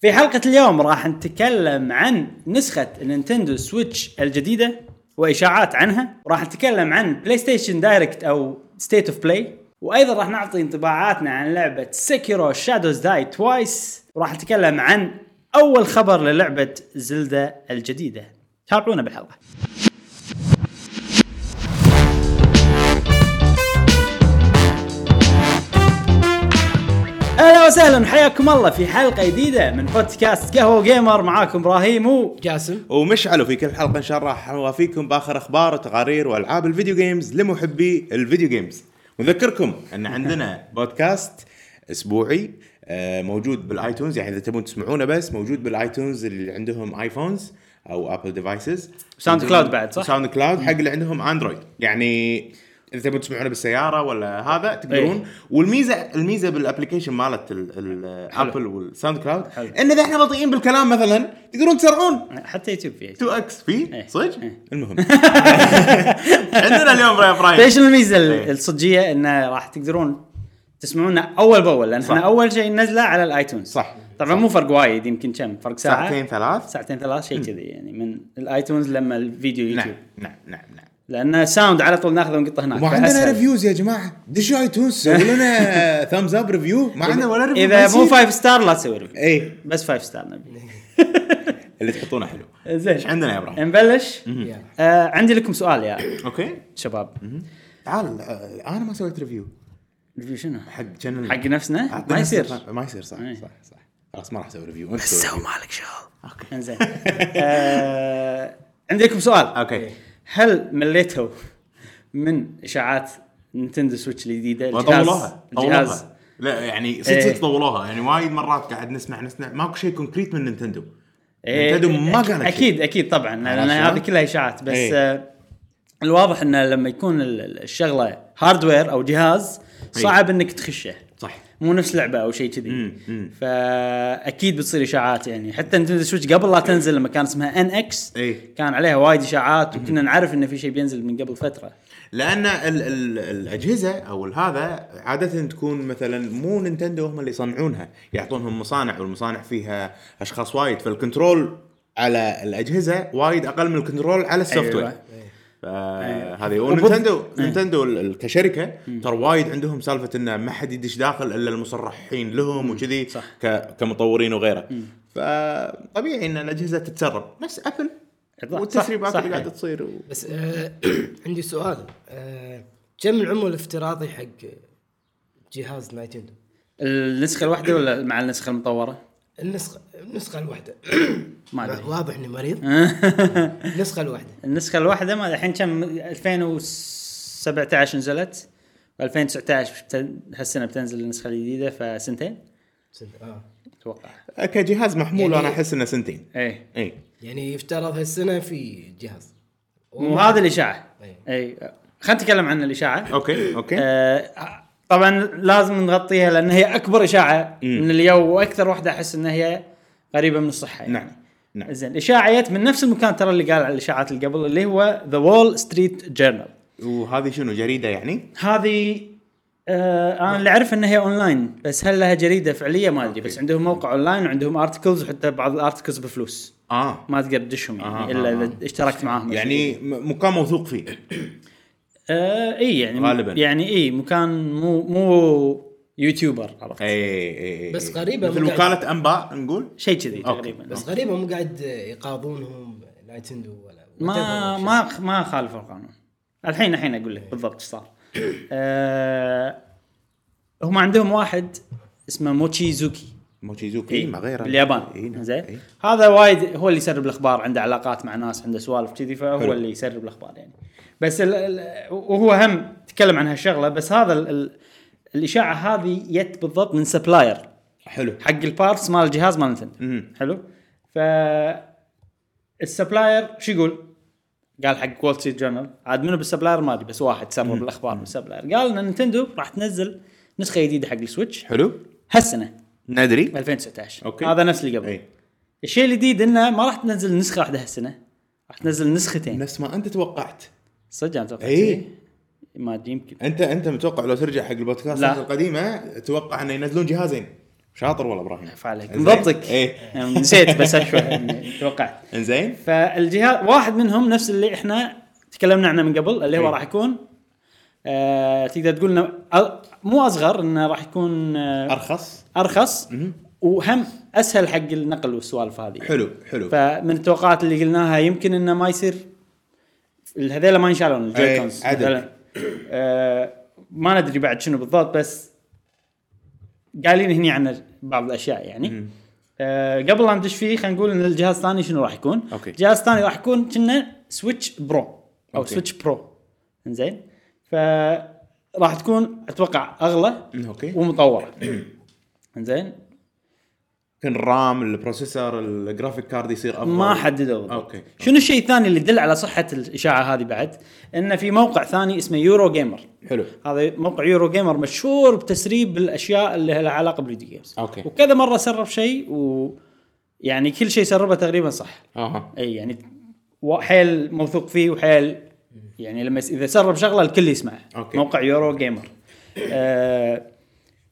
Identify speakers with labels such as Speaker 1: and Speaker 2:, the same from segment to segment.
Speaker 1: في حلقة اليوم راح نتكلم عن نسخة نينتندو سويتش الجديدة وإشاعات عنها وراح نتكلم عن بلاي ستيشن دايركت أو ستيت اوف بلاي وأيضا راح نعطي انطباعاتنا عن لعبة سكيرو شادوز داي توايس وراح نتكلم عن أول خبر للعبة زلدة الجديدة تابعونا بالحلقة اهلا وسهلا حياكم الله في حلقه جديده من بودكاست قهوه جيمر معاكم ابراهيم و
Speaker 2: جاسم
Speaker 3: ومشعل وفي كل حلقه ان شاء الله راح نوافيكم باخر اخبار وتقارير والعاب الفيديو جيمز لمحبي الفيديو جيمز ونذكركم ان عندنا بودكاست اسبوعي آه، موجود بالايتونز يعني اذا تبون تسمعونه بس موجود بالايتونز اللي عندهم ايفونز او ابل ديفايسز
Speaker 1: ساوند كلاود بعد، صح؟
Speaker 3: ساوند كلاود حق اللي عندهم اندرويد يعني اذا تبون تسمعونه بالسياره ولا هذا تقدرون
Speaker 1: إيه.
Speaker 3: والميزه الميزه بالابلكيشن مالت الابل والساوند كلاود ان اذا احنا بطيئين بالكلام مثلا تقدرون تسرعون
Speaker 1: حتى يوتيوب فيه
Speaker 3: 2 اكس في
Speaker 1: إيه.
Speaker 3: صدق؟
Speaker 1: إيه.
Speaker 3: المهم عندنا اليوم يا ابراهيم
Speaker 1: ايش الميزه ال-
Speaker 3: إيه.
Speaker 1: الصجيه انه راح تقدرون تسمعونا اول باول لان احنا
Speaker 3: صح.
Speaker 1: اول شيء نزله على الايتونز
Speaker 3: صح.
Speaker 1: طبعا مو فرق وايد يمكن كم فرق ساعه
Speaker 3: ساعتين ثلاث
Speaker 1: ساعتين ثلاث شيء كذي يعني من الايتونز لما الفيديو يوتيوب
Speaker 3: نعم
Speaker 1: نعم.
Speaker 3: نعم نعم نعم
Speaker 1: لان ساوند على طول نايخذه ونقطه هناك
Speaker 3: ما عندنا
Speaker 1: فأسهل.
Speaker 3: ريفيوز يا جماعه دشوا ايتونز سووا لنا ثامز اب ريفيو ما عندنا ولا ريفيو
Speaker 1: اذا مو
Speaker 3: فايف
Speaker 1: فايف ستار لا تسوي ريفيو
Speaker 3: اي
Speaker 1: بس فايف ستار
Speaker 3: نعم.
Speaker 1: نبي
Speaker 3: اللي تحطونه حلو
Speaker 1: زين
Speaker 3: ايش عندنا يا ابراهيم؟
Speaker 1: نبلش
Speaker 2: يلا.
Speaker 1: آه عندي لكم سؤال يا
Speaker 3: اوكي
Speaker 1: شباب
Speaker 3: تعال آه، انا ما سويت ريفيو
Speaker 1: ريفيو شنو؟
Speaker 3: حق جنن
Speaker 1: حق نفسنا؟
Speaker 3: أعطينا
Speaker 1: ما يصير
Speaker 3: استفهام. ما يصير صح
Speaker 1: إيه.
Speaker 3: صح صح خلاص ما راح اسوي ريفيو أنت سوي
Speaker 1: سو
Speaker 3: ريفيو.
Speaker 1: مالك شغل
Speaker 3: اوكي
Speaker 1: انزين آه، عندي لكم سؤال
Speaker 3: اوكي
Speaker 1: هل مليتوا من اشاعات نينتندو سويتش الجديده
Speaker 3: ما
Speaker 1: الجهاز-
Speaker 3: طولوها
Speaker 1: الجهاز
Speaker 3: طولوها لا يعني
Speaker 1: إيه.
Speaker 3: صدق صدق طولوها يعني وايد مرات قاعد نسمع نسمع ماكو شيء كونكريت من نينتندو
Speaker 1: إيه،
Speaker 3: نينتندو ما
Speaker 1: أكيد-
Speaker 3: قالت شيء.
Speaker 1: اكيد اكيد طبعا لان
Speaker 3: عرفت شلون؟
Speaker 1: هذه كلها اشاعات بس
Speaker 3: إيه.
Speaker 1: آه، الواضح انه لما يكون ال- ال- الشغله هاردوير او جهاز
Speaker 3: إيه.
Speaker 1: صعب انك تخشه
Speaker 3: صح
Speaker 1: مو نفس لعبه او شيء كذي فاكيد بتصير اشاعات يعني حتى نتندو سويتش قبل لا تنزل لما كان اسمها ان اكس
Speaker 3: إيه.
Speaker 1: كان عليها وايد اشاعات وكنا نعرف انه في شيء بينزل من قبل فتره
Speaker 3: لان ال ال الاجهزه او هذا عاده تكون مثلا مو نينتندو هم اللي يصنعونها يعطونهم مصانع والمصانع فيها اشخاص وايد فالكنترول على الاجهزه وايد اقل من الكنترول على السوفت وير
Speaker 1: أيوة. إيه.
Speaker 3: فهذه ونينتندو نينتندو ال- ال- كشركه ترى وايد عندهم سالفه انه ما حد يدش داخل الا المصرحين لهم وكذي
Speaker 1: صح.
Speaker 3: ك- كمطورين وغيره فطبيعي ان الاجهزه تتسرب نفس ابل
Speaker 1: صح،
Speaker 3: والتسريبات
Speaker 1: صح،
Speaker 3: اللي قاعده
Speaker 1: أيوة.
Speaker 3: تصير و...
Speaker 2: بس آه عندي سؤال آه كم العمر الافتراضي حق جهاز نايتندو؟
Speaker 1: النسخه الواحده ولا مع النسخه المطوره؟
Speaker 2: النسخه النسخه الواحده
Speaker 1: ما ادري
Speaker 2: واضح اني مريض النسخه الواحده
Speaker 1: النسخه الواحده ما الحين كم 2017 نزلت و2019 هالسنه بتنزل النسخه الجديده فسنتين
Speaker 2: سنت- آه.
Speaker 1: اتوقع
Speaker 3: كجهاز محمول
Speaker 2: يعني-
Speaker 3: انا احس انه سنتين
Speaker 1: ايه
Speaker 3: اي
Speaker 2: يعني يفترض هالسنه في جهاز
Speaker 1: مو هذا الاشاعه
Speaker 2: إيه.
Speaker 1: اي خلينا نتكلم عن الاشاعه
Speaker 3: اوكي اوكي
Speaker 1: آه، طبعا لازم نغطيها لان هي اكبر اشاعه من اليوم واكثر واحده احس انها هي قريبه من الصحه يعني.
Speaker 3: نعم نعم
Speaker 1: زين الاشاعه جت من نفس المكان ترى اللي قال على الاشاعات اللي قبل اللي هو ذا وول ستريت جورنال
Speaker 3: وهذه شنو جريده يعني؟
Speaker 1: هذه آه انا اللي اعرف انها هي اونلاين بس هل لها جريده فعليه ما ادري بس عندهم موقع اونلاين وعندهم ارتكلز وحتى بعض الارتكلز بفلوس
Speaker 3: اه
Speaker 1: ما تقدر تدشهم يعني
Speaker 3: آه،
Speaker 1: الا
Speaker 3: آه،
Speaker 1: اذا اشتركت معاهم
Speaker 3: يعني م- مكان موثوق فيه
Speaker 1: آه اي يعني
Speaker 3: غالباً.
Speaker 1: يعني اي مكان مو مو يوتيوبر عرفت
Speaker 3: اي اي اي
Speaker 2: بس قريبة
Speaker 3: إيه، مثل
Speaker 2: من-
Speaker 3: وكاله انباء نقول
Speaker 1: شيء كذي
Speaker 3: أوكي.
Speaker 1: تقريبا
Speaker 2: بس غريبه مو قاعد يقاضونهم نايتندو ولا
Speaker 1: ما ما ما خالف القانون الحين الحين اقول لك بالضبط ايش صار آه هم عندهم واحد اسمه موتشيزوكي
Speaker 3: موتشيزوكي إيه، ما غيره
Speaker 1: باليابان
Speaker 3: إيه، نعم.
Speaker 1: زين
Speaker 3: إيه.
Speaker 1: هذا وايد هو اللي يسرب الاخبار عنده علاقات مع ناس عنده سوالف كذي فهو
Speaker 3: حلو.
Speaker 1: اللي يسرب الاخبار يعني بس ال ال وهو هم تكلم عن هالشغله بس هذا ال ال الاشاعه هذه جت بالضبط من سبلاير
Speaker 3: حلو
Speaker 1: حق البارتس مال الجهاز مال نتندو
Speaker 3: مم.
Speaker 1: حلو ف السبلاير شو يقول؟ قال حق وول ستريت جورنال عاد منو بالسبلاير ما ادري بس واحد سرب الاخبار من السبلاير قال ان نتندو راح تنزل نسخه جديده حق السويتش
Speaker 3: حلو
Speaker 1: هالسنه
Speaker 3: ندري
Speaker 1: 2019
Speaker 3: أوكي. إيه.
Speaker 1: هذا نفس اللي قبل
Speaker 3: اي
Speaker 1: الشيء الجديد انه ما راح تنزل نسخه واحده هالسنه راح تنزل نسختين
Speaker 3: نفس ما انت توقعت
Speaker 1: صدق انا توقعت
Speaker 3: إي.
Speaker 1: كذي؟ ما ادري يمكن
Speaker 3: انت انت متوقع لو ترجع حق البودكاست
Speaker 1: لا.
Speaker 3: القديمه توقع انه ينزلون جهازين شاطر والله ابراهيم
Speaker 1: عفا عليك
Speaker 3: إنزين.
Speaker 1: مضبطك
Speaker 3: ايه
Speaker 1: نسيت بس اشوى يعني توقعت
Speaker 3: انزين
Speaker 1: فالجهاز واحد منهم نفس اللي احنا تكلمنا عنه من قبل اللي هو
Speaker 3: إيه.
Speaker 1: راح يكون آه تقدر تقول انه أ- مو اصغر انه راح يكون آه
Speaker 3: ارخص
Speaker 1: ارخص
Speaker 3: مهم.
Speaker 1: وهم اسهل حق النقل والسوالف هذه
Speaker 3: حلو حلو
Speaker 1: فمن التوقعات اللي قلناها يمكن انه ما يصير هذيلا ما ينشالون
Speaker 3: إيه،
Speaker 1: الجويكونز
Speaker 3: أي، عدل.
Speaker 1: مثلا آه ما ندري بعد شنو بالضبط بس قايلين هني عن بعض الاشياء يعني
Speaker 3: مم.
Speaker 1: آه قبل لا ندش فيه خلينا نقول ان الجهاز الثاني شنو راح يكون
Speaker 3: أوكي.
Speaker 1: الجهاز الثاني راح يكون كنا سويتش برو او
Speaker 3: أوكي.
Speaker 1: سويتش برو انزين ف راح تكون اتوقع اغلى
Speaker 3: مم، اوكي
Speaker 1: ومطوره انزين
Speaker 3: يمكن الرام البروسيسور الجرافيك كارد يصير افضل
Speaker 1: ما حددوا بالضبط.
Speaker 3: أوكي.
Speaker 1: شنو الشيء الثاني اللي يدل على صحه الاشاعه هذه بعد؟ ان في موقع ثاني اسمه يورو جيمر
Speaker 3: حلو
Speaker 1: هذا موقع يورو جيمر مشهور بتسريب الاشياء اللي لها علاقه بالفيديو جيمز
Speaker 3: أوكي.
Speaker 1: وكذا مره سرب شيء و يعني كل شيء سربه تقريبا صح
Speaker 3: اها
Speaker 1: اي يعني و- حيل موثوق فيه وحيل يعني لما يس- اذا سرب شغله الكل يسمعه
Speaker 3: أوكي.
Speaker 1: موقع يورو جيمر آه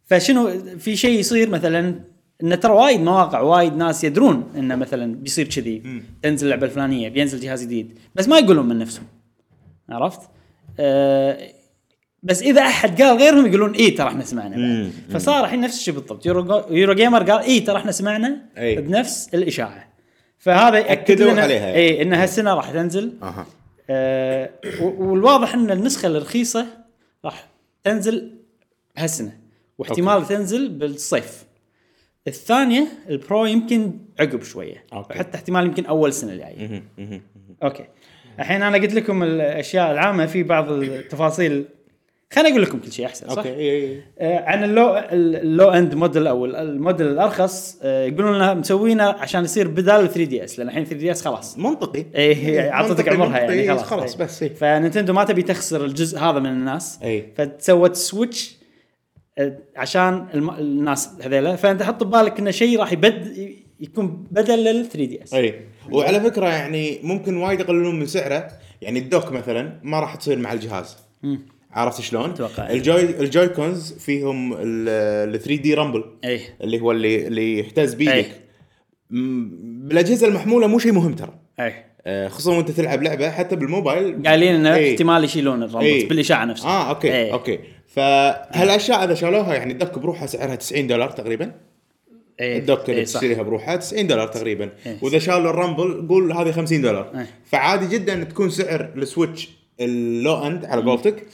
Speaker 1: فشنو في شيء يصير مثلا ان ترى وايد مواقع وايد ناس يدرون انه مثلا بيصير كذي تنزل اللعبه الفلانيه بينزل جهاز جديد بس ما يقولون من نفسهم عرفت؟ آه بس اذا احد قال غيرهم يقولون اي ترى احنا سمعنا
Speaker 3: مم،
Speaker 1: بعد. فصار الحين نفس الشيء بالضبط يورو, يورو جيمر قال اي ترى احنا سمعنا
Speaker 3: إي.
Speaker 1: بنفس الاشاعه فهذا ياكد
Speaker 3: أكدوا
Speaker 1: لنا
Speaker 3: عليها يعني.
Speaker 1: اي ان هالسنه إيه، راح تنزل
Speaker 3: اها
Speaker 1: آه و- والواضح ان النسخه الرخيصه راح تنزل هالسنه واحتمال أوكي. تنزل بالصيف الثانيه البرو يمكن عقب شويه
Speaker 3: أوكي.
Speaker 1: حتى احتمال يمكن اول سنه الجايه
Speaker 3: مهم، مهم.
Speaker 1: اوكي الحين انا قلت لكم الاشياء العامه في بعض التفاصيل خليني اقول لكم كل شيء احسن صح؟
Speaker 3: اوكي إيه، اي اي
Speaker 1: آه، عن اللو اللو اند موديل او ال- الموديل الارخص آه، يقولون لنا مسوينه عشان يصير بدال 3 دي اس لان الحين 3 دي اس خلاص
Speaker 3: منطقي
Speaker 1: ايه عطتك
Speaker 3: منطقي،
Speaker 1: عمرها يعني
Speaker 3: منطقي،
Speaker 1: خلاص
Speaker 3: خلاص
Speaker 1: إيه.
Speaker 3: بس إيه.
Speaker 1: فنينتندو ما تبي تخسر الجزء هذا من الناس
Speaker 3: إيه.
Speaker 1: فسوت سويتش آه، عشان الم... الناس هذيلا فانت حط ببالك انه شيء راح يبد يكون بدل لل 3 دي اس
Speaker 3: اي إيه. وعلى فكره يعني ممكن وايد يقللون من سعره يعني الدوك مثلا ما راح تصير مع الجهاز عرفت شلون؟
Speaker 1: أتوقع. إيه.
Speaker 3: الجوي الجوي كونز فيهم ال 3 دي رامبل
Speaker 1: ايه
Speaker 3: اللي هو اللي اللي يحتاز بيدك
Speaker 1: إيه.
Speaker 3: م- بالاجهزه المحموله مو شيء مهم ترى
Speaker 1: اي
Speaker 3: آه، خصوصا وانت تلعب لعبه حتى بالموبايل
Speaker 1: إيه. قايلين انه
Speaker 3: إيه.
Speaker 1: احتمال يشيلون الرمز
Speaker 3: إيه.
Speaker 1: بالاشاعه نفسها
Speaker 3: اه اوكي
Speaker 1: إيه.
Speaker 3: ايه. اوكي فهالاشياء اذا شالوها يعني الدك بروحها سعرها 90 دولار تقريبا
Speaker 1: إيه.
Speaker 3: الدك اللي
Speaker 1: إيه، صح.
Speaker 3: تشتريها بروحها 90 دولار تقريبا
Speaker 1: إيه.
Speaker 3: واذا شالوا الرامبل قول هذه 50 دولار
Speaker 1: إيه.
Speaker 3: فعادي جدا تكون سعر السويتش اللو اند
Speaker 1: إيه.
Speaker 3: على قولتك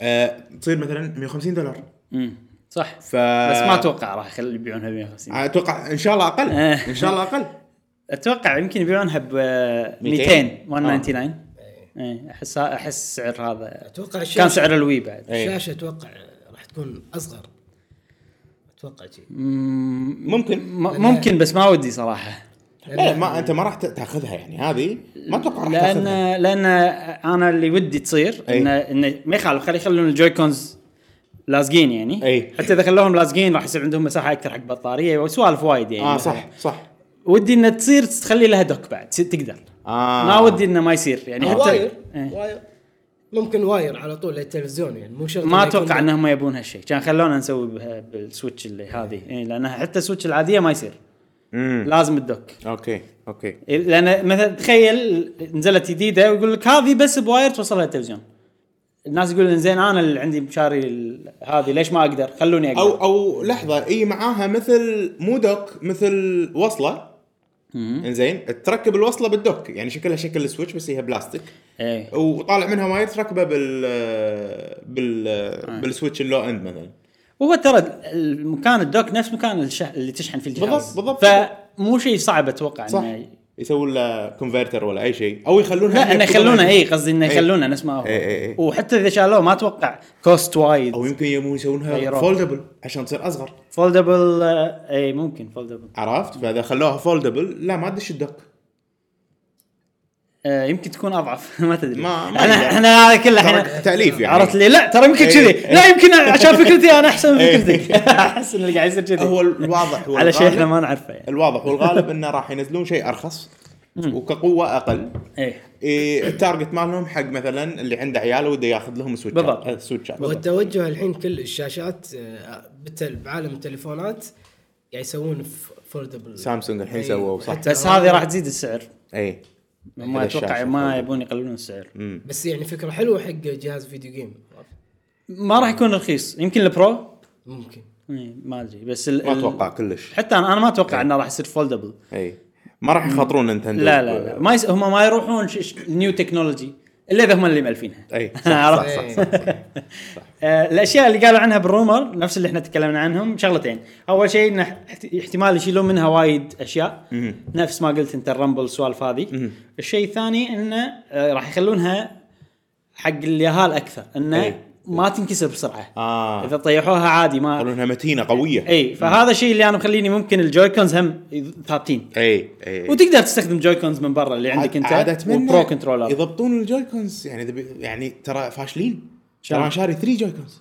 Speaker 3: آه تصير مثلا 150 دولار
Speaker 1: مم. صح بس
Speaker 3: ف
Speaker 1: ما
Speaker 3: آه.
Speaker 1: اتوقع راح يخلي يبيعونها ب 150
Speaker 3: اتوقع ان شاء الله اقل
Speaker 1: إيه.
Speaker 3: ان شاء الله اقل
Speaker 1: اتوقع يمكن يبيعونها ب آه، 200
Speaker 3: 200.
Speaker 1: 199 اي احس احس سعر هذا
Speaker 2: اتوقع الشاشه
Speaker 1: كان سعر الوي بعد
Speaker 3: إيه.
Speaker 2: الشاشه اتوقع راح تكون اصغر اتوقع شيء
Speaker 3: ممكن
Speaker 1: م- ممكن بس ما ودي صراحه
Speaker 3: لا, لا ما انت ما راح ت- تاخذها يعني هذه ما اتوقع راح
Speaker 1: لان
Speaker 3: تاخذها
Speaker 1: لان انا اللي ودي تصير
Speaker 3: أي.
Speaker 1: انه انه ما يخالف خلي يخلون الجويكونز لازقين يعني
Speaker 3: أي.
Speaker 1: حتى اذا خلوهم لازقين راح يصير عندهم مساحه اكثر حق بطاريه وسوالف وايد يعني
Speaker 3: اه صح صح
Speaker 1: ودي انها تصير تخلي لها دوك بعد تصير- تقدر
Speaker 3: آه.
Speaker 1: ما ودي انه ما يصير يعني
Speaker 2: يعني
Speaker 1: حتى
Speaker 2: واير
Speaker 1: إيه.
Speaker 2: واير ممكن واير على طول للتلفزيون يعني مو شرط
Speaker 1: ما
Speaker 2: إنه يكون
Speaker 1: اتوقع انهم يبون هالشيء كان خلونا نسوي بها بالسويتش اللي هذه يعني لانها حتى السويتش العاديه ما يصير
Speaker 3: آه، مم.
Speaker 1: لازم الدوك
Speaker 3: اوكي اوكي
Speaker 1: لان مثلا تخيل نزلت جديده ويقول لك هذه بس بواير توصلها التلفزيون الناس يقولون زين انا اللي عندي مشاري ال- هذه ليش ما اقدر خلوني اقدر
Speaker 3: او او لحظه اي معاها مثل مو دوك مثل وصله انزين تركب الوصله بالدوك يعني شكلها شكل السويتش بس هي بلاستيك
Speaker 1: ايه
Speaker 3: وطالع منها واير تركبه بال
Speaker 1: آه.
Speaker 3: بال بالسويتش اللو اند مثلا
Speaker 1: وهو ترى مكان الدوك نفس مكان الش... اللي تشحن فيه الجهاز
Speaker 3: بالضبط- بالضبط.
Speaker 1: فمو شيء صعب اتوقع
Speaker 3: صح
Speaker 1: انه
Speaker 3: يسوون له كونفرتر ولا اي شيء او يخلونها
Speaker 1: نعم. لا انه يخلونه
Speaker 3: اي
Speaker 1: اي قصدي انه
Speaker 3: إيه.
Speaker 1: يخلونه نفس ما هو
Speaker 3: إيه، إيه، إيه.
Speaker 1: وحتى اذا شالوه ما اتوقع كوست وايد
Speaker 3: او يمكن يبون يسوونها
Speaker 1: غيروها.
Speaker 3: فولدبل عشان تصير اصغر
Speaker 1: فولدبل اي إيه، ممكن فولدبل
Speaker 3: عرفت فاذا خلوها فولدبل لا ما تدش الدوك
Speaker 1: آه يمكن تكون اضعف ما تدري
Speaker 3: ما- ما
Speaker 1: احنا
Speaker 3: يدري.
Speaker 1: احنا هذا كله
Speaker 3: ترى
Speaker 1: احنا
Speaker 3: تاليف يعني
Speaker 1: عرفت لي لا ترى يمكن
Speaker 3: إيه.
Speaker 1: كذي لا يمكن عشان فكرتي انا احسن من فكرتك احس ان اللي قاعد يصير كذي
Speaker 3: هو الواضح هو
Speaker 1: على شيء احنا
Speaker 3: الغالب-
Speaker 1: ما نعرفه يعني
Speaker 3: الواضح والغالب انه راح ينزلون شيء ارخص وكقوه اقل
Speaker 1: ايه
Speaker 3: إيه، التارجت مالهم حق مثلا اللي عنده عيال وده ياخذ لهم Eh، سويتش
Speaker 1: بالضبط.
Speaker 3: سويتشات
Speaker 2: والتوجه الحين كل الشاشات آه، بالتل- بعالم التليفونات يعني يسوون إيه، فوردبل
Speaker 3: سامسونج الحين سووا صح.
Speaker 1: طيب، بس هذه راح تزيد السعر
Speaker 3: اي
Speaker 1: ما اتوقع ما يبون يقللون السعر
Speaker 2: بس يعني فكره حلوه حق جهاز فيديو جيم
Speaker 1: ما راح يكون رخيص يمكن البرو
Speaker 2: ممكن
Speaker 1: إيه، ما ادري بس ال...
Speaker 3: ما إيه.
Speaker 1: ال-
Speaker 3: اتوقع كلش
Speaker 1: حتى انا أنا ما اتوقع انه راح يصير فولدبل
Speaker 3: اي ما راح يخاطرون نينتندو
Speaker 1: لا لا لا ما يس... هم ما يروحون ش... ش... نيو تكنولوجي الا اذا هم اللي مالفينها
Speaker 3: اي صح صح,
Speaker 1: عرفت؟
Speaker 3: صح,
Speaker 2: إيه.
Speaker 3: صح, صح,
Speaker 1: آه، الاشياء اللي قالوا عنها بالرومر نفس اللي احنا تكلمنا عنهم شغلتين اول شيء انه احت- احتمال يشيلون منها وايد اشياء نفس ما قلت انت الرامبل السوالف هذه الشيء الثاني انه آه، راح يخلونها حق اليهال اكثر انه
Speaker 3: إيه.
Speaker 1: ما تنكسر بسرعه
Speaker 3: آه.
Speaker 1: اذا طيحوها عادي ما
Speaker 3: يقولونها متينه قويه
Speaker 1: اي فهذا الشيء اللي انا مخليني ممكن الجويكونز هم ثابتين
Speaker 3: اي اي
Speaker 1: وتقدر تستخدم جويكونز من برا اللي عندك
Speaker 3: إيه. عاد
Speaker 1: انت
Speaker 3: اتمنى
Speaker 1: والبرو كنترولر
Speaker 3: يضبطون الجويكونز يعني إذا بي- يعني ترى فاشلين
Speaker 1: شلون؟
Speaker 3: ترى أنا شاري 3 جويكونز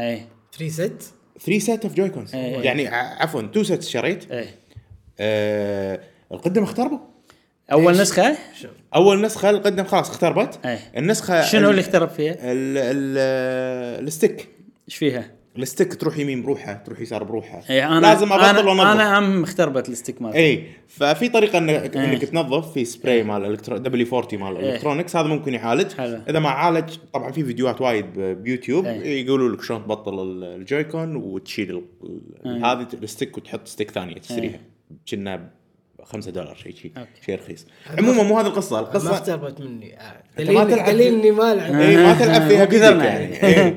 Speaker 1: اي
Speaker 2: 3 ست
Speaker 3: 3 سيت اوف جويكونز
Speaker 1: إيه.
Speaker 3: يعني ع- عفوا 2 سيتس شريت
Speaker 1: اي
Speaker 3: آه القدم اختربوا
Speaker 1: اول
Speaker 2: إيش؟
Speaker 1: نسخه
Speaker 2: شوف
Speaker 3: اول نسخه القدم خلاص اختربت
Speaker 1: إيه.
Speaker 3: النسخه
Speaker 1: شنو اللي
Speaker 3: آه، ال-
Speaker 1: اخترب فيها؟
Speaker 3: ال- ال- الستيك
Speaker 1: ايش فيها؟
Speaker 3: الستيك تروح يمين بروحه تروح يسار بروحه
Speaker 1: اي انا
Speaker 3: لازم إيه. ابطل
Speaker 1: انا,
Speaker 3: وانظف
Speaker 1: إيه، أنا هم اختربت الستيك مالتي
Speaker 3: اي ففي طريقه انك
Speaker 1: إيه.
Speaker 3: انك تنظف في سبراي مال الكترو دبليو 40 مال الالكترونكس هذا ممكن يعالج
Speaker 1: حلو.
Speaker 3: اذا ما عالج طبعا في فيديوهاي وايد ب- بيوتيوب
Speaker 1: إيه.
Speaker 3: يقولوا لك شلون تبطل ال- الجويكون وتشيل ال- ال-
Speaker 1: إيه.
Speaker 3: هذه الستيك وتحط ستيك ثانيه تشتريها كنا ب 5 دولار شيء شيء
Speaker 1: أوكي.
Speaker 3: شيء رخيص عموما مو هذه القصه
Speaker 2: ما
Speaker 3: القصه
Speaker 2: اختربت مني آه. دليل
Speaker 3: تلعب
Speaker 2: دليل اني ما العب
Speaker 1: إيه.
Speaker 3: اي ما تلعب فيها
Speaker 1: مو قدرنا
Speaker 3: بيدك يعني إيه.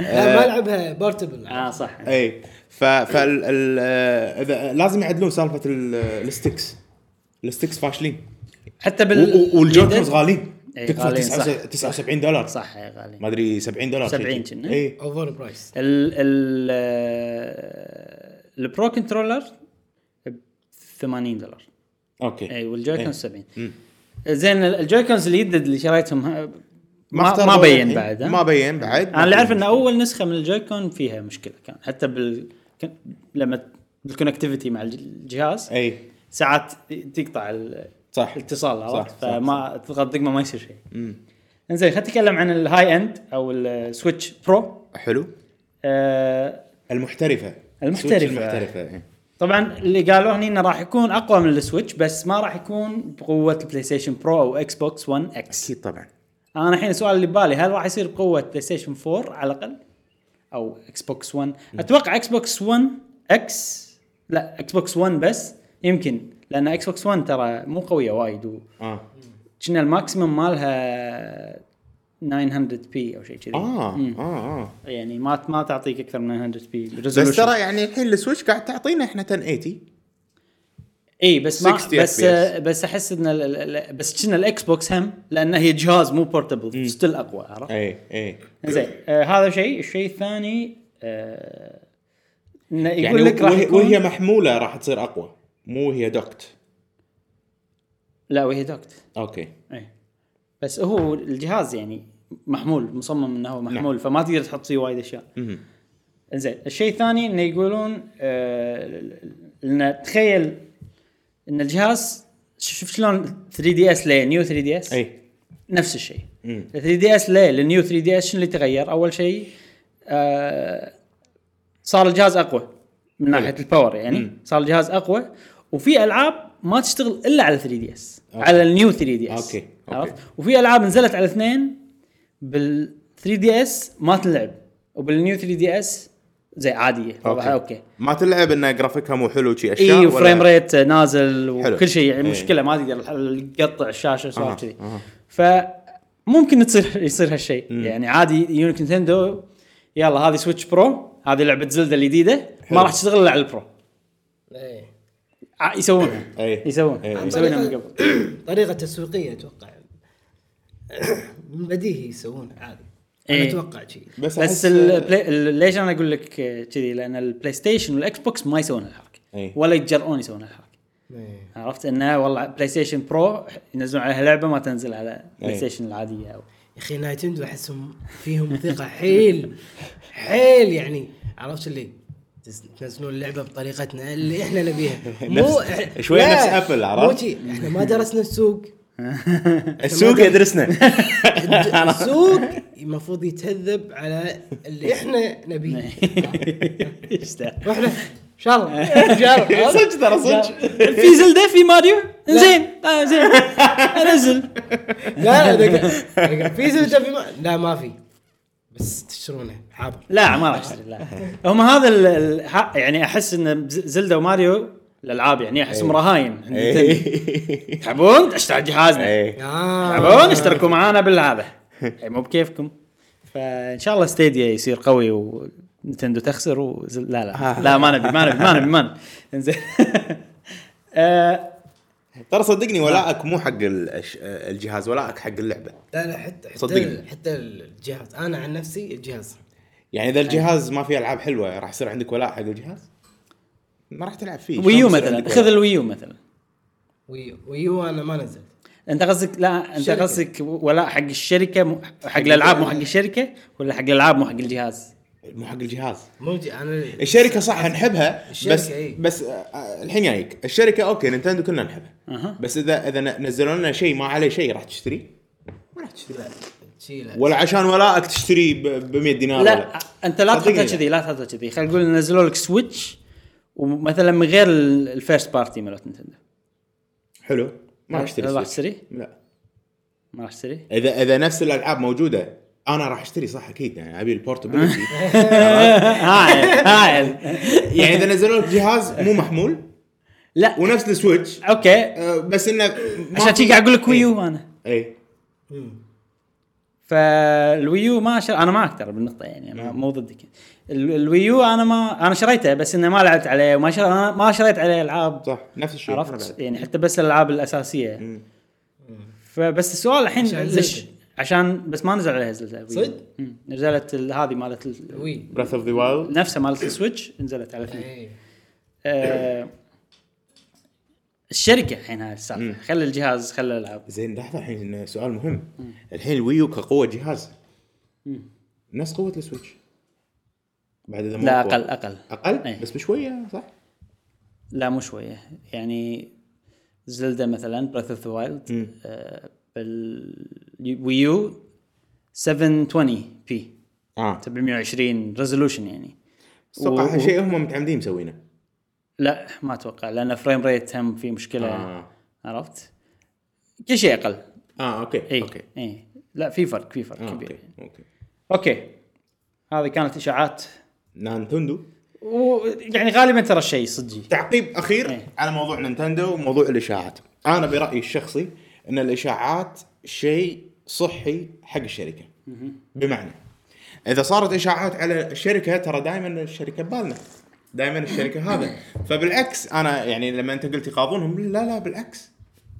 Speaker 2: لا ما العبها بورتبل
Speaker 1: اه صح
Speaker 3: اي ف فال ال- آه، إذا- لازم يعدلون سالفه ال- الستكس الستكس فاشلين
Speaker 1: حتى بال
Speaker 3: و- و- والجوكرز غاليين
Speaker 1: إيه،
Speaker 3: تكفى
Speaker 1: غاليين، صح.
Speaker 3: 79 79 دولار
Speaker 1: صح يا غالي
Speaker 3: ما ادري 70 دولار
Speaker 1: 70 كنا.
Speaker 3: اي
Speaker 2: اوفر برايس
Speaker 1: ال ال آه، البرو كنترولر ب 80 دولار
Speaker 3: اوكي
Speaker 1: اي
Speaker 3: إيه.
Speaker 1: والجويكونز 70
Speaker 3: مم.
Speaker 1: زين ال- الجويكونز الجدد اللي شريتهم ها- ما,
Speaker 3: اختاروا
Speaker 1: ما بين
Speaker 3: الحين.
Speaker 1: بعد ها؟
Speaker 3: إيه، ما بين بعد
Speaker 1: انا اللي اعرف ان اول نسخه من الجويكون فيها مشكله كان حتى بال كان- لما بالكونكتيفيتي مع الج- الجهاز
Speaker 3: اي
Speaker 1: ساعات تقطع ال-
Speaker 3: صح
Speaker 1: اتصال عرفت
Speaker 3: صح، صح،
Speaker 1: فما تضغط دقمه ما يصير شيء انزين خلينا نتكلم عن الهاي اند او السويتش برو
Speaker 3: حلو
Speaker 1: آه
Speaker 3: المحترفه
Speaker 1: المحترفة.
Speaker 3: سويتش المحترفه إيه.
Speaker 1: طبعا اللي قالوا هني انه راح يكون اقوى من السويتش بس ما راح يكون بقوه البلاي ستيشن برو او اكس بوكس 1 اكس
Speaker 3: اكيد طبعا
Speaker 1: انا الحين السؤال اللي ببالي هل راح يصير بقوه بلاي ستيشن 4 على الاقل او اكس بوكس 1 اتوقع اكس بوكس 1 اكس لا اكس بوكس 1 بس يمكن لان اكس بوكس 1 ترى مو قويه وايد و...
Speaker 3: اه
Speaker 1: كنا الماكسيمم مالها 900 بي او شيء كذي
Speaker 3: اه
Speaker 1: مم.
Speaker 3: اه اه
Speaker 1: يعني ما ما تعطيك اكثر من 900 بي
Speaker 3: بس ترى يعني الحين السويتش قاعد تعطينا احنا 1080
Speaker 1: اي بس ما
Speaker 3: 60
Speaker 1: بس
Speaker 3: FPS.
Speaker 1: آه، بس احس ان ال- ال- ال- بس كنا الاكس بوكس هم لان هي جهاز مو بورتبل ستيل اقوى عرفت؟
Speaker 3: اي اي
Speaker 1: زين آه هذا شيء، الشيء الثاني آه انه يقول
Speaker 3: يعني
Speaker 1: يعني لك راح
Speaker 3: وهي,
Speaker 1: يكون
Speaker 3: وهي محموله راح تصير اقوى مو هي دوكت
Speaker 1: لا وهي دوكت
Speaker 3: اوكي
Speaker 1: اي بس هو الجهاز يعني محمول مصمم انه هو محمول فما تقدر تحط فيه وايد اشياء
Speaker 3: مهم.
Speaker 1: زين الشيء الثاني انه يقولون آه ان تخيل ان الجهاز شوف شلون 3 دي اس لنيو 3 دي اس
Speaker 3: اي
Speaker 1: نفس الشيء
Speaker 3: مم.
Speaker 1: 3 دي اس لنيو 3 دي اس شنو اللي تغير؟ اول شيء آه صار الجهاز اقوى من ناحيه الباور يعني صار الجهاز اقوى وفي العاب ما تشتغل الا على 3 دي اس
Speaker 3: أوكي.
Speaker 1: على النيو 3 دي اس
Speaker 3: أوكي، أوكي.
Speaker 1: عرفت؟ وفي العاب نزلت على الاثنين بال 3 دي اس ما تلعب وبالنيو 3 دي اس زي عاديه اوكي, أوكي.
Speaker 3: ما تلعب ان جرافيكها مو حلو شي اشياء
Speaker 1: اي
Speaker 3: ولا-
Speaker 1: وفريم إيه، ريت نازل
Speaker 3: حلو.
Speaker 1: وكل شيء يعني
Speaker 3: إي.
Speaker 1: مشكله ما تقدر تقطع الشاشه
Speaker 3: أها،
Speaker 1: سوالف كذي
Speaker 3: أها.
Speaker 1: فممكن تصير يصير هالشيء يعني عادي يونيك نينتندو يلا هذه سويتش برو هذه لعبه زلده الجديده ما
Speaker 3: حلو.
Speaker 1: راح تشتغل الا على البرو
Speaker 2: ايه
Speaker 1: ع- يسوونها
Speaker 3: إي. إي.
Speaker 1: يسوونها يسوونها يعني من قبل
Speaker 2: طريقه تسويقيه اتوقع من بديهي يسوونها عادي انا
Speaker 1: إيه.
Speaker 2: اتوقع شيء
Speaker 3: بس,
Speaker 1: بس
Speaker 3: أحس-
Speaker 1: البلاي... ال- ليش انا اقول لك آه، كذي لان البلاي ستيشن والاكس بوكس ما يسوون هالحركه
Speaker 3: إي.
Speaker 1: ولا يتجرؤون يسوون هالحركه
Speaker 2: إيه.
Speaker 1: عرفت انه والله بلاي ستيشن برو ينزلون عليها لعبه ما تنزل على بلاي
Speaker 3: إي.
Speaker 1: ستيشن العاديه او
Speaker 2: يا اخي نايتندو احسهم فيهم ثقه حيل حيل يعني عرفت اللي تز- تنزلون اللعبه بطريقتنا اللي احنا نبيها مو
Speaker 3: نفس- شوية
Speaker 2: لا،
Speaker 3: نفس أبل، عرفت؟
Speaker 2: مو شي. احنا ما درسنا السوق
Speaker 3: السوق يدرسنا
Speaker 2: السوق المفروض يتهذب على اللي احنا نبيه
Speaker 1: ايش ذا؟
Speaker 2: واحنا ان شاء الله ان شاء الله
Speaker 3: صدق ترى صدق
Speaker 1: في زلده في ماريو زين آه زين انزل
Speaker 2: لا لا دقيقة. في زلده في ما... لا ما في بس تشترونه حاضر
Speaker 1: لا ما راح اشتري لا هم هذا ال... ال... ها- يعني احس ان ز- زلده وماريو الالعاب يعني
Speaker 3: إيه.
Speaker 1: احسهم رهاين عند نينتندو. تحبون اشتروا جهازنا
Speaker 3: إيه.
Speaker 1: تحبون اشتركوا معانا بالهذا إي، مو بكيفكم فان شاء الله ستيديا يصير قوي ونتندو تخسر وزل... لا لا لا ما نبي ما نبي ما نبي ما نبي انزين آه،
Speaker 3: ترى صدقني ولائك مو حق ال- الش- الجهاز ولائك حق اللعبه
Speaker 2: لا لا حتى حتى
Speaker 3: صدقني.
Speaker 2: ال- حتى الجهاز انا عن نفسي الجهاز
Speaker 3: يعني اذا الجهاز ما فيه العاب حلوه راح يصير عندك ولاء حق الجهاز ما راح تلعب فيه شلون
Speaker 1: ويو
Speaker 3: يصير
Speaker 1: مثلا
Speaker 3: عندك
Speaker 1: خذ
Speaker 3: ولاء؟
Speaker 1: الويو مثلا
Speaker 2: وي- ويو انا ما نزلت
Speaker 1: انت قصدك لا انت
Speaker 2: شركة.
Speaker 1: قصدك ولا حق الشركه مو حق الالعاب مو حق الشركه ولا حق الالعاب مو حق الجهاز؟
Speaker 3: مو حق الجهاز
Speaker 2: مو ج- انا
Speaker 3: الشركه صح نحبها
Speaker 2: الشركة
Speaker 3: بس
Speaker 2: إيه.
Speaker 3: بس آه، الحين جايك الشركه اوكي نينتندو كلنا نحبها
Speaker 1: أها.
Speaker 3: بس اذا اذا ن- نزلوا لنا شيء ما عليه شيء راح تشتريه
Speaker 2: لا، شيلها
Speaker 3: ولا عشان ولائك تشتريه ب 100 دينار
Speaker 1: لا
Speaker 3: ولا.
Speaker 1: انت لا
Speaker 3: صدقني
Speaker 1: تحطها كذي لا تحطها كذي خلينا نقول نزلوا لك سويتش ومثلا من غير ال- الفيرست بارتي مالت نتندو
Speaker 3: حلو ما راح اشتري
Speaker 1: راح
Speaker 3: سويتش.
Speaker 1: تشتري؟
Speaker 3: لا
Speaker 1: ما راح تشتري؟
Speaker 3: اذا اذا نفس الالعاب موجوده انا راح اشتري صح اكيد يعني ابي البورتبيلتي
Speaker 1: هايل هايل
Speaker 3: يعني اذا نزلوا لك جهاز مو محمول
Speaker 1: لا
Speaker 3: ونفس السويتش
Speaker 1: اوكي
Speaker 3: آه، بس انه ما إيه،
Speaker 1: عشان
Speaker 3: في-
Speaker 1: شي قاعد اقول لك ويو انا
Speaker 3: اي
Speaker 1: فالويو ما شر... انا معك ترى بالنقطه يعني ما مو ضدك ال- الويو انا ما انا شريته بس انه ما لعبت عليه وما شر... أنا ما شريت عليه العاب
Speaker 3: صح نفس الشيء أنا
Speaker 1: عرفت
Speaker 3: بعد.
Speaker 1: يعني حتى بس الالعاب الاساسيه
Speaker 3: مم.
Speaker 1: فبس السؤال الحين
Speaker 2: عشان
Speaker 1: ليش
Speaker 2: زلدة.
Speaker 1: عشان بس ما نزل عليها زلده
Speaker 2: صدق؟
Speaker 1: مم. نزلت ال- هذه مالت ال-
Speaker 2: وي
Speaker 3: براث اوف ذا وايلد
Speaker 1: نفسها مالت السويتش نزلت على الاثنين
Speaker 2: إيه.
Speaker 1: آه، الشركه الحين هاي السالفه خلي الجهاز خلي الالعاب
Speaker 3: زين لحظه الحين سؤال مهم الحين الويو كقوه جهاز
Speaker 1: مم.
Speaker 3: نفس قوه السويتش بعد اذا مو
Speaker 1: لا
Speaker 3: أقوى.
Speaker 1: اقل اقل
Speaker 3: اقل
Speaker 1: إيه.
Speaker 3: بس بشويه صح
Speaker 1: لا مو شويه يعني زلدا مثلا بريث اوف ذا
Speaker 3: مم.
Speaker 1: وايلد بالويو 720 بي
Speaker 3: اه
Speaker 1: 720 ريزولوشن يعني
Speaker 3: اتوقع
Speaker 1: و-
Speaker 3: شيء هم متعمدين مسوينه
Speaker 1: لا ما اتوقع لان فريم ريت هم في مشكله آه.
Speaker 3: اه
Speaker 1: عرفت؟ كل شيء اقل
Speaker 3: اه اوكي
Speaker 1: اي
Speaker 3: اوكي
Speaker 1: اي لا في فرق في فرق
Speaker 3: آه،
Speaker 1: آه إيه، كبير
Speaker 3: اوكي
Speaker 1: اوكي,
Speaker 3: اوكي
Speaker 1: أوكي. هذه كانت اشاعات
Speaker 3: نانتندو
Speaker 1: ويعني غالبا ترى الشيء صدقي
Speaker 3: تعقيب اخير
Speaker 1: إيه.
Speaker 3: على موضوع نينتندو وموضوع الاشاعات انا برايي الشخصي ان الاشاعات شيء صحي حق الشركه بمعنى اذا صارت اشاعات على الشركه ترى دائما الشركه ببالنا دائما الشركه هذا فبالعكس انا يعني لما انت قلت يقاضونهم لا لا بالعكس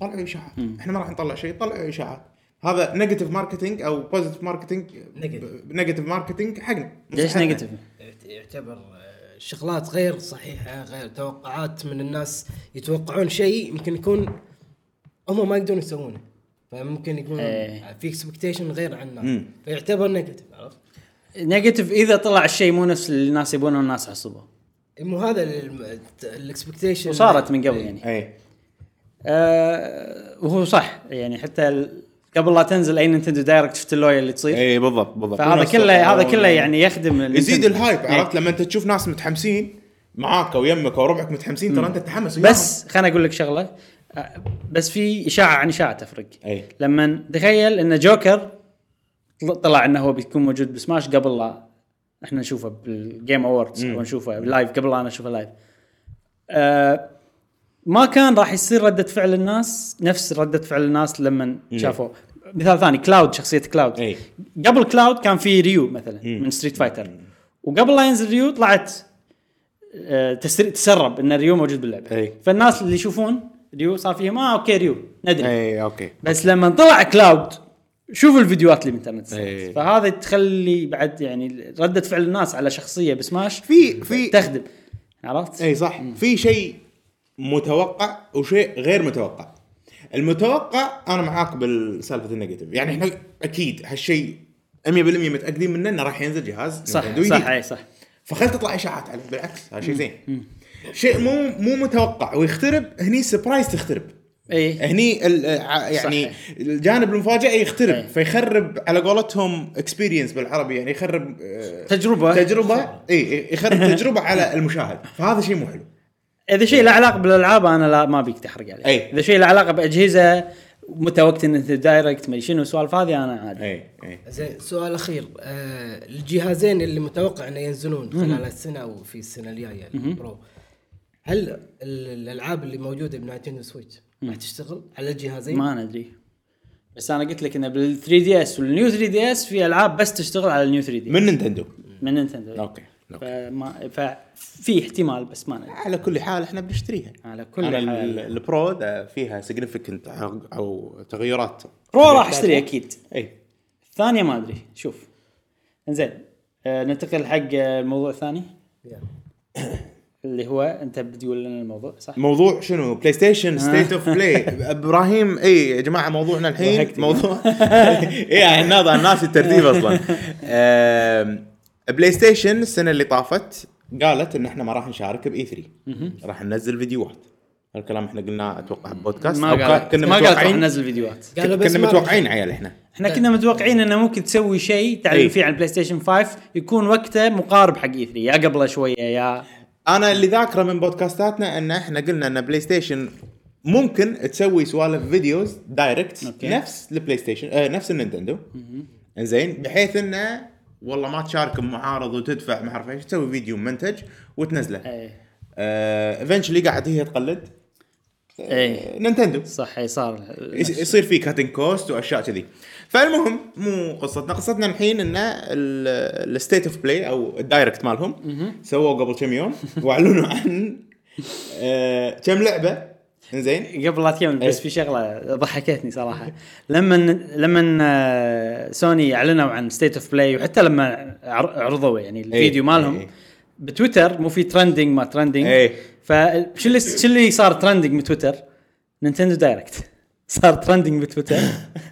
Speaker 3: طلعوا اشاعات احنا ما راح نطلع شيء طلعوا اشاعات هذا نيجاتيف ماركتينج او بوزيتيف ماركتينج
Speaker 2: Negative.
Speaker 3: نيجاتيف ماركتينج حقنا
Speaker 1: ليش
Speaker 3: حقنا.
Speaker 1: نيجاتيف؟
Speaker 2: يعت- يعتبر آه، شغلات غير صحيحه غير توقعات من الناس يتوقعون شيء يمكن يكون هم ما يقدرون يسوونه فممكن يكون
Speaker 1: إيه.
Speaker 2: في اكسبكتيشن غير عن الناس
Speaker 3: مم.
Speaker 2: فيعتبر نيجاتيف عرفت؟
Speaker 1: نيجاتيف اذا طلع الشيء مو نفس اللي الناس يبونه والناس حصبه
Speaker 2: مو هذا الاكسبكتيشن
Speaker 1: وصارت من قبل يعني
Speaker 3: اي
Speaker 1: آه وهو صح يعني حتى ال- قبل لا تنزل اي نينتندو دايركت شفت اللويا اللي تصير
Speaker 3: اي بالضبط بالضبط
Speaker 1: فهذا كله هذا كله يعني يخدم
Speaker 3: إيه. يزيد
Speaker 1: نينتندو.
Speaker 3: الهايب
Speaker 1: إيه.
Speaker 3: عرفت لما انت تشوف ناس متحمسين معاك او يمك او ربعك متحمسين ترى انت تتحمس وياهم.
Speaker 1: بس خليني اقول لك شغله آه، بس في اشاعه عن اشاعه تفرق
Speaker 3: أي.
Speaker 1: لما تخيل ان جوكر طل- طلع انه هو بيكون موجود بسماش قبل لا احنا نشوفه بالجيم اووردز او نشوفه لايف قبل لا انا اشوفه لايف آه ما كان راح يصير رده فعل الناس نفس رده فعل الناس لما شافوا مثال ثاني كلاود شخصيه كلاود
Speaker 3: أي.
Speaker 1: قبل كلاود كان في ريو مثلا من ستريت فايتر وقبل لا ينزل ريو طلعت آه، تسر- تسرب ان ريو موجود باللعبه
Speaker 3: أي.
Speaker 1: فالناس اللي يشوفون ريو صار فيهم اه اوكي ريو ندري
Speaker 3: اي اوكي
Speaker 1: بس لما طلع كلاود شوف الفيديوهات اللي بالانترنت
Speaker 3: أي.
Speaker 1: صارت فهذا تخلي بعد يعني رده فعل الناس على شخصيه بسماش
Speaker 3: في إيه. في
Speaker 1: تخدم عرفت؟
Speaker 3: اي صح في شيء متوقع وشيء غير متوقع المتوقع انا معاك بالسالفه النيجاتيف يعني احنا اكيد هالشيء 100% متاكدين منه انه راح ينزل جهاز
Speaker 1: صح
Speaker 3: نينتندو
Speaker 1: صح
Speaker 3: جديد.
Speaker 1: اي صح
Speaker 3: فخل تطلع اشاعات عليه بالعكس هذا شيء زين شيء مو مو متوقع ويخترب هني سبرايز تخترب
Speaker 1: اي
Speaker 3: هني ال- ع- يعني
Speaker 1: صحيح.
Speaker 3: الجانب المفاجئه
Speaker 1: إيه.
Speaker 3: يخترب فيخرب على قولتهم اكسبيرينس بالعربي يعني يخرب آه،
Speaker 1: تجربه
Speaker 3: تجربه اي يخرب تجربه على المشاهد فهذا شيء مو حلو
Speaker 1: اذا شيء له علاقه بالالعاب انا لا ما بيك تحرق عليه
Speaker 3: أي.
Speaker 1: اذا شيء له علاقه باجهزه متى وقت إن انت دايركت ما شنو السوالف هذه انا عادي
Speaker 3: اي
Speaker 1: إيه.
Speaker 3: اي
Speaker 2: زين سؤال اخير آه الجهازين اللي متوقع انه ينزلون خلال السنه او في السنه الجايه البرو هل ال- الالعاب اللي موجوده بنايتندو سويتش راح تشتغل على الجهازين؟
Speaker 1: ما ندري بس انا قلت لك انه بال 3 دي اس والنيو 3 دي اس في العاب بس تشتغل على النيو 3 دي
Speaker 3: من نينتندو
Speaker 1: من نينتندو
Speaker 3: اوكي أوكي.
Speaker 1: فما ففي احتمال بس ما ندري
Speaker 3: على كل حال احنا بنشتريها
Speaker 1: على كل
Speaker 3: كل
Speaker 1: حال
Speaker 3: البرو ذا فيها سيجنفكنت او تغيرات
Speaker 1: برو راح اشتري اكيد
Speaker 3: اي
Speaker 1: الثانيه ما ادري شوف انزين آه ننتقل حق الموضوع الثاني
Speaker 2: يلا.
Speaker 1: اللي هو انت بتقول لنا الموضوع صح؟
Speaker 3: موضوع شنو بلاي ستيشن ستيت اوف بلاي ابراهيم اي آه. إيه يا جماعه موضوعنا الحين
Speaker 1: ضحكت.
Speaker 3: موضوع إيه، يعني اي الناظر انا ناسي الترتيب اصلا آم، بلاي ستيشن السنه اللي طافت قالت ان احنا ما راح نشارك باي 3 راح ننزل فيديوهات هالكلام احنا قلناه اتوقع ببودكاست
Speaker 1: ما
Speaker 3: أو كا-
Speaker 1: قالت
Speaker 3: كنا
Speaker 1: ما قالت راح
Speaker 3: متوقعين
Speaker 1: ننزل فيديوهات
Speaker 2: قالوا بس
Speaker 3: كنا
Speaker 2: ما راح-
Speaker 3: متوقعين عيال احنا
Speaker 1: احنا كنا متوقعين انه ممكن تسوي شيء تعلن
Speaker 3: إيه.
Speaker 1: فيه عن البلاي ستيشن 5 يكون وقته مقارب حق اي 3 يا قبله شويه يا
Speaker 3: انا اللي ذاكره من بودكاستاتنا ان احنا قلنا ان بلاي ستيشن ممكن تسوي سوالف فيديوز دايركت
Speaker 1: أوكي.
Speaker 3: نفس البلاي ستيشن آه نفس النينتندو زين بحيث انه والله ما تشارك بمعارض وتدفع ما اعرف ايش تسوي فيديو منتج وتنزله
Speaker 1: ايه
Speaker 3: ايفنشلي قاعد هي تقلد آه،
Speaker 1: ايه
Speaker 3: نينتندو
Speaker 1: صح اي صار
Speaker 3: يص- يصير في كاتنج كوست واشياء كذي فالمهم مو قصتنا قصتنا الحين ان الستيت اوف بلاي او الدايركت مالهم سووا قبل كم يوم واعلنوا عن آه، كم لعبه زين
Speaker 1: قبل لا تكمل بس
Speaker 3: إيه.
Speaker 1: في شغله ضحكتني صراحه لما لما آه، سوني اعلنوا عن ستيت اوف بلاي وحتى لما عر- عرضوا يعني الفيديو
Speaker 3: إيه.
Speaker 1: مالهم بتويتر مو في ترندنج ما ترندنج
Speaker 3: إيه.
Speaker 1: فشو اللي شو اللي صار ترندنج بتويتر؟ نينتندو دايركت صار ترندنج بتويتر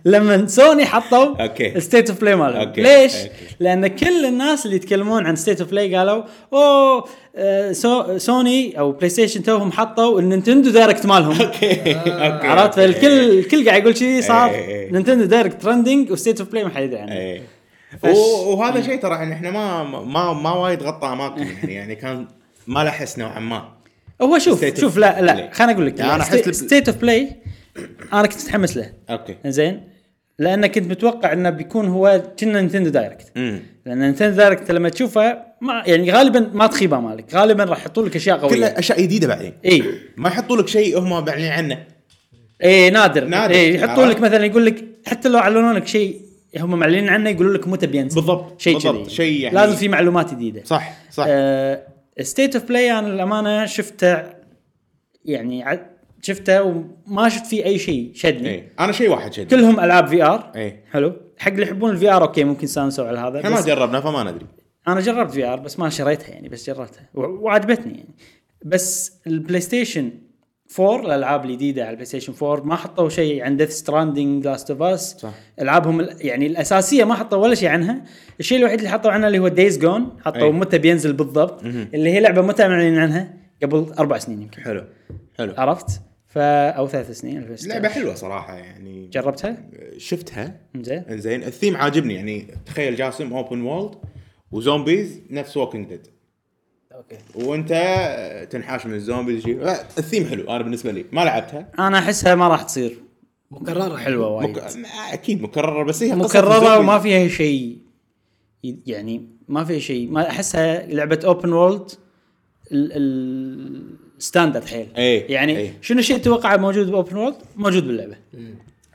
Speaker 1: لما سوني حطوا
Speaker 3: أوكي.
Speaker 1: الستيت اوف بلاي مالهم
Speaker 3: أوكي.
Speaker 1: ليش؟
Speaker 3: أوكي.
Speaker 1: لان كل الناس اللي يتكلمون عن ستيت اوف بلاي قالوا اوه آه، سو سوني او بلاي ستيشن توهم حطوا النينتندو دايركت مالهم آه،
Speaker 3: اوكي
Speaker 1: عرفت فالكل الكل قاعد يقول كذي صار
Speaker 3: إيه، إيه.
Speaker 1: نينتندو دايركت ترندنج وستيت اوف بلاي ما حد يدري عنه
Speaker 3: إيه.
Speaker 1: فش-
Speaker 3: و- وهذا شيء ترى ان احنا ما ما ما وايد غطى اماكن يعني, يعني كان ما له حس نوعا ما
Speaker 1: هو شوف
Speaker 3: State of
Speaker 1: شوف لا لا
Speaker 3: Play.
Speaker 1: خليني اقول لك
Speaker 3: يعني أنا أحس الب-
Speaker 1: ستيت اوف بلاي انا كنت متحمس له
Speaker 3: اوكي
Speaker 1: زين لان كنت متوقع انه بيكون هو كنا نينتندو دايركت
Speaker 3: امم
Speaker 1: لان نينتندو دايركت لما تشوفه ما يعني غالبا ما تخيبه مالك غالبا راح يحطوا لك اشياء
Speaker 3: كلها
Speaker 1: قويه
Speaker 3: اشياء جديده بعدين
Speaker 1: اي
Speaker 3: ما يحطوا لك شيء هم بعلنين عنه
Speaker 1: اي إيه، نادر
Speaker 3: نادر.
Speaker 1: اي يحطوا لك
Speaker 3: عرفت؟
Speaker 1: مثلا يقول لك حتى لو اعلنوا لك شيء هم معلنين عنه يقولوا لك متى بينزل
Speaker 3: بالضبط،
Speaker 1: شيء
Speaker 3: بالضبط.
Speaker 1: كذي.
Speaker 3: شيء يعني-
Speaker 1: لازم في معلومات جديده
Speaker 3: صح صح
Speaker 1: آه. ستيت اوف بلاي انا للامانه شفته يعني ع- شفته وما شفت فيه اي شيء شدني
Speaker 3: إيه. انا شيء واحد شد
Speaker 1: كلهم العاب في ار
Speaker 3: إيه.
Speaker 1: حلو حق اللي يحبون الفي ار اوكي ممكن سانسوا على هذا
Speaker 3: احنا ما
Speaker 1: بس
Speaker 3: جربنا فما ندري
Speaker 1: انا جربت في ار بس ما شريتها يعني بس جربتها و- وعجبتني يعني بس البلاي ستيشن 4 الالعاب الجديده على البلاي ستيشن 4 ما حطوا شيء عن ديث ستراندنج لاست اوف اس
Speaker 3: صح.
Speaker 1: العابهم ال- يعني الاساسيه ما حطوا ولا شيء عنها الشيء الوحيد اللي حطوا عنه اللي هو دايز جون حطوا
Speaker 3: أي.
Speaker 1: متى بينزل بالضبط اللي هي لعبه متى معلنين عنها قبل اربع سنين يمكن
Speaker 3: حلو حلو
Speaker 1: عرفت فا او ثلاث سنين 2016.
Speaker 3: لعبه حلوه صراحه يعني
Speaker 1: جربتها
Speaker 3: شفتها
Speaker 1: زين
Speaker 3: زين الثيم عاجبني يعني تخيل جاسم اوبن وولد وزومبيز نفس ووكينج ديد
Speaker 2: اوكي
Speaker 3: وانت تنحاش من الزومبيز شي. لا، الثيم حلو انا بالنسبه لي ما لعبتها
Speaker 1: انا احسها ما راح تصير
Speaker 2: مكرره
Speaker 1: حلوه وايد
Speaker 3: مك... اكيد مكرره بس هي قصة
Speaker 1: مكرره
Speaker 3: الزومبيز.
Speaker 1: وما فيها شيء ي- يعني ما فيها شيء ما احسها لعبه اوبن وورلد الستاندرد حيل
Speaker 3: إيه،
Speaker 1: يعني
Speaker 3: إيه.
Speaker 1: شنو الشيء تتوقعه موجود باوبن وورلد موجود باللعبه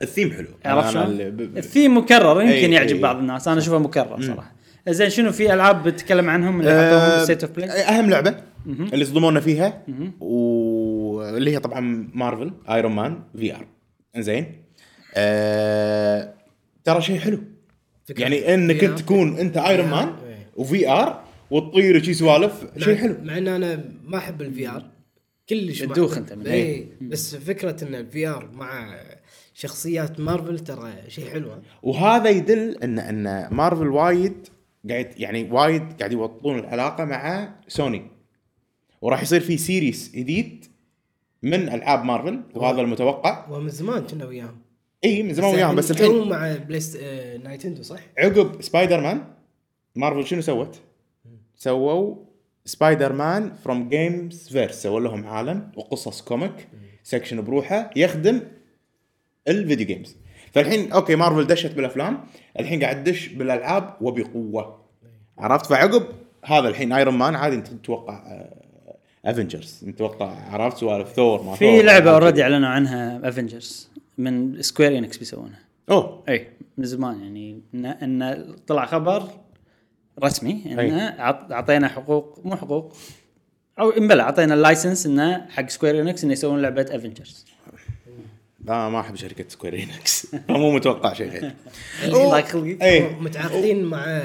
Speaker 3: الثيم حلو
Speaker 1: عرفت
Speaker 3: أنا-
Speaker 1: شلون؟
Speaker 3: أنا اللي ب- ب-
Speaker 1: الثيم مكرر يمكن
Speaker 3: إيه،
Speaker 1: يعجب
Speaker 3: إيه.
Speaker 1: بعض الناس انا اشوفه مكرر صراحه زين شنو في العاب بتتكلم عنهم اللي
Speaker 3: آه،
Speaker 1: حطوهم ستيت اوف بلاي
Speaker 3: اهم لعبه اللي صدمونا فيها واللي هي طبعا مارفل ايرون مان في ار زين أه... ترى شيء حلو
Speaker 2: فكرة.
Speaker 3: يعني انك
Speaker 2: VR.
Speaker 3: انت تكون انت ايرون مان
Speaker 2: إيه. نعم.
Speaker 3: وفي ار وتطير شي سوالف شيء حلو
Speaker 2: مع ان انا ما احب الفي ار كلش ما
Speaker 1: بتدوخ
Speaker 2: أحب.
Speaker 1: أنت منه.
Speaker 2: اي بس فكره ان الفي ار مع شخصيات مارفل ترى شيء حلو
Speaker 3: وهذا يدل ان ان مارفل وايد قاعد يعني وايد قاعد يوطون العلاقه مع سوني وراح يصير في سيريس جديد من العاب مارفل وهذا المتوقع
Speaker 2: ومن زمان كنا وياهم
Speaker 3: اي من زمان وياهم بس
Speaker 2: الحين
Speaker 3: الحين
Speaker 2: هم مع بلاي ست... آه... نايتندو صح؟
Speaker 3: عقب سبايدر مان مارفل شنو سوت؟ سووا سبايدر مان فروم جيمز فيرس سووا لهم عالم وقصص كوميك سكشن بروحه يخدم الفيديو جيمز فالحين اوكي مارفل دشت بالافلام الحين قاعد تدش بالالعاب وبقوه عرفت فعقب هذا الحين ايرون مان عادي انت تتوقع افنجرز نتوقع عرفت سوالف ثور ما
Speaker 1: في لعبه اوريدي اعلنوا عنها افنجرز من سكوير انكس بيسوونها
Speaker 3: اوه
Speaker 1: اي إيه، من زمان يعني ان, إن طلع خبر رسمي ان
Speaker 3: أي.
Speaker 1: عط- اعطينا حقوق مو حقوق او بلى اعطينا اللايسنس انه حق سكوير انكس انه يسوون لعبه افنجرز
Speaker 3: لا ما احب شركه سكوير انكس مو متوقع شيء غير
Speaker 2: يعني
Speaker 1: الله يخليك
Speaker 3: ايه
Speaker 2: متعاقدين مع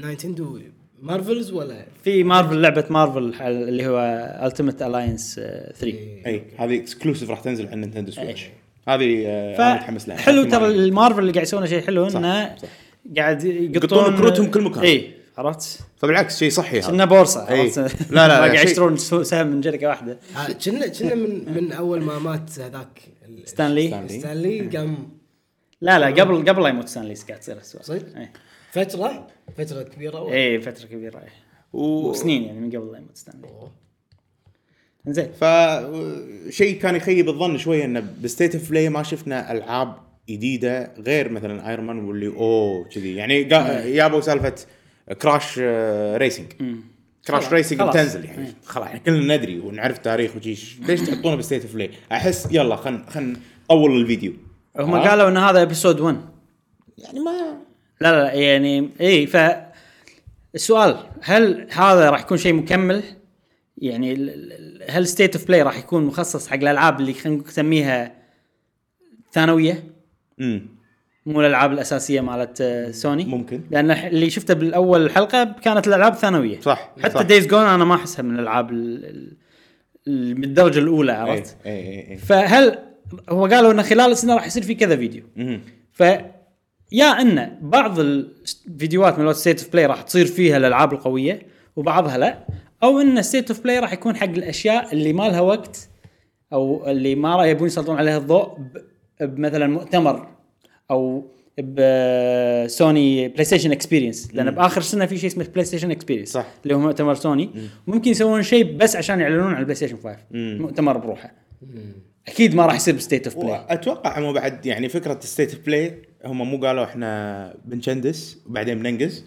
Speaker 2: نايتندو مارفلز ولا
Speaker 1: في مارفل لعبه مارفل حل- اللي هو آه، التيمت الاينس 3
Speaker 3: اي إيه، هذه اكسكلوسيف راح تنزل على نينتندو سويتش هذه آه، أنا متحمس لها
Speaker 1: إيه. حلو
Speaker 3: لكن ما
Speaker 1: ترى
Speaker 3: أدري.
Speaker 1: المارفل اللي قاعد يسوونه شيء حلو
Speaker 3: صح،
Speaker 1: انه
Speaker 3: صح.
Speaker 1: قاعد
Speaker 3: يقطون كروتهم كل مكان.
Speaker 1: اي عرفت؟
Speaker 3: فبالعكس شيء صحي
Speaker 1: كنا
Speaker 3: هذا
Speaker 1: بورصه
Speaker 3: إي.
Speaker 1: عرفت؟
Speaker 3: لا، لا، لا،
Speaker 1: ما قاعد
Speaker 3: شيء-
Speaker 1: يشترون سو- سهم من شركه واحده
Speaker 2: آه، كنا كنا من من اول ما مات هذاك ال-
Speaker 1: ستانلي
Speaker 3: ستانلي. إيه.
Speaker 2: ستانلي قام
Speaker 1: لا لا قبل قبل لا يموت ستانلي قاعد تصير السوالف
Speaker 2: صدق؟
Speaker 3: إيه.
Speaker 1: إي.
Speaker 2: فتره فتره كبيره
Speaker 1: اي فتره كبيره إي.
Speaker 3: و...
Speaker 1: وسنين يعني من قبل لا يموت ستانلي زين
Speaker 3: فشيء كان يخيب الظن شويه انه بستيت اوف بلاي ما شفنا العاب جديده غير مثلا ايرون مان واللي اوه كذي يعني قا-
Speaker 1: إيه.
Speaker 3: جابوا سالفه كراش آه، ريسنج كراش
Speaker 1: خلاص،
Speaker 3: ريسنج
Speaker 1: خلاص. إيه.
Speaker 3: بتنزل يعني خلاص يعني كلنا ندري ونعرف تاريخ وجيش ليش تحطونه بستيت اوف بلاي؟ احس يلا خلينا خلينا نطول الفيديو
Speaker 1: هم
Speaker 3: آه.
Speaker 1: قالوا ان هذا ابيسود 1
Speaker 3: يعني ما
Speaker 1: لا لا يعني اي ف السؤال هل هذا راح يكون شيء مكمل؟ يعني ال- ال- هل ستيت اوف بلاي راح يكون مخصص حق الالعاب اللي خلينا نسميها ثانويه
Speaker 3: امم
Speaker 1: مو الالعاب الاساسيه مالت آه، سوني
Speaker 3: ممكن.
Speaker 1: لان الح- اللي شفته بالاول الحلقه كانت الالعاب ثانويه
Speaker 3: صح، صح.
Speaker 1: حتى دايز جون انا ما احسها من الالعاب ال- ال- ال- بالدرجه
Speaker 3: إيه.
Speaker 1: الاولى عرفت؟
Speaker 3: اي اي اي
Speaker 1: فهل هو قالوا انه خلال السنه راح يصير في كذا فيديو
Speaker 3: مهم.
Speaker 1: ف يا ان بعض الفيديوهات من ستيت اوف بلاي راح تصير فيها الالعاب القويه وبعضها لا او ان ستيت اوف بلاي راح يكون حق الاشياء اللي ما لها وقت او اللي ما راح يبون يسلطون عليها الضوء ب- بمثلا مؤتمر او بسوني بلاي ستيشن اكسبيرينس لان باخر سنه في شيء اسمه بلاي ستيشن اكسبيرينس
Speaker 3: صح.
Speaker 1: اللي هو مؤتمر سوني ممكن يسوون شيء بس عشان يعلنون عن البلاي ستيشن 5 مؤتمر بروحه اكيد ما راح يصير بستيت اوف بلاي
Speaker 3: واتوقع هم بعد يعني فكره ستيت بلاي هم مو قالوا احنا بنشندس وبعدين بننجز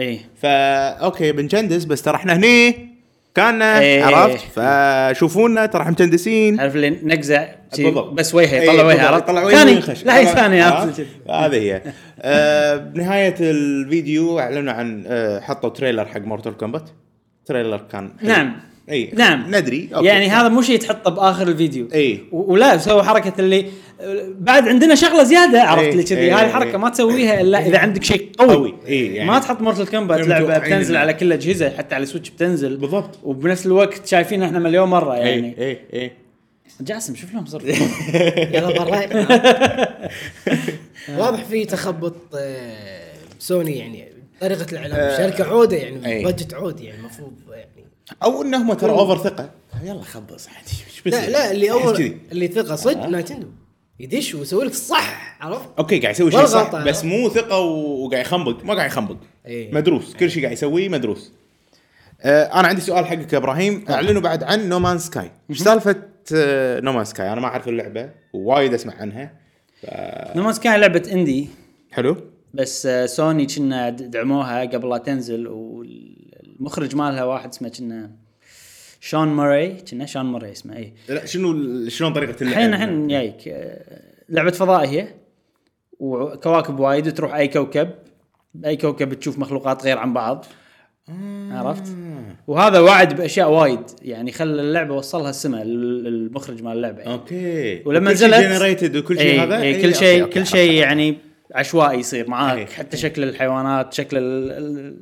Speaker 1: اي
Speaker 3: فا اوكي بنشندس بس ترى احنا هني كان
Speaker 1: إيه.
Speaker 3: عرفت فشوفونا ترى احنا مشندسين
Speaker 1: عارف اللي نقزه شي
Speaker 3: بالضبط.
Speaker 1: بس وجهه
Speaker 3: إيه،
Speaker 1: يطلع
Speaker 3: بالضبط.
Speaker 1: وجهه عرفت
Speaker 3: طلع وجهه
Speaker 1: ثاني
Speaker 3: وينخش.
Speaker 1: لا هي
Speaker 3: طلع-
Speaker 1: ثاني
Speaker 3: آه،
Speaker 1: عرفت؟
Speaker 3: هذه هي آه، بنهايه الفيديو اعلنوا عن آه، حطوا تريلر حق مورتال كومبات تريلر كان حلو.
Speaker 1: نعم
Speaker 3: اي
Speaker 1: نعم
Speaker 3: ندري أوكي. إيه.
Speaker 1: يعني هذا مو شيء تحطه باخر الفيديو
Speaker 3: إي.
Speaker 1: و- ولا سووا حركه اللي بعد عندنا شغله زياده عرفت
Speaker 3: إي،
Speaker 1: لي كذي
Speaker 3: إي،
Speaker 1: هاي
Speaker 3: إي.
Speaker 1: الحركه ما تسويها الا اذا عندك شيء قوي,
Speaker 3: إيه، قوي، إي، يعني.
Speaker 1: ما تحط مورتل كومبات
Speaker 3: غير
Speaker 1: لعبه
Speaker 3: متوقعين
Speaker 1: بتنزل
Speaker 3: إنه-
Speaker 1: على كل اجهزه حتى على سويتش بتنزل
Speaker 3: بالضبط. إيه.
Speaker 1: وبنفس الوقت شايفين احنا مليون مره
Speaker 3: اي
Speaker 1: يعني
Speaker 3: اي اي
Speaker 1: جاسم شوف لهم صرف
Speaker 2: يلا برا واضح في تخبط آه، سوني يعني طريقه
Speaker 3: آه.
Speaker 2: الاعلام شركه عوده يعني
Speaker 3: أي.
Speaker 2: بادجت عود يعني المفروض يعني
Speaker 3: او انهم ترى اوفر ثقه طيب، يلا خبص عادي إيش
Speaker 2: لا
Speaker 3: بيصير؟
Speaker 2: لا اللي
Speaker 3: أحس
Speaker 2: اول
Speaker 3: كذي.
Speaker 2: اللي ثقه صدق نايتندو يدش ويسوي لك الصح عرفت؟
Speaker 3: اوكي قاعد يسوي شيء
Speaker 2: ولا
Speaker 3: صح
Speaker 2: غلطة.
Speaker 3: بس مو ثقه و- وقاعد يخنبق ما قاعد يخنبق
Speaker 2: إيه.
Speaker 3: مدروس كل شيء قاعد يسويه مدروس آه انا عندي سؤال حقك يا ابراهيم اعلنوا بعد عن نومان سكاي ايش سالفه نومان سكاي انا ما اعرف اللعبه ووايد اسمع عنها
Speaker 1: نماز كان لعبه اندي
Speaker 3: حلو
Speaker 1: بس آه، سوني كنا د- دعموها قبل لا تنزل والمخرج مالها واحد اسمه كنا شون موري كنا شون موري اسمه اي
Speaker 3: لا شنو ال- شلون طريقه اللعب
Speaker 1: الحين الحين جايك آه، لعبه فضاء هي وكواكب وايد تروح اي كوكب باي كوكب تشوف مخلوقات غير عن بعض عرفت وهذا وعد باشياء وايد يعني خلى اللعبه وصلها السما ال- المخرج مال اللعبه
Speaker 3: آه.
Speaker 1: يعني.
Speaker 3: اوكي
Speaker 1: ولما
Speaker 3: إيه. وكل شيء
Speaker 1: نزلت
Speaker 3: generated وكل شيء
Speaker 1: إيه،
Speaker 3: هذا
Speaker 1: إيه
Speaker 3: إيه،
Speaker 1: كل
Speaker 3: أوكي،
Speaker 1: شيء
Speaker 3: أوكي،
Speaker 1: كل
Speaker 3: عرفت.
Speaker 1: شيء يعني عشوائي يصير معاك
Speaker 3: إيه.
Speaker 1: حتى شكل الحيوانات شكل ال ال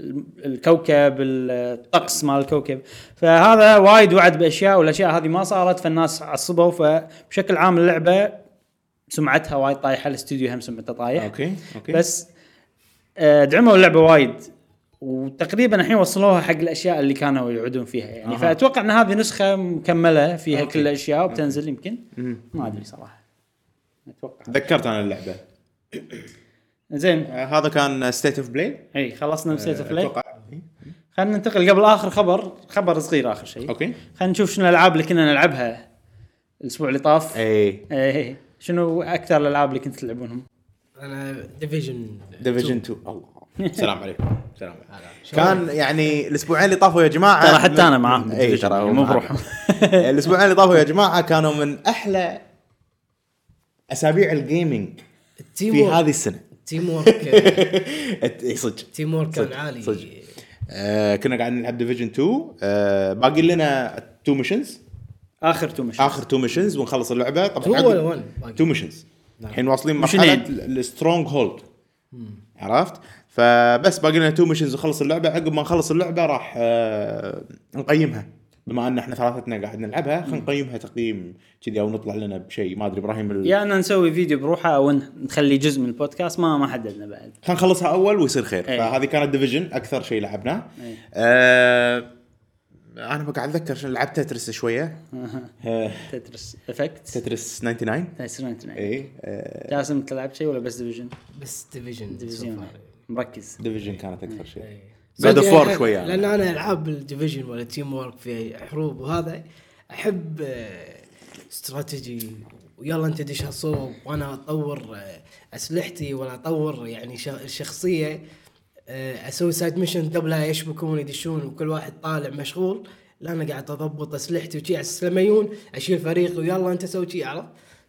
Speaker 1: ال- الكوكب الطقس مال الكوكب فهذا وايد وعد باشياء والاشياء هذه ما صارت فالناس عصبوا فبشكل عام اللعبه سمعتها وايد طايحه الاستوديو هم سمعته طايح
Speaker 3: اوكي اوكي
Speaker 1: بس آه، دعموا اللعبه وايد وتقريبا الحين وصلوها حق الاشياء اللي كانوا يعودون فيها يعني
Speaker 3: أها.
Speaker 1: فاتوقع ان هذه نسخه مكمله فيها
Speaker 3: أوكي.
Speaker 1: أوكي. كل الاشياء وبتنزل يمكن
Speaker 3: مم.
Speaker 1: ما ادري صراحه اتوقع
Speaker 3: تذكرت انا اللعبه
Speaker 1: زين
Speaker 3: آه، هذا كان ستيت اوف بلاي
Speaker 1: اي
Speaker 3: آه،
Speaker 1: خلصنا من ستيت اوف بلاي
Speaker 3: اتوقع
Speaker 1: خلينا ننتقل قبل اخر خبر خبر صغير اخر شيء
Speaker 3: اوكي
Speaker 1: خلينا نشوف شنو الالعاب اللي كنا نلعبها الاسبوع اللي طاف
Speaker 3: اي
Speaker 1: ايه شنو اكثر الالعاب اللي كنت تلعبونهم؟
Speaker 2: انا ديفيجن
Speaker 3: ديفيجن 2 الله السلام عليكم السلام عليكم
Speaker 2: شلون؟
Speaker 3: كان يعني الاسبوعين اللي طافوا يا جماعه
Speaker 1: ترى حتى انا معاهم يعني
Speaker 3: اي آه، ترى هو
Speaker 1: مو
Speaker 3: معاهم.
Speaker 1: بروحهم
Speaker 3: الاسبوعين اللي طافوا يا جماعه كانوا من احلى اسابيع الجيمنج
Speaker 2: التيم
Speaker 3: في
Speaker 2: وورك-
Speaker 3: هذه السنه
Speaker 2: التيم وورك
Speaker 3: أت- اي صدق
Speaker 2: التيم وورك كان
Speaker 3: صدق،
Speaker 2: عالي
Speaker 3: صدق. آه، كنا قاعدين نلعب ديفيجن 2 آه، باقي لنا تو ميشنز
Speaker 1: اخر تو مش
Speaker 3: اخر تو ميشنز ونخلص اللعبه
Speaker 2: Two
Speaker 3: طبعا
Speaker 2: ولا one باقي؟
Speaker 3: تو ميشنز
Speaker 2: نعم.
Speaker 3: الحين واصلين مرحله
Speaker 1: ميشنين.
Speaker 3: السترونج هولد عرفت فبس باقي لنا تو ميشنز نخلص اللعبه عقب ما نخلص اللعبه راح آه، نقيمها بما ان احنا ثلاثتنا قاعد نلعبها خلينا نقيمها تقييم كذي او نطلع لنا بشيء ما ادري ابراهيم ال...
Speaker 1: يا ان نسوي فيديو بروحه او إن- نخليه جزء من البودكاست ما ما حددنا بعد
Speaker 3: خلينا نخلصها اول ويصير خير
Speaker 1: أي.
Speaker 3: فهذه كانت ديفيجن اكثر شيء لعبناه
Speaker 1: أي.
Speaker 3: آه انا بقعد اتذكر شنو لعبت تترس شويه آه،
Speaker 1: تترس افكت
Speaker 3: تترس 99 اي آه،
Speaker 1: جاسم انت لعبت شيء ولا بس ديفيجن؟
Speaker 2: بس ديفيجن
Speaker 1: ديفيجن مركز
Speaker 3: ديفيجن كانت اكثر شيء God
Speaker 2: جود
Speaker 3: of War شوية.
Speaker 2: لان انا العاب الديفيجن ولا تيم وورك فيها حروب وهذا احب آه، استراتيجي ويلا انت دش هالصوب وانا اطور آه، اسلحتي وانا اطور يعني ش- شخصيه آه، اسوي سايد ميشن قبلها يشبكون يدشون وكل واحد طالع مشغول لا انا قاعد اضبط اسلحتي وشي على أساس لما يجون اشيل فريقي ويلا انت سوي شي عرفت؟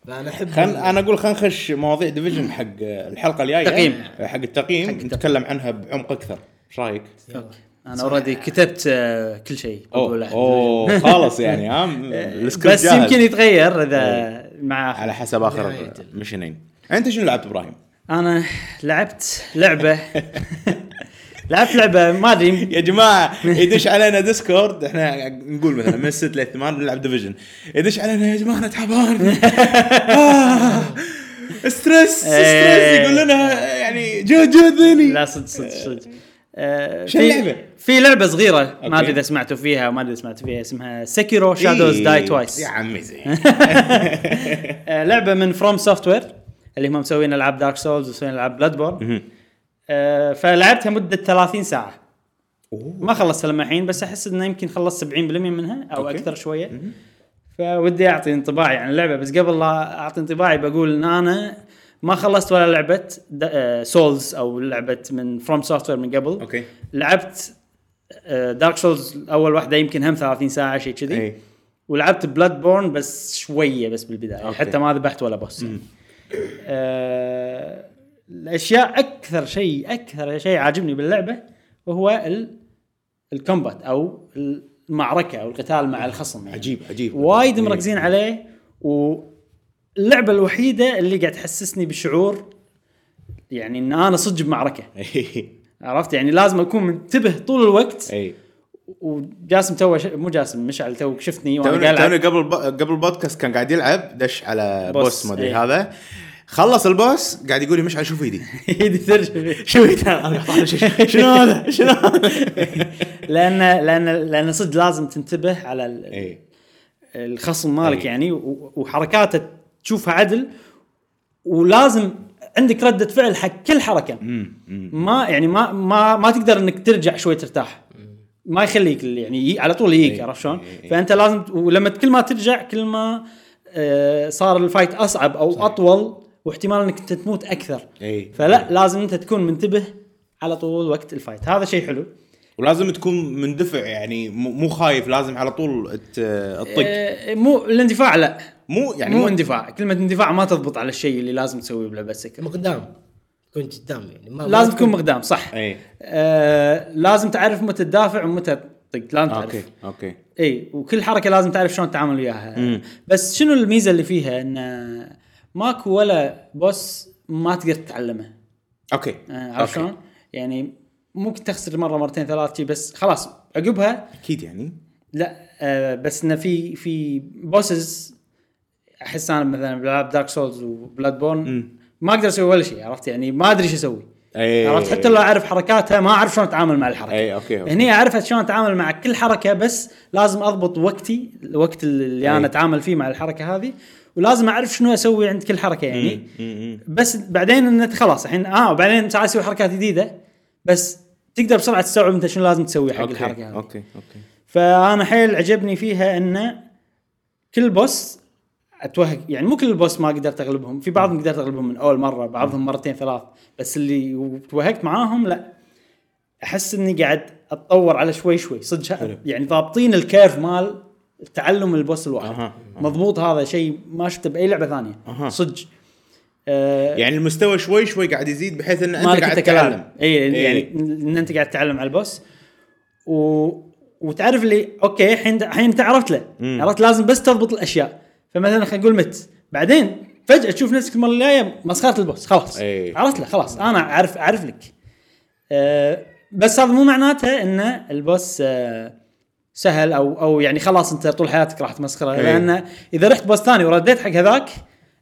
Speaker 2: فانا احب
Speaker 3: خل انا اقول خلينا نخش مواضيع ديفيجن حق الحلقه الجايه
Speaker 1: تقييم.
Speaker 3: حق التقييم نتكلم عنها بعمق اكثر ايش رايك؟
Speaker 1: اوكي انا اوريدي كتبت آه، كل شيء بقوله
Speaker 3: اوه
Speaker 1: عن
Speaker 3: اوه خالص يعني ها
Speaker 1: Division.
Speaker 3: السكريبت
Speaker 1: بس
Speaker 3: جاهز.
Speaker 1: يمكن يتغير اذا مع
Speaker 3: على حسب اخر
Speaker 2: نهاية ال-
Speaker 3: مشنين انت شنو لعبت ابراهيم؟
Speaker 1: انا لعبت لعبه لعبت لعبه ما ادري
Speaker 3: يا جماعه يدش علينا ديسكورد احنا نقول مثلا من الست للثمان نلعب ديفيجن يدش علينا يا جماعه انا تعبان آه، ستريس
Speaker 1: إيه.
Speaker 3: ستريس يقول لنا يعني جهد جهد
Speaker 1: لا
Speaker 3: ذهني
Speaker 1: صدق صدق صدق آه،
Speaker 3: شو
Speaker 1: في-
Speaker 3: اللعبة؟
Speaker 1: في لعبه صغيره ما
Speaker 3: أوكي. إيه،
Speaker 1: ادري اذا سمعتوا فيها ما ادري اذا سمعتوا فيها اسمها سكيرو شادوز داي
Speaker 3: يا
Speaker 1: توايس
Speaker 3: عمي زين
Speaker 1: لعبه آه، من فروم سوفت وير اللي هم مسوين العاب دارك سولز ومسوين العاب بلاد بورن فلعبتها مده 30 ساعه
Speaker 3: أوه.
Speaker 1: ما خلصتها لما الحين بس احس انه يمكن خلصت 70% منها او
Speaker 3: أوكي.
Speaker 1: أوكي. اكثر شويه فودي اعطي انطباعي عن اللعبه بس قبل لا اعطي انطباعي بقول ان انا ما خلصت ولا آه، لعبه سولز او لعبه من فروم سوفت من قبل
Speaker 3: اوكي
Speaker 1: لعبت آه، دارك سولز اول واحده يمكن هم 30 ساعه شيء كذي
Speaker 3: إيه.
Speaker 1: ولعبت بلاد بورن بس شويه بس بالبدايه
Speaker 3: أوكي.
Speaker 1: أوكي. حتى ما ذبحت ولا بوس آه الاشياء اكثر شيء اكثر شيء عاجبني باللعبه وهو ال- الكومبات او المعركه او القتال مع الخصم يعني.
Speaker 3: عجيب عجيب
Speaker 1: وايد
Speaker 3: إيه.
Speaker 1: مركزين عليه واللعبه الوحيده اللي قاعد تحسسني بشعور يعني ان انا صدق بمعركه
Speaker 3: إيه.
Speaker 1: عرفت يعني لازم اكون منتبه طول الوقت
Speaker 3: اي
Speaker 1: وجاسم تو ش... مو جاسم مشعل تو شفتني وانا
Speaker 3: توني
Speaker 1: قاعد
Speaker 3: توني
Speaker 1: ألعب.
Speaker 3: قبل ب- قبل البودكاست كان قاعد يلعب دش على
Speaker 1: بوس.
Speaker 3: بوس ما ادري
Speaker 1: إيه.
Speaker 3: هذا خلص البوس قاعد يقول لي مشعل شوف ايدي
Speaker 1: ايدي ترجف
Speaker 3: شوف ايدي أنا قاعد أطالع، شنو هذا شنو
Speaker 1: لان لان لان صدق لازم تنتبه على ال-
Speaker 3: اي
Speaker 1: الخصم مالك
Speaker 3: أي.
Speaker 1: يعني و- وحركاته تشوفها عدل ولازم عندك ردة فعل حق كل حركة ما يعني ما ما ما تقدر انك ترجع شوي ترتاح ما يخليك ال- يعني يجي- على طول يجيك
Speaker 3: أي.
Speaker 1: عرفت شلون؟
Speaker 3: أي.
Speaker 1: فانت لازم ت- ولما كل ما ترجع كل ما آه، صار الفايت اصعب او اطول واحتمال انك انت تموت اكثر
Speaker 3: اي
Speaker 1: فلا لازم انت تكون منتبه على طول وقت الفايت هذا شيء حلو
Speaker 3: ولازم تكون مندفع يعني مو مو خايف لازم على طول ت- تطق
Speaker 1: آه، مو الاندفاع لا
Speaker 3: مو يعني
Speaker 1: يعني مو اندفاع كلمه اندفاع ما تضبط على الشيء اللي لازم تسويه بلعبه سكر
Speaker 2: مقدام تكون قدام يعني ما- ما
Speaker 1: لازم تكون مقدام صح
Speaker 3: اي
Speaker 1: آه لازم تعرف متى تدافع ومتى تطق لازم تعرف
Speaker 3: اوكي اوكي
Speaker 1: اي وكل حركه لازم تعرف شلون تتعامل وياها بس شنو الميزه اللي فيها انه ماكو ولا بوس ما تقدر تتعلمه
Speaker 3: اوكي
Speaker 1: آه، عرفت شلون؟ يعني ممكن تخسر مره مرتين ثلاث شي، بس خلاص عقبها
Speaker 3: اكيد يعني
Speaker 1: لا آه بس انه في في بوسز احس انا مثلا بالعاب دارك سولز وبلاد بورن ما اقدر اسوي ولا شيء عرفت يعني ما ادري شو اسوي
Speaker 3: إيه.
Speaker 1: عرفت حتى يعني لو اعرف حركاتها ما اعرف شلون اتعامل مع الحركه
Speaker 3: إيه، أوكي، أوكي.
Speaker 1: هني عرفت شلون اتعامل مع كل حركه بس لازم اضبط وقتي الوقت اللي
Speaker 3: إيه.
Speaker 1: انا اتعامل فيه مع الحركه هذه ولازم اعرف شنو اسوي عند كل حركه
Speaker 3: إيه.
Speaker 1: يعني بس بعدين انت خلاص الحين اه وبعدين ساعات اسوي حركات جديده بس تقدر بسرعه تستوعب انت شنو لازم تسوي حق الحركه
Speaker 3: اوكي
Speaker 1: هذه
Speaker 3: اوكي اوكي
Speaker 1: فانا حيل عجبني فيها انه كل بوس اتوهق يعني مو كل بوس ما قدرت اغلبهم في بعضهم قدرت اغلبهم من اول مره بعضهم مرتين ثلاث بس اللي توهقت معاهم لا احس اني قاعد اتطور على شوي شوي صدق يعني ضابطين الكيرف مال تعلم البوس الواحد
Speaker 3: أها.
Speaker 1: مضبوط هذا شيء ما شفته باي لعبه ثانيه
Speaker 3: أها.
Speaker 1: صدق آه،
Speaker 3: يعني المستوى شوي شوي قاعد يزيد بحيث ان انت
Speaker 1: مالك
Speaker 3: قاعد تتعلم
Speaker 1: اي
Speaker 3: إيه.
Speaker 1: يعني ان انت قاعد تتعلم على البوس و... وتعرف لي اوكي الحين الحين انت عرفت له عرفت لازم بس تضبط الاشياء فمثلا خلينا نقول مت بعدين فجاه تشوف نفسك المره الجايه مسخره البوس خلاص
Speaker 3: إيه.
Speaker 1: عرفت له خلاص انا اعرف اعرف لك أه بس هذا مو معناته ان البوس أه سهل او او يعني خلاص انت طول حياتك راح تمسخره
Speaker 3: إيه.
Speaker 1: لان اذا رحت بوس ثاني ورديت حق هذاك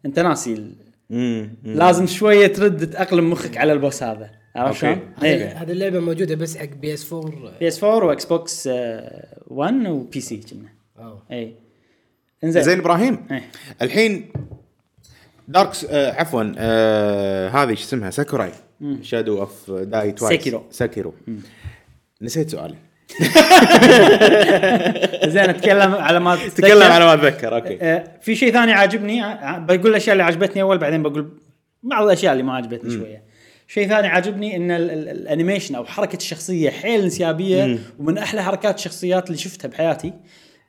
Speaker 1: انت ناسي ال-
Speaker 3: مم، مم.
Speaker 1: لازم شويه ترد تاقلم مخك على البوس هذا عرفت
Speaker 3: أوكي.
Speaker 1: شلون؟ إيه.
Speaker 3: أوكي.
Speaker 2: هذه اللعبه موجوده بس حق بي اس 4
Speaker 1: بي اس 4 واكس بوكس آه، 1 وبي سي كنا
Speaker 2: اه
Speaker 1: اي انزين
Speaker 3: زين ابراهيم
Speaker 1: إيه.
Speaker 3: الحين دارك آه عفوا آه هذه شو اسمها ساكوراي شادو اوف داي توايس
Speaker 1: سكيرو.
Speaker 3: ساكيرو نسيت سؤالي
Speaker 1: زين اتكلم على ما
Speaker 3: تكلم على ما اتذكر اوكي
Speaker 1: آه، في شيء ثاني عاجبني آه، بقول الاشياء اللي عجبتني اول بعدين بقول بعض الاشياء اللي ما عجبتني شويه شيء ثاني عاجبني ان ال- ال- الانيميشن او حركه الشخصيه حيل انسيابيه ومن احلى حركات الشخصيات اللي شفتها بحياتي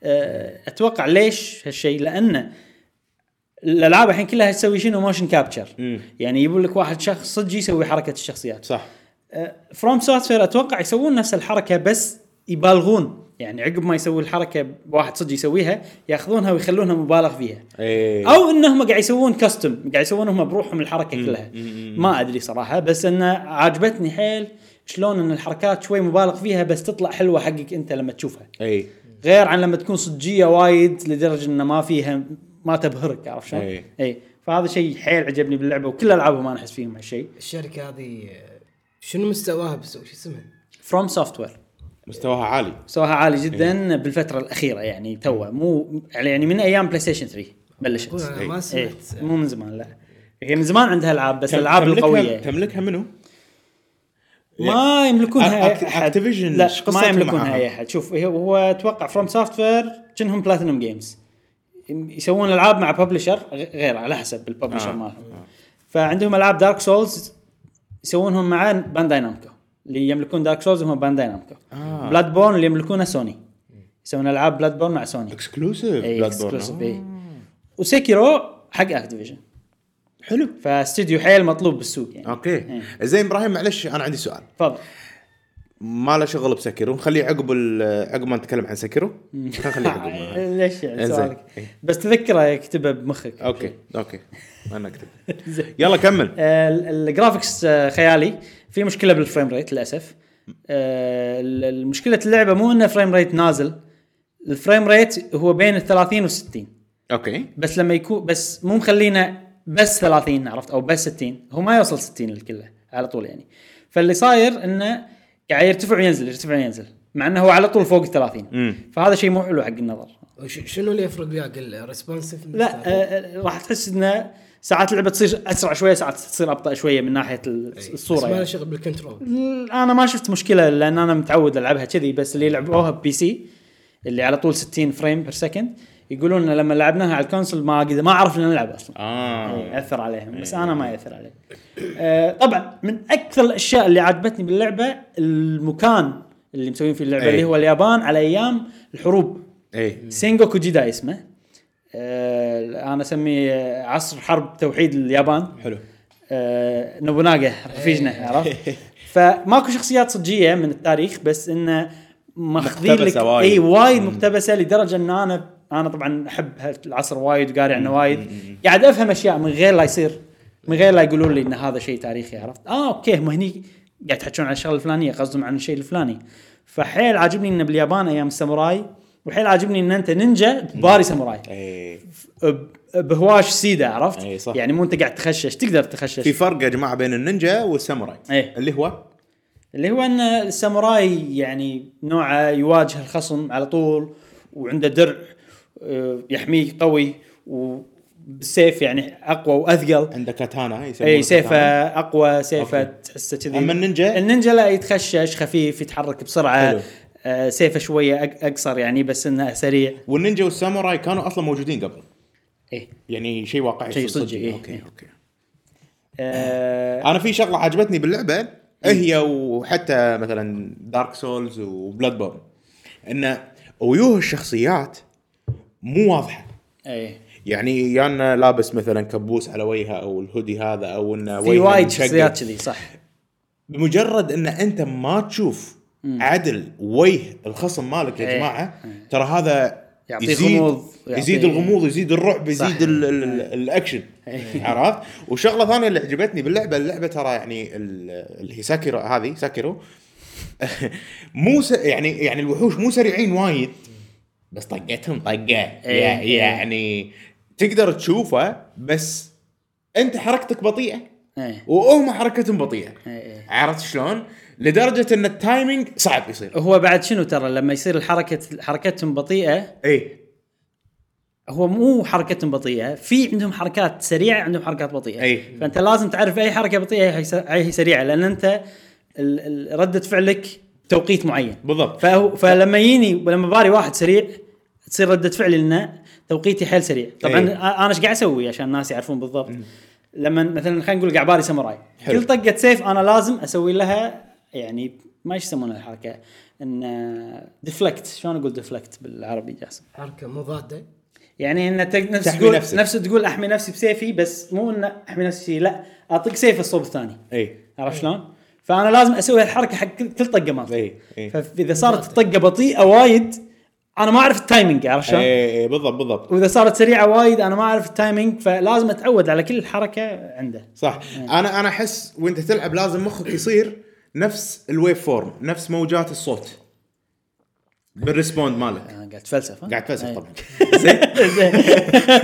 Speaker 1: آه، اتوقع ليش هالشيء لانه الالعاب الحين كلها تسوي شنو موشن كابتشر
Speaker 3: مم.
Speaker 1: يعني يقول لك واحد شخص صدق يسوي حركه الشخصيات
Speaker 3: صح
Speaker 1: فروم سوفتوير اتوقع يسوون نفس الحركه بس يبالغون يعني عقب ما يسوي الحركه واحد صدق يسويها ياخذونها ويخلونها مبالغ فيها
Speaker 3: ايه
Speaker 1: او انهم قاعد يسوون كاستم قاعد يسوون هم بروحهم الحركه كلها ما ادري صراحه بس انه عجبتني حيل شلون ان الحركات شوي مبالغ فيها بس تطلع حلوه حقك انت لما تشوفها
Speaker 3: ايه
Speaker 1: غير عن لما تكون صجيه وايد لدرجه انه ما فيها ما تبهرك عرفت شلون؟
Speaker 3: إي.
Speaker 1: اي فهذا شيء حيل عجبني باللعبه وكل العابهم انا احس فيهم هالشيء
Speaker 2: الشركه هذه آه، شنو مستواها بس شو اسمها؟
Speaker 1: فروم سوفتوير
Speaker 3: مستواها عالي
Speaker 1: مستواها عالي جدا بالفتره الاخيره يعني توه مو يعني من ايام بلاي ستيشن 3 بلشت
Speaker 2: أقول انا
Speaker 3: إيه.
Speaker 2: ما
Speaker 1: إيه
Speaker 2: سمعت
Speaker 1: مو من زمان لا هي من زمان عندها العاب بس الالعاب
Speaker 3: تملكها-
Speaker 1: القويه
Speaker 3: تملكها منو؟
Speaker 1: ما يملكونها
Speaker 3: أك-
Speaker 1: أي أحد.
Speaker 3: Activision
Speaker 1: لا
Speaker 3: إيش
Speaker 1: ما
Speaker 3: قصتهم
Speaker 1: يملكونها
Speaker 3: معاها؟
Speaker 1: اي احد شوف هي- هو اتوقع فروم سوفت وير كأنهم بلاتينوم جيمز يسوون العاب مع ببلشر غير على حسب الببلشر
Speaker 3: آه.
Speaker 1: مالهم فعندهم العاب دارك سولز يسوونهم مع بانداي نامكو اللي يملكون دارك سولز هم بانداي نامكو
Speaker 3: آه.
Speaker 1: بلاد بورن اللي يملكونه سوني يسوون العاب بلاد بورن مع إيه، سوني
Speaker 3: اكسكلوسيف
Speaker 1: اي
Speaker 3: آه.
Speaker 1: اكسكلوسيف اي وسيكيرو حق اكتيفيجن
Speaker 3: حلو
Speaker 1: فاستديو حيل مطلوب بالسوق
Speaker 3: إيه.
Speaker 1: يعني
Speaker 3: اوكي زين ابراهيم معلش انا عندي سؤال
Speaker 1: تفضل
Speaker 3: ما له شغل بسكرو نخليه عقب ال- عقب ما نتكلم عن سكرو نخليه عقب ما-
Speaker 1: ليش يعني
Speaker 3: إنزين.
Speaker 1: سؤالك
Speaker 3: إيه.
Speaker 1: بس تذكره يكتبه بمخك
Speaker 3: اوكي اوكي انا اكتب
Speaker 1: زين.
Speaker 3: يلا كمل
Speaker 1: آه، ال- الجرافكس آه، خيالي في مشكله بالفريم ريت للاسف آه، ال- ال- مشكله اللعبه مو انه فريم ريت نازل الفريم ريت هو بين ال 30 وال 60
Speaker 3: اوكي
Speaker 1: بس لما يكون بس مو مخلينا بس 30 عرفت او بس 60 هو ما يوصل 60 الكل على طول يعني فاللي صاير انه قاعد يرتفع وينزل يرتفع وينزل مع انه هو على طول فوق ال 30
Speaker 3: مم.
Speaker 1: فهذا شيء مو حلو حق النظر
Speaker 2: وش- شنو اللي يفرق وياك الريسبونسف
Speaker 1: لا آه، آه، راح تحس انه ساعات اللعبه تصير اسرع شويه ساعات تصير ابطا شويه من ناحيه ال- الصوره
Speaker 2: ما له
Speaker 1: يعني.
Speaker 2: شغل بالكنترول
Speaker 1: انا ما شفت مشكله لان انا متعود العبها كذي بس اللي لعبوها ببي سي اللي على طول 60 فريم بير سكند يقولون إن لما لعبناها على الكونسول ما قد- ما عرفنا نلعب اصلا
Speaker 3: اه
Speaker 1: ياثر عليهم بس انا ما ياثر علي آه، طبعا من اكثر الاشياء اللي عجبتني باللعبه المكان اللي مسوين فيه اللعبه
Speaker 3: أي.
Speaker 1: اللي هو اليابان على ايام الحروب إيه.
Speaker 3: ايه
Speaker 1: سينجوكو جيدا اسمه آه، انا اسميه آه، عصر حرب توحيد اليابان
Speaker 3: حلو
Speaker 1: آه، نوبوناغا رفيجنا
Speaker 3: إيه.
Speaker 1: عرفت فماكو شخصيات صجيه من التاريخ بس انه ماخذين لك
Speaker 3: مقتبسة وايد.
Speaker 1: اي وايد مقتبسه لدرجه ان انا انا طبعا احب العصر وايد وقاري عنه وايد قاعد افهم اشياء من غير لا يصير من غير لا يقولون لي ان هذا شيء تاريخي عرفت اه اوكي هم هني قاعد يحكون عن الشغله الفلانيه قصدهم عن الشيء الفلاني فحيل عاجبني انه باليابان ايام الساموراي وحيل عاجبني ان انت نينجا باري ساموراي
Speaker 3: اي
Speaker 1: ب- بهواش سيده عرفت؟
Speaker 3: إي صح.
Speaker 1: يعني مو انت قاعد تخشش تقدر تخشش
Speaker 3: في فرق يا جماعه بين النينجا والساموراي
Speaker 1: إيه.
Speaker 3: اللي هو
Speaker 1: اللي هو ان الساموراي يعني نوعه يواجه الخصم على طول وعنده درع آه، يحميه قوي وبالسيف يعني اقوى واثقل
Speaker 3: عنده كاتانا يسمونه
Speaker 1: اي سيفه
Speaker 3: كاتانا.
Speaker 1: اقوى سيفه
Speaker 3: أوكي.
Speaker 1: تحسه كذي
Speaker 3: أما النينجا؟
Speaker 1: النينجا لا يتخشش خفيف يتحرك بسرعه
Speaker 3: حلو.
Speaker 1: آه، سيفه شويه أق- اقصر يعني بس انه سريع
Speaker 3: والنينجا والساموراي كانوا اصلا موجودين قبل
Speaker 1: ايه
Speaker 3: يعني شيء واقعي
Speaker 1: شيء
Speaker 3: صدق.
Speaker 1: صدق، إيه.
Speaker 3: اوكي
Speaker 1: إيه.
Speaker 3: اوكي
Speaker 1: آه،
Speaker 3: انا في شغله عجبتني باللعبه
Speaker 1: إيه.
Speaker 3: هي وحتى مثلا دارك سولز وبلاد بورن ان وجوه الشخصيات مو واضحه
Speaker 1: ايه
Speaker 3: يعني يانا لابس مثلا كبوس على وجهه او الهودي هذا او انه
Speaker 1: في
Speaker 3: وجهه
Speaker 1: وايد
Speaker 3: مشقق.
Speaker 1: شخصيات كذي صح
Speaker 3: بمجرد ان انت ما تشوف عدل وجه الخصم مالك يا
Speaker 1: إيه.
Speaker 3: جماعه ترى هذا
Speaker 1: يعطيه
Speaker 3: يزيد
Speaker 1: غموض،
Speaker 3: يزيد
Speaker 1: يعطيه- إيه.
Speaker 3: الغموض يزيد الرعب يزيد ال ال ال الاكشن عرفت وشغله ثانيه اللي عجبتني باللعبه اللعبه ترى يعني ال- اللي هي ساكيرو هذه ساكيرو مو س... يعني يعني الوحوش مو سريعين وايد بس طقتهم طقه يع-
Speaker 1: إيه.
Speaker 3: يعني تقدر تشوفه بس انت حركتك بطيئه
Speaker 1: ايه
Speaker 3: وهم حركتهم بطيئه
Speaker 1: إيه.
Speaker 3: عرفت شلون؟ لدرجه ان التايمنج صعب يصير
Speaker 1: هو بعد شنو ترى لما يصير الحركه حركتهم بطيئه
Speaker 3: اي
Speaker 1: هو مو حركتهم بطيئه في عندهم حركات سريعه عندهم حركات بطيئه
Speaker 3: أي.
Speaker 1: فانت لازم تعرف اي حركه بطيئه أي حس- اي هي سريعه لان انت ال- ال- رده فعلك توقيت معين
Speaker 3: بالضبط
Speaker 1: فهو فلما يجيني لما باري واحد سريع تصير رده فعلي لانه توقيتي حيل سريع طبعا
Speaker 3: أي.
Speaker 1: أ- انا ايش قاعد اسوي عشان الناس يعرفون بالضبط لما مثلا خلينا نقول قاعد باري ساموراي
Speaker 3: حلو.
Speaker 1: كل طقه سيف انا لازم اسوي لها يعني ما ايش يسمونها الحركه ان ديفلكت شلون اقول ديفلكت بالعربي جاسم
Speaker 2: حركه مضاده
Speaker 1: يعني ان تق- نفس
Speaker 3: تحمي
Speaker 1: تقول
Speaker 3: نفسك.
Speaker 1: نفس تقول احمي نفسي بسيفي بس مو ان احمي نفسي لا اعطيك سيف الصوب الثاني
Speaker 3: اي
Speaker 1: عرفت شلون؟ فانا لازم اسوي الحركه حق كل كل طقه مالتي
Speaker 3: إي، إي.
Speaker 1: فاذا صارت الطقه بطيئه وايد انا ما اعرف التايمنج عرفت شلون؟
Speaker 3: اي إيه، بالضبط بالضبط
Speaker 1: واذا صارت سريعه وايد انا ما اعرف التايمنج فلازم اتعود على كل حركه عنده
Speaker 3: صح انا انا احس وانت تلعب لازم مخك يصير نفس الويف فورم نفس موجات الصوت بالريسبوند مالك
Speaker 1: انا قاعد فلسفه
Speaker 3: قاعد تفلسف طبعا زين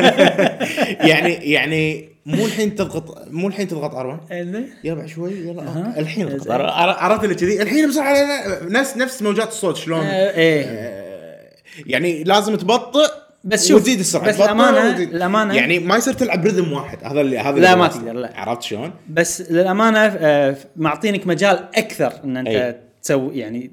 Speaker 3: يعني يعني مو الحين تضغط مو الحين تضغط ار يربع شوي يلا أوكي. الحين تضغط. عر- عر- عرفت اللي كذي الحين بسرعه لا- لا، نفس نفس موجات الصوت شلون
Speaker 1: ايه
Speaker 3: يعني لازم تبطئ
Speaker 1: بس شوف،
Speaker 3: وتزيد السرعه
Speaker 1: بس
Speaker 3: تبطئ
Speaker 1: الأمانة-
Speaker 3: وتزيد.
Speaker 1: الأمانة-
Speaker 3: يعني ما يصير تلعب رذم واحد هذا اللي هذا
Speaker 1: لا،
Speaker 3: اللي
Speaker 1: ما
Speaker 3: بس.
Speaker 1: تقدر، لا.
Speaker 3: عرفت شلون؟
Speaker 1: بس للامانه آه، معطينك مجال اكثر ان انت
Speaker 3: أي.
Speaker 1: تسوي يعني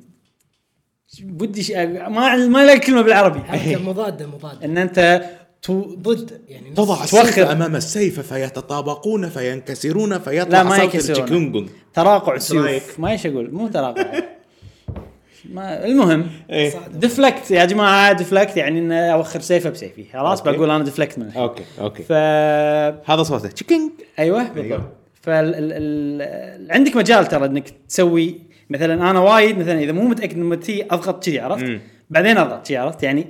Speaker 1: بدي ش... آه، ما ما لك كلمه بالعربي
Speaker 2: حركه مضاده مضاده
Speaker 1: ان انت تو...
Speaker 2: ضد يعني نفس-
Speaker 3: تضع
Speaker 1: توخر.
Speaker 3: السيف امام السيف فيتطابقون فينكسرون فيطلع
Speaker 1: لا، ما
Speaker 3: صوت
Speaker 1: ينكسرون.
Speaker 3: الجيكونجون.
Speaker 1: تراقع
Speaker 3: رأيك؟
Speaker 1: سيوف ما ايش اقول مو تراقع ما المهم
Speaker 3: إيه.
Speaker 1: ديفلكت يا جماعه ديفلكت يعني ان اوخر سيفه بسيفي خلاص
Speaker 3: أوكي.
Speaker 1: بقول انا ديفلكت من الحين.
Speaker 3: اوكي اوكي
Speaker 1: ف
Speaker 3: هذا صوته تشيكينج
Speaker 1: ايوه
Speaker 3: أيوة.
Speaker 1: بالضبط فال ال... ال... عندك مجال ترى انك تسوي مثلا انا وايد مثلا اذا مو متاكد من متي اضغط كذي عرفت
Speaker 3: مم.
Speaker 1: بعدين اضغط كذي عرفت يعني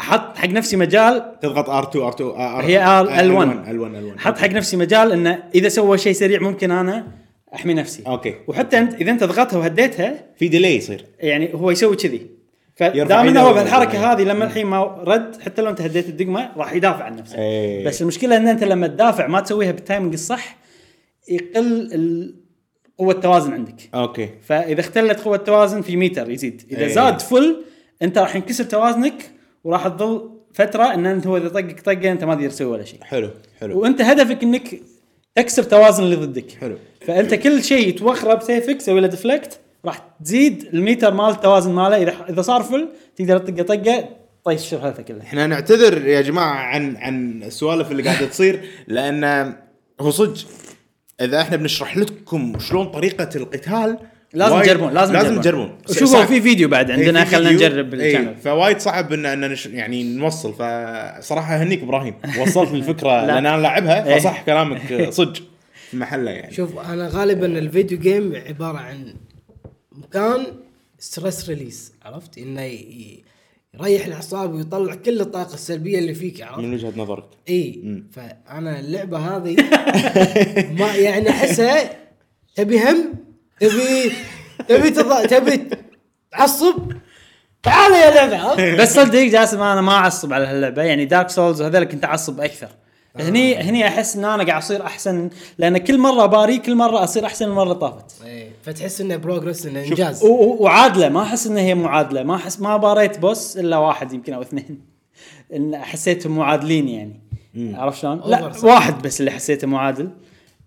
Speaker 1: احط حق نفسي مجال
Speaker 3: تضغط ار2 ار2
Speaker 1: هي
Speaker 3: آه،
Speaker 1: R- L1.
Speaker 3: ال1
Speaker 1: احط حق نفسي مجال انه اذا سوى شيء سريع ممكن انا احمي نفسي
Speaker 3: أوكي.
Speaker 1: وحتى انت اذا انت ضغطتها وهديتها
Speaker 3: في ديلي يصير
Speaker 1: يعني هو يسوي كذي
Speaker 3: يرفع
Speaker 1: فدام انه
Speaker 3: إيده
Speaker 1: هو
Speaker 3: ويرفع إيده.
Speaker 1: بالحركه هذه لما الحين ما رد حتى لو انت هديت الدقمه راح يدافع عن نفسه
Speaker 3: إيه.
Speaker 1: بس المشكله ان انت لما تدافع ما تسويها بالتايمنج الصح يقل ال- قوه التوازن عندك
Speaker 3: اوكي
Speaker 1: فاذا اختلت قوه التوازن في ميتر يزيد اذا
Speaker 3: إيه.
Speaker 1: زاد فل انت راح ينكسر توازنك وراح تظل فتره ان انت هو اذا طقك طقه انت ما تقدر تسوي ولا شيء
Speaker 3: حلو حلو
Speaker 1: وانت هدفك انك تكسر توازن اللي ضدك
Speaker 3: حلو.
Speaker 1: فانت كل شيء توخره بسيفك سوي له ديفلكت راح تزيد الميتر مال التوازن ماله اذا اذا صار فل تقدر تطقه طقه طيش شرهته كلها
Speaker 3: احنا نعتذر يا جماعه عن عن السوالف اللي قاعده تصير لان هو صدق اذا احنا بنشرح لكم شلون طريقه القتال
Speaker 1: لازم
Speaker 3: وايد-
Speaker 1: تجربون لازم
Speaker 3: لازم تجربون
Speaker 1: شوفوا
Speaker 3: صعب.
Speaker 1: في فيديو بعد عندنا
Speaker 3: إيه، في
Speaker 1: خلينا
Speaker 3: فيديو.
Speaker 1: نجرب
Speaker 3: إيه،
Speaker 1: الشانل
Speaker 3: فوايد صعب ان ان نش... يعني نوصل فصراحه اهنيك ابراهيم وصلت الفكره
Speaker 1: لا.
Speaker 3: لان انا لاعبها
Speaker 1: إيه.
Speaker 3: فصح كلامك صدق في محله يعني
Speaker 2: شوف انا غالبا الفيديو جيم عباره عن مكان ستريس ريليس عرفت انه ي- ي- يريح الاعصاب ويطلع كل الطاقه السلبيه اللي فيك عرفت
Speaker 3: من وجهه نظرك
Speaker 2: اي فانا اللعبه هذه ما يعني احسها تبي هم تبي تبي تض... تبي تعصب تعال يا لعبه
Speaker 1: بس صدق جاسم انا ما اعصب على هاللعبه يعني دارك سولز وهذول كنت اعصب اكثر
Speaker 3: آه.
Speaker 1: هني هني احس ان انا قاعد اصير احسن لان كل مره باري كل مره اصير احسن من المره اللي طافت
Speaker 2: إيه، فتحس انه بروجرس انه
Speaker 1: شوف،
Speaker 2: انجاز
Speaker 1: و- و- وعادله ما احس ان هي معادله ما احس ما باريت بوس الا واحد يمكن او اثنين ان حسيتهم معادلين يعني عرفت شلون؟ لا
Speaker 2: Over صح.
Speaker 1: واحد بس اللي حسيته معادل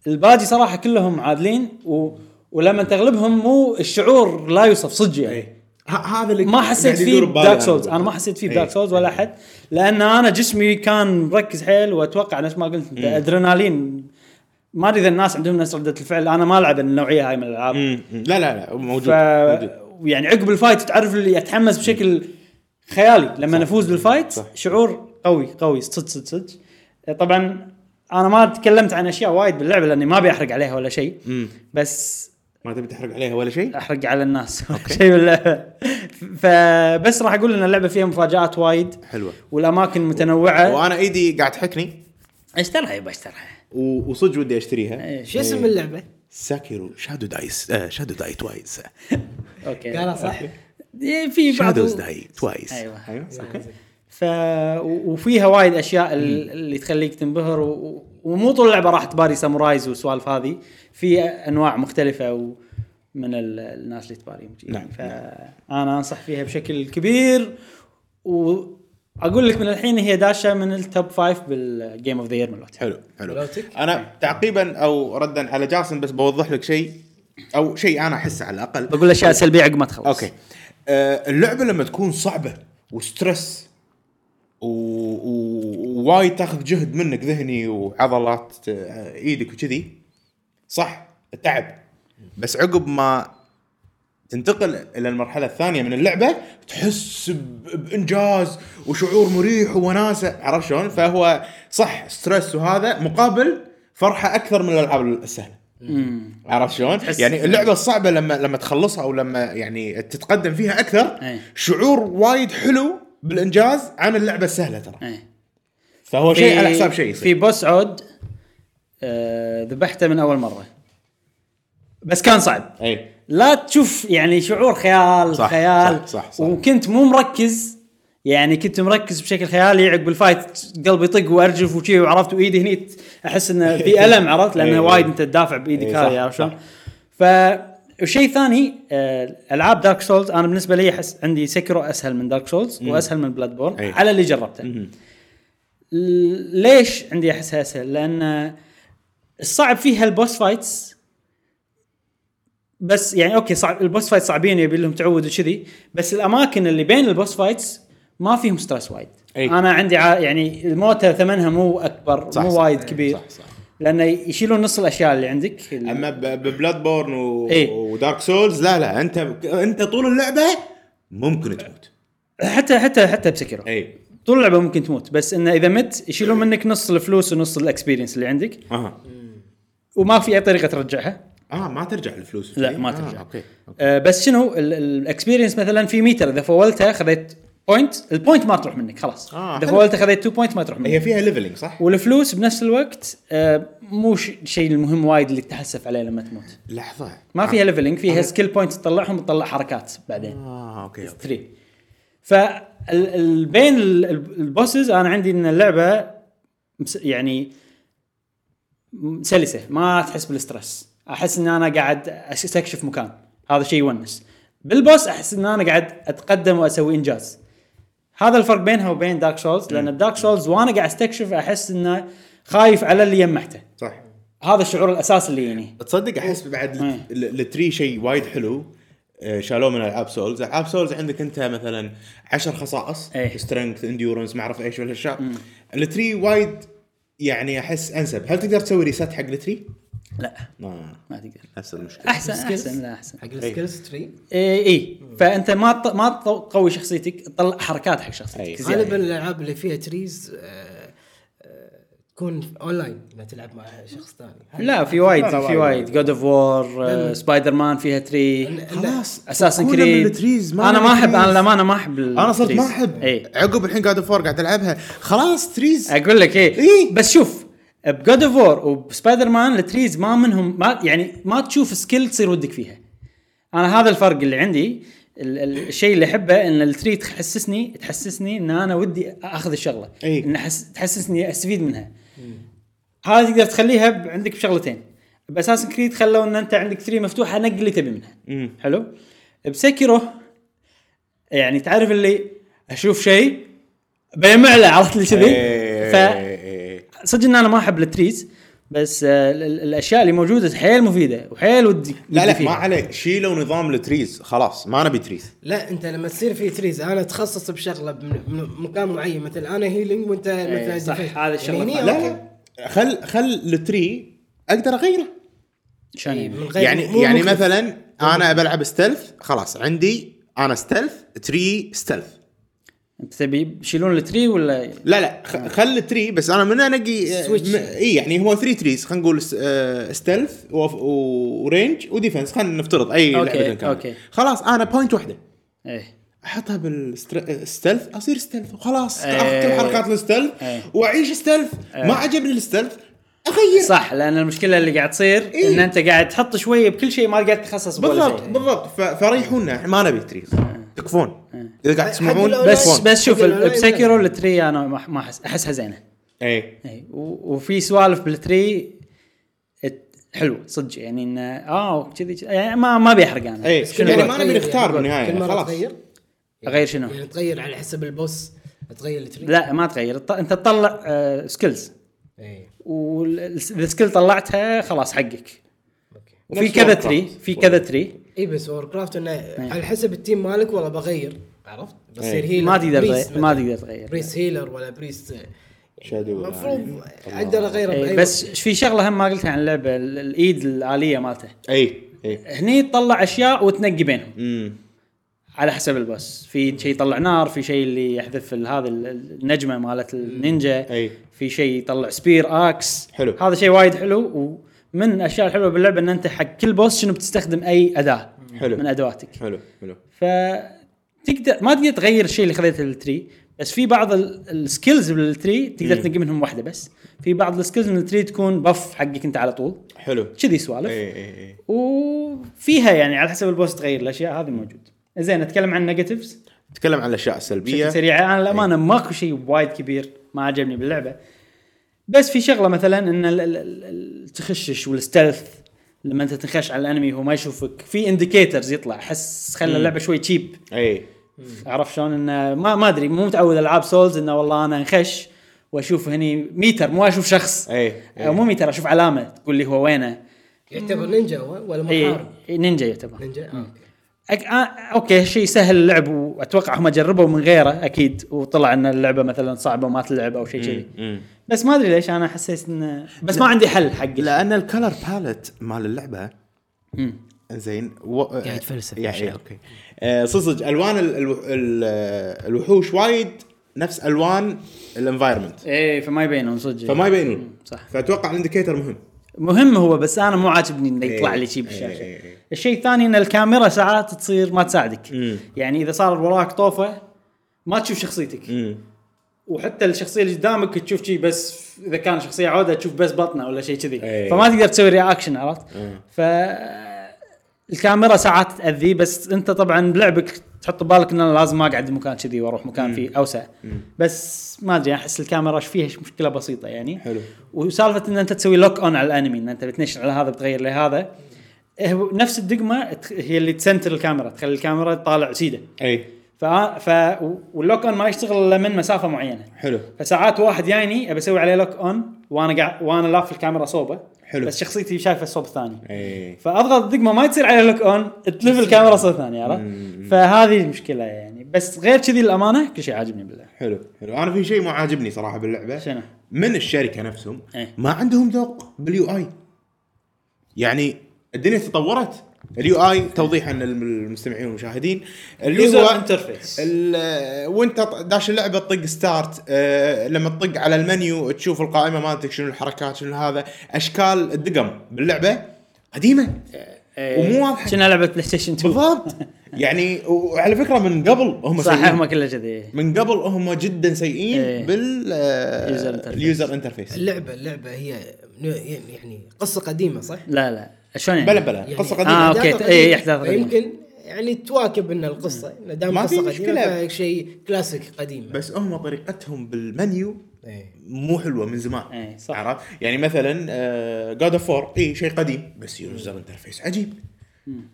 Speaker 1: الباقي صراحه كلهم معادلين و... ولما تغلبهم مو الشعور لا يوصف صدق يعني
Speaker 3: ه- هذا اللي
Speaker 1: ما حسيت
Speaker 3: قاعد إيه. يعني يدور
Speaker 1: فيه
Speaker 3: ببالي
Speaker 1: بدارك سولز انا ما حسيت فيه
Speaker 3: إيه.
Speaker 1: بدارك سولز ولا احد لان انا جسمي كان مركز حيل واتوقع نفس ما قلت انت ادرينالين ما ادري اذا الناس عندهم نفس رده الفعل انا ما العب النوعيه هاي من الالعاب
Speaker 3: مم. مم. لا لا لا موجود,
Speaker 1: ف
Speaker 3: موجود.
Speaker 1: يعني عقب الفايت تعرف اللي اتحمس بشكل خيالي لما نفوز بالفايت
Speaker 3: صح.
Speaker 1: شعور قوي قوي صدق صدق صدق طبعا انا ما تكلمت عن اشياء وايد باللعبه لاني ما ابي احرق عليها ولا شيء
Speaker 3: مم.
Speaker 1: بس
Speaker 3: ما تبي تحرق عليها ولا شيء؟
Speaker 1: احرق على الناس شيء باللعبه فبس راح اقول ان اللعبه فيها مفاجات وايد
Speaker 3: حلوه
Speaker 1: والاماكن متنوعه
Speaker 3: وانا ايدي قاعد تحكني
Speaker 1: اشترها يبا اشترها
Speaker 3: و- وصدق ودي اشتريها
Speaker 2: شو اسم اللعبه؟
Speaker 3: ساكيرو شادو دايس آه شادو داي توايس
Speaker 1: اوكي
Speaker 2: قالها صح؟
Speaker 1: إيه، في بعض
Speaker 3: شادوز داي توايس
Speaker 1: أيوة.
Speaker 3: اوكي
Speaker 1: ف و- وفيها وايد اشياء ال- اللي تخليك تنبهر و... و- ومو طول اللعبه راح تباري سامورايز والسوالف هذه في انواع مختلفه و... من ال- الناس اللي تباري
Speaker 3: نعم،
Speaker 1: فانا انصح فيها بشكل كبير واقول لك من الحين هي داشه من التوب فايف بالجيم اوف ذا يير مالتها
Speaker 3: حلو حلو
Speaker 2: بلوتك؟
Speaker 3: انا
Speaker 1: أيوة.
Speaker 3: تعقيبا او ردا على جاسم بس بوضح لك شيء او شيء انا احسه على الاقل
Speaker 1: بقول اشياء سلبيه عقب ما تخلص
Speaker 3: اوكي آه، اللعبه لما تكون صعبه وستريس و- و- ووايد تاخذ جهد منك ذهني وعضلات آه، ايدك وكذي صح تعب بس عقب ما تنتقل الى المرحله الثانيه من اللعبه تحس ب- بانجاز وشعور مريح ووناسه عرفت شلون؟ فهو صح ستريس وهذا مقابل فرحه اكثر من الالعاب السهله. عرفت شلون؟ يعني اللعبه الصعبه لما لما تخلصها او لما يعني تتقدم فيها اكثر
Speaker 1: أي.
Speaker 3: شعور وايد حلو بالانجاز عن اللعبه السهله ترى.
Speaker 1: ايه.
Speaker 3: فهو
Speaker 1: في-
Speaker 3: شيء على حساب شيء
Speaker 1: في
Speaker 3: يصير.
Speaker 1: بوس عود آه، ذبحته من اول مره بس كان صعب
Speaker 3: اي
Speaker 1: لا تشوف يعني شعور خيال
Speaker 3: صح،
Speaker 1: خيال
Speaker 3: صح، صح، صح.
Speaker 1: وكنت مو مركز يعني كنت مركز بشكل خيالي عقب الفايت قلبي يطق وارجف وشي وعرفت وايدي هني ت- احس انه في الم عرفت لانه
Speaker 3: إيه.
Speaker 1: وايد انت تدافع بايدك
Speaker 3: إيه، صح،
Speaker 1: هذه عرفت شلون؟
Speaker 3: صح.
Speaker 1: ف وشيء ثاني آه، العاب دارك سولز انا بالنسبه لي احس عندي سكرو اسهل من دارك سولز واسهل من بلاد بورن
Speaker 3: إيه.
Speaker 1: على اللي جربته ل- ليش عندي احسها اسهل؟ لان الصعب فيها البوس فايتس بس يعني اوكي صعب البوس فايت صعبين يبي لهم تعود وكذي بس الاماكن اللي بين البوس فايتس ما فيهم ستريس وايد
Speaker 3: أي.
Speaker 1: انا عندي ع... يعني الموتى ثمنها مو اكبر
Speaker 3: صح،
Speaker 1: مو
Speaker 3: صح.
Speaker 1: وايد كبير
Speaker 3: صح صح
Speaker 1: لانه يشيلون نص الاشياء اللي عندك ال-
Speaker 3: اما ب- ببلاد بورن و...
Speaker 1: إيه.
Speaker 3: ودارك سولز لا لا انت انت طول اللعبه ممكن تموت
Speaker 1: حتى حتى حتى بسكره
Speaker 3: اي
Speaker 1: طول اللعبه ممكن تموت بس انه اذا مت يشيلون منك نص الفلوس ونص الاكسبيرينس اللي عندك
Speaker 3: اها
Speaker 1: وما في اي طريقه ترجعها
Speaker 3: اه ما ترجع الفلوس
Speaker 1: لا، ما ترجع.
Speaker 3: آه اوكي
Speaker 1: آه، بس شنو الاكسبيرينس مثلا في ميتر اذا فولتها خذيت بوينت البوينت ما تروح منك خلاص
Speaker 3: آه،
Speaker 1: اذا
Speaker 3: حلو. إيه.
Speaker 1: فولتها خذيت 2 بوينت ما تروح منك
Speaker 3: هي فيها ليفلنج صح؟
Speaker 1: والفلوس بنفس الوقت آه، مو ش- شيء المهم وايد اللي تتحسف عليه لما تموت
Speaker 3: لحظه
Speaker 1: ما فيها ليفلنج فيها سكيل بوينتس تطلعهم تطلع حركات بعدين
Speaker 3: اه اوكي اوكي
Speaker 1: 3 ف ال- ال- بين ال- ال- البوسز انا عندي ان اللعبه مس- يعني م- سلسه ما تحس بالستريس احس ان انا قاعد استكشف مكان هذا شيء يونس بالبوس احس ان انا قاعد اتقدم واسوي انجاز هذا الفرق بينها وبين دارك سولز لان بدارك سولز وانا قاعد استكشف احس انه خايف على اللي يمحته
Speaker 3: صح
Speaker 1: هذا الشعور الاساسي اللي يجيني
Speaker 3: تصدق احس بعد
Speaker 1: إيه.
Speaker 3: ال- ال- التري شيء وايد حلو آه، شالوه من العاب سولز، العاب سولز عندك انت مثلا 10 خصائص
Speaker 1: إيه.
Speaker 3: سترينث انديورنس ما اعرف ايش والاشياء التري وايد يعني احس انسب، هل تقدر تسوي ريست حق التري؟
Speaker 1: لا
Speaker 3: آه.
Speaker 1: ما تقدر
Speaker 3: نفس المشكله
Speaker 1: احسن احسن لا احسن
Speaker 2: حق السكيلز تري
Speaker 1: اي اي فانت إيه، ما تط- ما تقوي شخصيتك تطلع حركات حق
Speaker 3: إي.
Speaker 1: شخصيتك زيادة.
Speaker 2: غالبا الالعاب اللي فيها تريز آه، آه، تكون اونلاين ما تلعب مع شخص ثاني
Speaker 1: لا في وايد
Speaker 3: لا، لا،
Speaker 1: في وايد جود اوف وور سبايدر مان آه، فيها تري
Speaker 3: خلاص،
Speaker 1: اساسن
Speaker 3: فكونا من
Speaker 1: كريد
Speaker 3: التريز، ما
Speaker 1: انا ما
Speaker 3: نبي
Speaker 1: احب انا
Speaker 3: تريز.
Speaker 1: للامانه ما إيه. احب
Speaker 3: انا صرت ما
Speaker 1: التريز.
Speaker 3: احب
Speaker 1: اي
Speaker 3: عقب الحين قاعد فور قاعد العبها خلاص تريز
Speaker 1: اقول لك اي
Speaker 3: إي.
Speaker 1: بس شوف بجود اوف وور وبسبايدر مان التريز ما منهم ما يعني ما تشوف سكيل تصير ودك فيها انا هذا الفرق اللي عندي ال- ال- الشيء اللي احبه ان التري تحسسني تحسسني ان انا ودي اخذ الشغله
Speaker 3: إي.
Speaker 1: ان أحس تحسسني استفيد منها هذه تقدر تخليها ب- عندك بشغلتين باساس كريد خلوا ان انت عندك تري مفتوحه نقل اللي تبي منها
Speaker 3: مم.
Speaker 1: حلو بسكره يعني تعرف اللي اشوف شيء بيمع له عرفت اللي كذي
Speaker 3: إيه،
Speaker 1: ف-
Speaker 3: إيه، إيه.
Speaker 1: صدق ان انا ما احب التريز بس آه، ال- ال- الاشياء اللي موجوده حيل مفيده وحيل ودي
Speaker 3: لا
Speaker 1: ودي
Speaker 3: لا
Speaker 1: فيها.
Speaker 3: ما عليه شيلوا نظام التريز خلاص ما نبي تريز
Speaker 2: لا انت لما تصير في تريز انا اتخصص بشغله بم- من مكان معين مثل انا هيلينج وانت مثلا
Speaker 1: إيه، صح،
Speaker 2: defense.
Speaker 1: هذا الشغلة
Speaker 2: يعني هني
Speaker 1: فعلا.
Speaker 3: لا
Speaker 2: أوكي.
Speaker 3: لا خل خل التري اقدر اغيره
Speaker 1: شلون يعني؟
Speaker 2: من غير-
Speaker 3: يعني
Speaker 2: مو-
Speaker 3: يعني
Speaker 2: مو-
Speaker 3: مثلا انا بلعب ستلث خلاص عندي انا ستلث تري ستلث
Speaker 1: انت تبي يشيلون التري ولا
Speaker 3: لا لا خ- خل تري بس انا من انقي
Speaker 2: Switch.
Speaker 3: اي يعني هو ثري تريز خلينا نقول س- آه، ستيلث وف- ورينج وديفنس خلينا نفترض اي
Speaker 1: أوكي،
Speaker 3: لعبه كانت
Speaker 1: أوكي.
Speaker 3: خلاص انا بوينت واحده
Speaker 1: ايه
Speaker 3: احطها بالستلث اصير ستلث وخلاص
Speaker 1: إيه.
Speaker 3: اخذ كل حركات الستلث
Speaker 1: إيه.
Speaker 3: واعيش ستلث ما عجبني الستلث اغير
Speaker 1: صح لان المشكله اللي قاعد تصير
Speaker 3: إيه.
Speaker 1: ان انت قاعد تحط شويه بكل شيء ما قاعد تخصص بولا
Speaker 3: بالضبط
Speaker 1: شيء.
Speaker 3: بالضبط ف- فريحونا إحنا ما نبي تريز تكفون اذا قاعد
Speaker 2: حق
Speaker 3: تسمعون
Speaker 2: الأونلاين.
Speaker 1: إيه. بس
Speaker 3: تكفون.
Speaker 1: بس شوف
Speaker 2: حق الأونلاين
Speaker 1: بسكيرو التري انا ما ما أحس- احسها زينه
Speaker 3: اي
Speaker 1: اي و- وفي سوالف بالتري ات- حلو صدق يعني انه اه كذي كذي- يعني ما ما بيحرق انا
Speaker 3: اي
Speaker 1: شنو
Speaker 3: يعني
Speaker 1: أقول؟
Speaker 3: ما نبي نختار بالنهايه
Speaker 2: كل مره
Speaker 3: خلاص
Speaker 2: تغير
Speaker 1: اغير شنو؟
Speaker 2: يعني تغير على حسب البوس تغير التريز
Speaker 1: نعم. لا ما تغير ط- انت تطلع سكيلز
Speaker 2: اي
Speaker 1: والسكيل طلعتها خلاص حقك
Speaker 2: اوكي
Speaker 1: وفي
Speaker 3: نفس
Speaker 1: كذا
Speaker 3: Warcraft.
Speaker 1: تري في كذا تري
Speaker 2: اي إيه، بس وور كرافت انه
Speaker 1: إيه.
Speaker 2: على حسب التيم مالك والله بغير عرفت؟ بصير
Speaker 3: إيه.
Speaker 2: هيلر
Speaker 1: ما تقدر
Speaker 2: بريس
Speaker 1: تغير-
Speaker 2: مثلاً.
Speaker 1: ما تقدر تغير
Speaker 2: بريس هيلر ولا بريس يعني
Speaker 3: شادو
Speaker 2: المفروض
Speaker 3: يعني.
Speaker 2: اقدر اغيره
Speaker 1: إيه،
Speaker 2: بأي
Speaker 1: بس في شغله هم ما قلتها عن اللعبه ال- الايد الاليه مالته
Speaker 3: اي اي
Speaker 1: هني تطلع اشياء وتنقي بينهم
Speaker 3: امم
Speaker 1: على حسب البوس في شيء يطلع نار في شيء اللي يحذف ال- هذا ال- النجمه مالت النينجا
Speaker 3: أي.
Speaker 1: في شيء يطلع سبير اكس
Speaker 3: حلو.
Speaker 1: هذا شيء وايد حلو ومن الاشياء الحلوه باللعبه ان انت حق كل بوس شنو بتستخدم اي اداه
Speaker 3: حلو.
Speaker 1: من ادواتك
Speaker 3: حلو حلو
Speaker 1: فتقدر ما تقدر تغير الشيء اللي خذيته التري بس في بعض ال- السكيلز بالتري تقدر تنقي منهم واحده بس في بعض السكيلز من التري تكون بف حقك انت على طول
Speaker 3: حلو إيه.
Speaker 1: كذي سوالف
Speaker 3: اي اي اي
Speaker 1: وفيها يعني على حسب البوست تغير الاشياء هذه موجود زين نتكلم عن نيجاتيفز
Speaker 3: نتكلم عن الاشياء السلبيه
Speaker 1: بشكل سريع انا للامانه ماكو شيء وايد كبير ما عجبني باللعبه بس في شغله مثلا ان ال- ال- ال- التخشش والستلث لما انت تنخش على الانمي هو ما يشوفك في انديكيترز يطلع احس خلى اللعبه شوي تشيب
Speaker 3: اي
Speaker 1: عرفت شلون انه ما ما ادري مو متعود العاب سولز انه والله انا انخش واشوف هني ميتر مو اشوف شخص
Speaker 3: اي
Speaker 1: أو مو ميتر اشوف علامه تقول لي هو وينه
Speaker 2: يعتبر نينجا هو ولا
Speaker 1: اي
Speaker 2: محارب؟
Speaker 1: نينجا يعتبر
Speaker 2: نينجا آه، اوكي
Speaker 1: أك... آه، اوكي شيء سهل اللعب واتوقع هم جربوا من غيره اكيد وطلع ان اللعبه مثلا صعبه وما تلعب او شيء كذي
Speaker 3: إيه. مم.
Speaker 1: بس ما ادري ليش انا حسيت انه بس ما عندي حل حق
Speaker 3: لان الكلر باليت مال اللعبه
Speaker 1: مم.
Speaker 3: زين و... قاعد
Speaker 2: يتفلسف
Speaker 3: يعني اوكي آه، صدق صدق الوان ال... ال... ال... الوحوش وايد نفس الوان الانفايرمنت
Speaker 1: ايه فما يبينون صدق
Speaker 3: فما يبينون
Speaker 1: صح.
Speaker 3: فاتوقع الانديكيتر مهم
Speaker 1: مهم هو بس انا مو عاجبني انه يطلع
Speaker 3: إيه.
Speaker 1: لي شيء
Speaker 3: إيه، إيه،
Speaker 1: بالشاشه
Speaker 3: إيه.
Speaker 1: الشيء الثاني ان الكاميرا ساعات تصير ما تساعدك
Speaker 3: مم.
Speaker 1: يعني اذا صار وراك طوفه ما تشوف شخصيتك
Speaker 3: امم
Speaker 1: وحتى الشخصيه اللي قدامك تشوف شيء بس اذا كان شخصيه عوده تشوف بس بطنه ولا شيء كذي
Speaker 3: إيه.
Speaker 1: فما تقدر تسوي رياكشن عرفت
Speaker 3: إيه.
Speaker 1: ف الكاميرا ساعات تاذي بس انت طبعا بلعبك تحط ببالك ان انا لازم ما اقعد مكان كذي واروح مكان فيه اوسع بس ما ادري احس الكاميرا فيها مشكله بسيطه يعني
Speaker 3: حلو.
Speaker 1: وسالفه ان انت تسوي لوك اون على الانمي ان انت بتنشن على هذا بتغير لهذا إيه، نفس الدقمه تخ- هي اللي تسنتر الكاميرا تخلي الكاميرا تطالع سيده
Speaker 3: اي
Speaker 1: ف, ف... واللوك اون ما يشتغل الا من مسافه معينه
Speaker 3: حلو
Speaker 1: فساعات واحد جايني ابي اسوي عليه لوك اون وانا قاعد وانا لاف الكاميرا صوبه
Speaker 3: حلو.
Speaker 1: بس شخصيتي شايفه صوب ثاني
Speaker 3: اي
Speaker 1: فاضغط دقمه ما تصير عليه لوك اون تلف الكاميرا صوب ثاني عرفت؟ فهذه المشكله يعني بس غير كذي للامانه كل شيء عاجبني بالله
Speaker 3: حلو حلو انا في شيء مو عاجبني صراحه باللعبه
Speaker 1: شنو؟
Speaker 3: من الشركه نفسهم
Speaker 1: إيه.
Speaker 3: ما عندهم ذوق باليو اي يعني الدنيا تطورت اليو اي توضيحا للمستمعين والمشاهدين اللي
Speaker 1: User
Speaker 3: هو
Speaker 1: interface.
Speaker 3: ال- وانت ط- داش اللعبه تطق ستارت آه، لما تطق على المنيو تشوف القائمه مالتك شنو الحركات شنو هذا اشكال الدقم باللعبه قديمه
Speaker 1: إيه،
Speaker 3: ومو واضحه
Speaker 1: شنو لعبه بلاي ستيشن 2
Speaker 3: بالضبط يعني وعلى فكره من قبل هم
Speaker 1: صح
Speaker 3: سيئين.
Speaker 1: هم كله كذي
Speaker 3: من قبل هم جدا
Speaker 1: إيه.
Speaker 3: سيئين بال آه،
Speaker 1: User interface.
Speaker 3: اليوزر انترفيس
Speaker 2: اللعبه اللعبه هي يعني قصه قديمه صح؟
Speaker 1: لا لا شلون يعني؟
Speaker 3: بلا بلا
Speaker 2: يعني
Speaker 3: قصه
Speaker 1: آه،
Speaker 3: قديمه
Speaker 1: أوكي.
Speaker 2: أحداثها
Speaker 1: إيه،
Speaker 2: قديمة.
Speaker 1: أحداثها قديمة.
Speaker 2: فيمكن يعني تواكب ان القصه دام
Speaker 3: ما في
Speaker 2: قصه
Speaker 3: مشكلة.
Speaker 2: قديمه شيء كلاسيك
Speaker 1: طيب.
Speaker 2: قديم
Speaker 3: بس هم طريقتهم بالمنيو
Speaker 2: إيه.
Speaker 3: مو حلوه من زمان
Speaker 1: إيه، صح.
Speaker 3: عرفت يعني آه، مثلا جاد اوف 4 اي إيه، شيء قديم بس يوزر انترفيس عجيب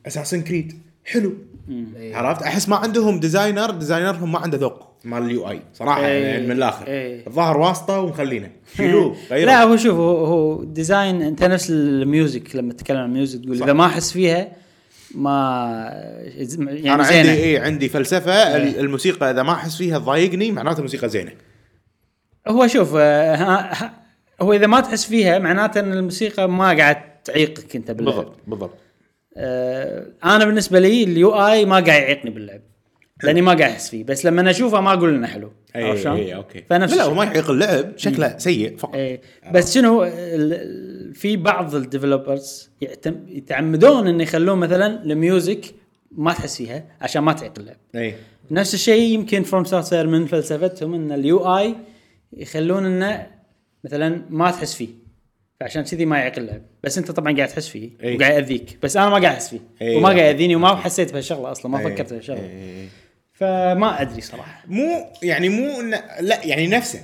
Speaker 3: اساسن كريد حلو
Speaker 2: إيه.
Speaker 3: عرفت احس ما عندهم ديزاينر ديزاينرهم ما عنده ذوق مال اليو اي صراحه
Speaker 1: إيه.
Speaker 3: يعني من الاخر
Speaker 1: إيه.
Speaker 3: الظاهر واسطه ومخلينه شيلوه
Speaker 1: لا يعني
Speaker 3: غيروه
Speaker 1: هو شوف هو, هو ديزاين انت نفس الميوزك لما تتكلم عن الميوزك تقول
Speaker 3: صح.
Speaker 1: اذا ما احس فيها ما يعني
Speaker 3: انا
Speaker 1: زينة. إيه.
Speaker 3: عندي إيه؟ اي عندي فلسفه ال- الموسيقى اذا ما احس فيها تضايقني معناته الموسيقى زينه
Speaker 1: هو شوف آه، ها- ها- هو اذا ما تحس فيها معناته ان الموسيقى ما قاعد تعيقك انت باللعب
Speaker 3: بالضبط بالضبط
Speaker 1: آه، انا بالنسبه لي اليو اي ما قاعد يعيقني باللعب لاني ما قاعد احس فيه بس لما أنا اشوفه ما اقول انه حلو
Speaker 3: اي
Speaker 1: عرفت شلون؟
Speaker 3: اي اوكي
Speaker 1: فنفس
Speaker 3: إيه، لا لا
Speaker 1: الشيء.
Speaker 3: هو ما يعيق اللعب شكله سيء فقط
Speaker 1: ايه بس شنو ال- ال- في بعض الديفلوبرز يعتم- يتعمدون انه يخلون مثلا الميوزك ما تحس فيها عشان ما تعيق اللعب
Speaker 3: اي
Speaker 1: نفس الشيء يمكن فروم سوفتوير من فلسفتهم ان اليو اي يخلون انه مثلا ما تحس فيه فعشان كذي ما يعيق اللعب بس انت طبعا قاعد تحس فيه
Speaker 3: إيه.
Speaker 1: وقاعد ياذيك بس انا ما قاعد احس فيه
Speaker 3: إيه.
Speaker 1: وما قاعد ياذيني وما حسيت بهالشغله اصلا ما
Speaker 3: إيه.
Speaker 1: فكرت بهالشغله
Speaker 3: إيه.
Speaker 1: فما ادري صراحه
Speaker 3: مو يعني مو إنه- لا يعني نفسه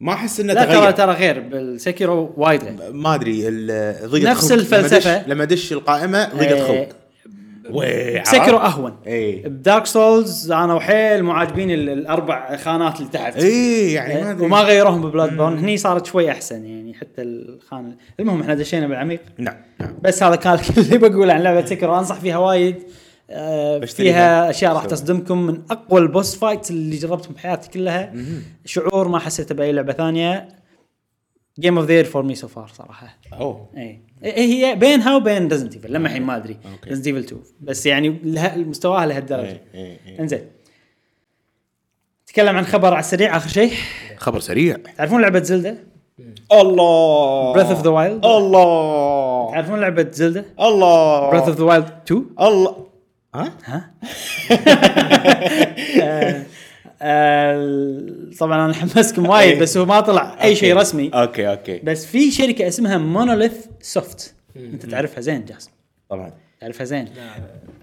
Speaker 3: ما احس انه
Speaker 1: لا ترى
Speaker 3: تغير
Speaker 1: ترى غير بالسكيرو وايد غير
Speaker 3: ما ادري ال- ضيقة
Speaker 1: نفس
Speaker 3: خلق. لما دش-
Speaker 1: الفلسفة.
Speaker 3: لما دش القائمه ضيقة
Speaker 1: إيه.
Speaker 3: خلق وي، عرفت؟
Speaker 1: سكرو اهون
Speaker 3: إيه.
Speaker 1: بدارك سولز انا وحيل مو عاجبين ال- الاربع خانات اللي تحت
Speaker 3: اي يعني ما ادري
Speaker 1: إيه. وما غيروهم ببلاد بورن هني صارت شوي احسن يعني حتى الخانه المهم احنا دشينا بالعميق
Speaker 3: نعم نعم
Speaker 1: بس هذا كان كل اللي بقوله عن لعبه سكرو انصح فيها وايد آه،
Speaker 3: بشتريها.
Speaker 1: فيها اشياء راح
Speaker 3: سوي.
Speaker 1: تصدمكم من اقوى البوس فايت اللي جربتهم بحياتي كلها شعور ما حسيته باي لعبه ثانيه جيم اوف ذا فور مي سو فار صراحه
Speaker 3: اوه
Speaker 1: اي إيه هي بينها وبين ريزنت ايفل لما الحين ما ادري
Speaker 3: أوكي.
Speaker 1: ريزنت ايفل 2 بس يعني لها مستواها لهالدرجه
Speaker 3: إيه، إيه، إيه.
Speaker 1: انزين نتكلم عن خبر على السريع اخر شيء
Speaker 3: خبر سريع
Speaker 1: تعرفون لعبه زلدة
Speaker 3: الله
Speaker 1: Breath of the Wild.
Speaker 3: الله
Speaker 1: تعرفون لعبه زلدة
Speaker 3: الله
Speaker 1: براث اوف ذا وايلد 2
Speaker 3: الله ها
Speaker 1: ها آه، آه، طبعا انا حمسكم وايد بس هو ما طلع اي شيء
Speaker 3: إيه. أوكي.
Speaker 1: رسمي
Speaker 3: اوكي اوكي
Speaker 1: بس في شركه اسمها مونوليث سوفت انت تعرفها زين جاسم
Speaker 3: طبعا
Speaker 1: تعرفها زين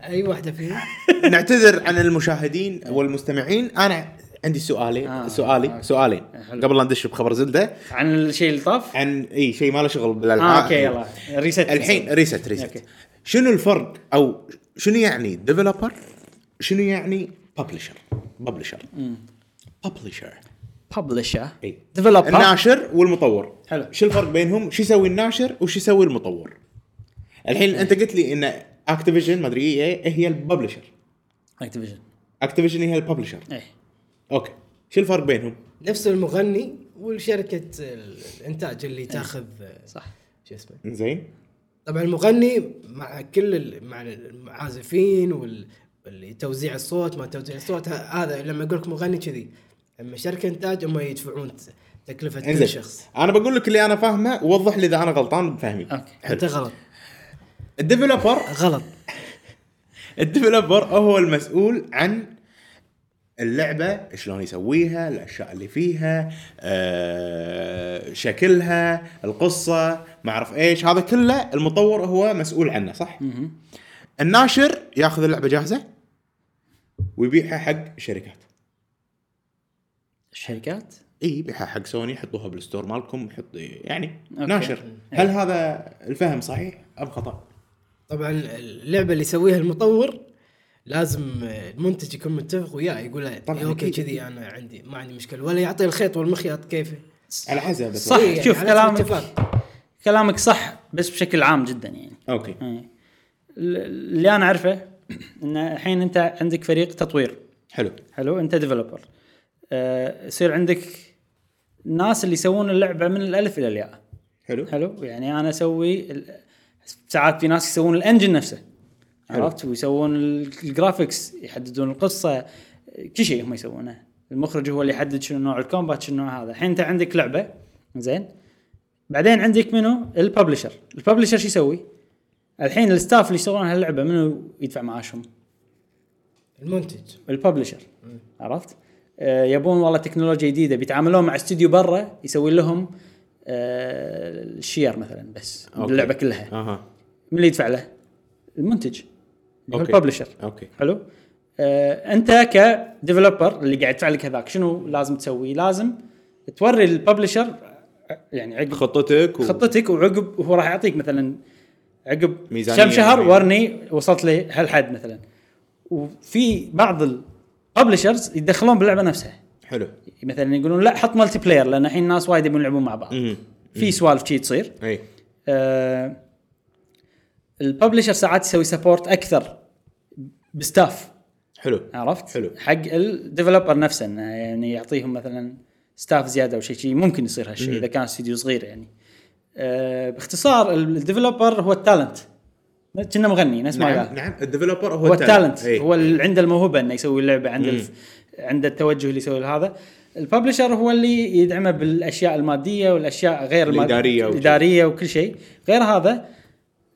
Speaker 2: اي واحده فيهم
Speaker 3: نعتذر عن المشاهدين والمستمعين انا عندي سؤالين
Speaker 1: آه.
Speaker 3: سؤالي سؤالين
Speaker 1: حلو.
Speaker 3: قبل لا ندش بخبر زلده
Speaker 1: عن الشيء اللي طاف
Speaker 3: عن اي شيء ما له شغل بالالعاب
Speaker 1: اه اوكي يلا ريست
Speaker 3: الحين ريست ريست
Speaker 1: أوكي.
Speaker 3: شنو الفرق او شنو يعني ديفلوبر شنو يعني ببلشر ببلشر ببلشر
Speaker 1: ببلشر
Speaker 3: اي
Speaker 1: ديفلوبر
Speaker 3: الناشر والمطور
Speaker 1: حلو.
Speaker 3: شو الفرق بينهم شو يسوي الناشر وش يسوي المطور الحين انت قلت لي ان اكتيفيجن ما ادري ايه هي الببلشر
Speaker 1: اكتيفيجن
Speaker 3: اكتيفيجن هي الببلشر
Speaker 1: ايه
Speaker 3: اوكي شو الفرق بينهم
Speaker 2: نفس المغني والشركه الانتاج
Speaker 1: إيه.
Speaker 2: اللي تاخذ
Speaker 1: صح
Speaker 2: شو اسمه
Speaker 3: زين
Speaker 2: طبعا المغني مع كل ال- مع المعازفين وال اللي توزيع الصوت ما توزيع الصوت ه- هذا لما اقول لك مغني كذي اما شركه انتاج هم يدفعون ت- تكلفه كل
Speaker 3: انزين
Speaker 2: شخص
Speaker 3: انا بقول لك اللي انا فاهمه ووضح لي اذا انا غلطان بفهمي
Speaker 1: أوكي.
Speaker 3: حلو
Speaker 2: انت غلط
Speaker 3: الديفلوبر
Speaker 2: غلط
Speaker 3: الديفلوبر هو المسؤول عن اللعبه شلون يسويها الاشياء اللي فيها آه، شكلها القصه ما اعرف ايش هذا كله المطور هو مسؤول عنه صح الناشر ياخذ اللعبه جاهزه ويبيعها حق شركات
Speaker 1: الشركات
Speaker 3: اي يبيعها حق سوني حطوها بالستور مالكم حط يعني
Speaker 1: أوكي.
Speaker 3: ناشر هل هذا الفهم صحيح ام خطا
Speaker 2: طبعا اللعبه اللي يسويها المطور لازم المنتج يكون متفق وياه يقول له
Speaker 3: طبعاً
Speaker 2: طبعا اوكي
Speaker 3: أكيد.
Speaker 2: كذي انا عندي ما عندي مشكله ولا يعطي الخيط والمخيط كيفه
Speaker 3: على حسب
Speaker 1: صح
Speaker 2: إيه، يعني
Speaker 1: شوف
Speaker 2: على
Speaker 1: كلامك
Speaker 2: اتفاق.
Speaker 1: كلامك صح بس بشكل عام جدا يعني
Speaker 3: اوكي
Speaker 1: إيه. ال- اللي انا اعرفه ان الحين انت عندك فريق تطوير
Speaker 3: حلو
Speaker 1: حلو انت ديفلوبر آه، يصير عندك ناس اللي يسوون اللعبه من الالف الى الياء
Speaker 3: حلو
Speaker 1: حلو يعني انا اسوي ال- ساعات في ناس يسوون الانجن نفسه
Speaker 3: حلو.
Speaker 1: عرفت ويسوون ال- الجرافيكس يحددون القصه كل شيء هم يسوونه المخرج هو اللي يحدد شنو نوع الكومبات شنو نوع هذا الحين انت عندك لعبه زين بعدين عندك منو الببلشر الببلشر شو يسوي الحين الستاف اللي يشتغلون على اللعبه منو يدفع معاشهم
Speaker 2: المنتج
Speaker 1: الببلشر عرفت آه يبون والله تكنولوجيا جديده بيتعاملون مع استوديو برا يسوي لهم آه الشير مثلا بس
Speaker 3: أوكي.
Speaker 1: اللعبه كلها
Speaker 3: اها
Speaker 1: من اللي يدفع له المنتج اللي هو
Speaker 3: أوكي.
Speaker 1: الببلشر
Speaker 3: اوكي
Speaker 1: حلو آه، انت كديفلوبر اللي قاعد يدفع لك هذاك شنو لازم تسوي لازم توري الببلشر يعني عقب
Speaker 3: خطتك و...
Speaker 1: خطتك وعقب وهو راح يعطيك مثلا عقب
Speaker 3: ميزانية
Speaker 1: كم شهر
Speaker 3: يعني.
Speaker 1: ورني وصلت لهالحد مثلا وفي بعض الببلشرز يدخلون باللعبه نفسها
Speaker 3: حلو
Speaker 1: مثلا يقولون لا حط ملتي بلاير لان الحين الناس وايد يبون يلعبون مع بعض
Speaker 3: مم.
Speaker 1: في سوالف شي تصير
Speaker 3: اي
Speaker 1: آه الببلشر ساعات يسوي سبورت اكثر بستاف
Speaker 3: حلو
Speaker 1: عرفت؟
Speaker 3: حلو.
Speaker 1: حق الديفلوبر نفسه انه يعني يعطيهم مثلا ستاف زياده او شيء شيء ممكن يصير هالشيء اذا كان استوديو صغير يعني. آه باختصار الديفلوبر هو التالنت كنا مغني ناس ما
Speaker 3: نعم
Speaker 1: قال
Speaker 3: نعم الديفلوبر هو إيه.
Speaker 1: هو التالنت
Speaker 3: إي.
Speaker 1: هو اللي عنده الموهبه انه يسوي اللعبه عنده الف... عنده التوجه اللي يسوي هذا الببلشر هو اللي يدعمه بالاشياء الماديه والاشياء غير المادية
Speaker 3: الإدارية وكذا.
Speaker 1: الاداريه وكل شيء غير هذا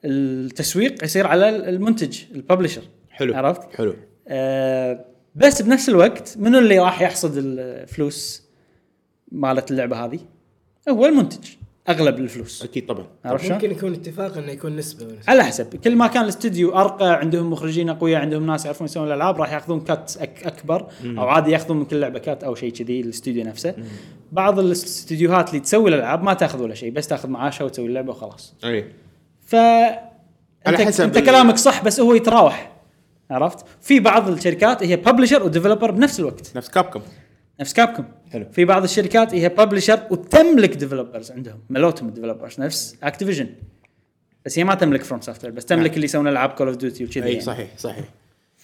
Speaker 1: التسويق يصير على المنتج الببلشر
Speaker 3: حلو
Speaker 1: عرفت؟
Speaker 3: حلو
Speaker 1: آه، بس بنفس الوقت منو اللي راح يحصد الفلوس مالت اللعبه هذه؟ هو المنتج اغلب الفلوس
Speaker 3: اكيد طبعا
Speaker 1: عرفت شلون؟
Speaker 2: ممكن يكون اتفاق انه يكون نسبه
Speaker 1: على حسب كل ما كان الاستوديو ارقى عندهم مخرجين اقوياء عندهم ناس يعرفون يسوون الالعاب راح ياخذون كات أك اكبر او عادي ياخذون من كل لعبه كات او شيء كذي الاستوديو نفسه بعض الاستوديوهات اللي تسوي الالعاب ما تاخذ ولا شيء بس تاخذ معاشها وتسوي اللعبه وخلاص
Speaker 3: اي
Speaker 1: ف
Speaker 3: على
Speaker 1: انت,
Speaker 3: حسب
Speaker 1: انت
Speaker 3: ال-
Speaker 1: كلامك صح بس هو يتراوح عرفت في بعض الشركات هي ببلشر وديفلوبر بنفس الوقت
Speaker 3: نفس كابكم
Speaker 1: نفس كابكم
Speaker 3: حلو.
Speaker 1: في بعض الشركات هي ببلشر وتملك ديفلوبرز عندهم ملوتهم الديفلوبرز نفس اكتيفيجن بس هي ما تملك فروم سوفت وير بس تملك
Speaker 3: نعم.
Speaker 1: اللي يسوون العاب كول اوف ديوتي وكذي
Speaker 3: اي
Speaker 1: يعني.
Speaker 3: صحيح صحيح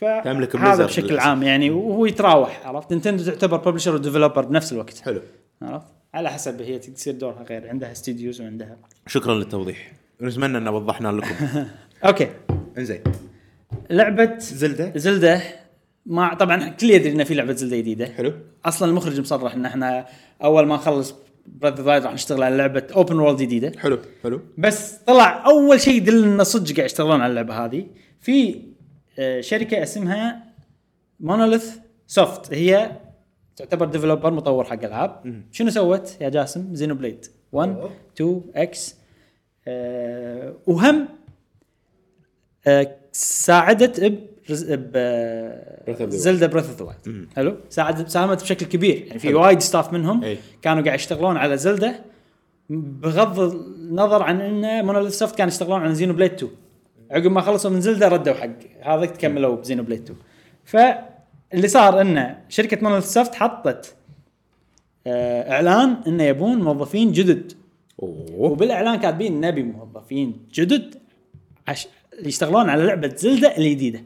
Speaker 1: تملك
Speaker 3: تملك
Speaker 1: هذا
Speaker 3: Blizzard
Speaker 1: بشكل
Speaker 3: للأسف.
Speaker 1: عام يعني وهو يتراوح عرفت نينتندو تعتبر ببلشر وديفلوبر بنفس الوقت
Speaker 3: حلو
Speaker 1: عرفت على حسب هي تصير دورها غير عندها استديوز وعندها
Speaker 3: شكرا للتوضيح نتمنى ان وضحنا لكم
Speaker 1: اوكي
Speaker 3: انزين
Speaker 1: لعبه
Speaker 3: زلده
Speaker 1: زلده ما طبعا كل يدري ان في لعبه زلده جديده
Speaker 3: حلو
Speaker 1: اصلا المخرج مصرح ان احنا اول ما نخلص براذ راح نشتغل على لعبه اوبن وورلد جديده
Speaker 3: حلو حلو
Speaker 1: بس طلع اول شيء يدل انه صدق قاعد يشتغلون على اللعبه هذه في آه، شركه اسمها مونوليث سوفت هي تعتبر ديفلوبر مطور حق العاب شنو سوت يا جاسم زينو بليد 1
Speaker 2: أوه.
Speaker 1: 2 اكس أه وهم أه ساعدت ب ب
Speaker 3: Breath of the Wild.
Speaker 1: زلدا بريث اوف ذا وايلد حلو ساعدت ساهمت بشكل كبير يعني في
Speaker 3: حلو.
Speaker 1: وايد ستاف منهم
Speaker 3: أي.
Speaker 1: كانوا قاعد يشتغلون على زلده بغض النظر عن انه مونوليث سوفت كانوا يشتغلون على زينو بليد 2 عقب ما خلصوا من زلده ردوا حق هذا كملوا بزينو بليد 2 فاللي صار انه شركه مونوليث سوفت حطت آه، اعلان انه يبون موظفين جدد
Speaker 3: اوه
Speaker 1: وبالاعلان كاتبين نبي موظفين جدد عش... يشتغلون على لعبه زلده الجديده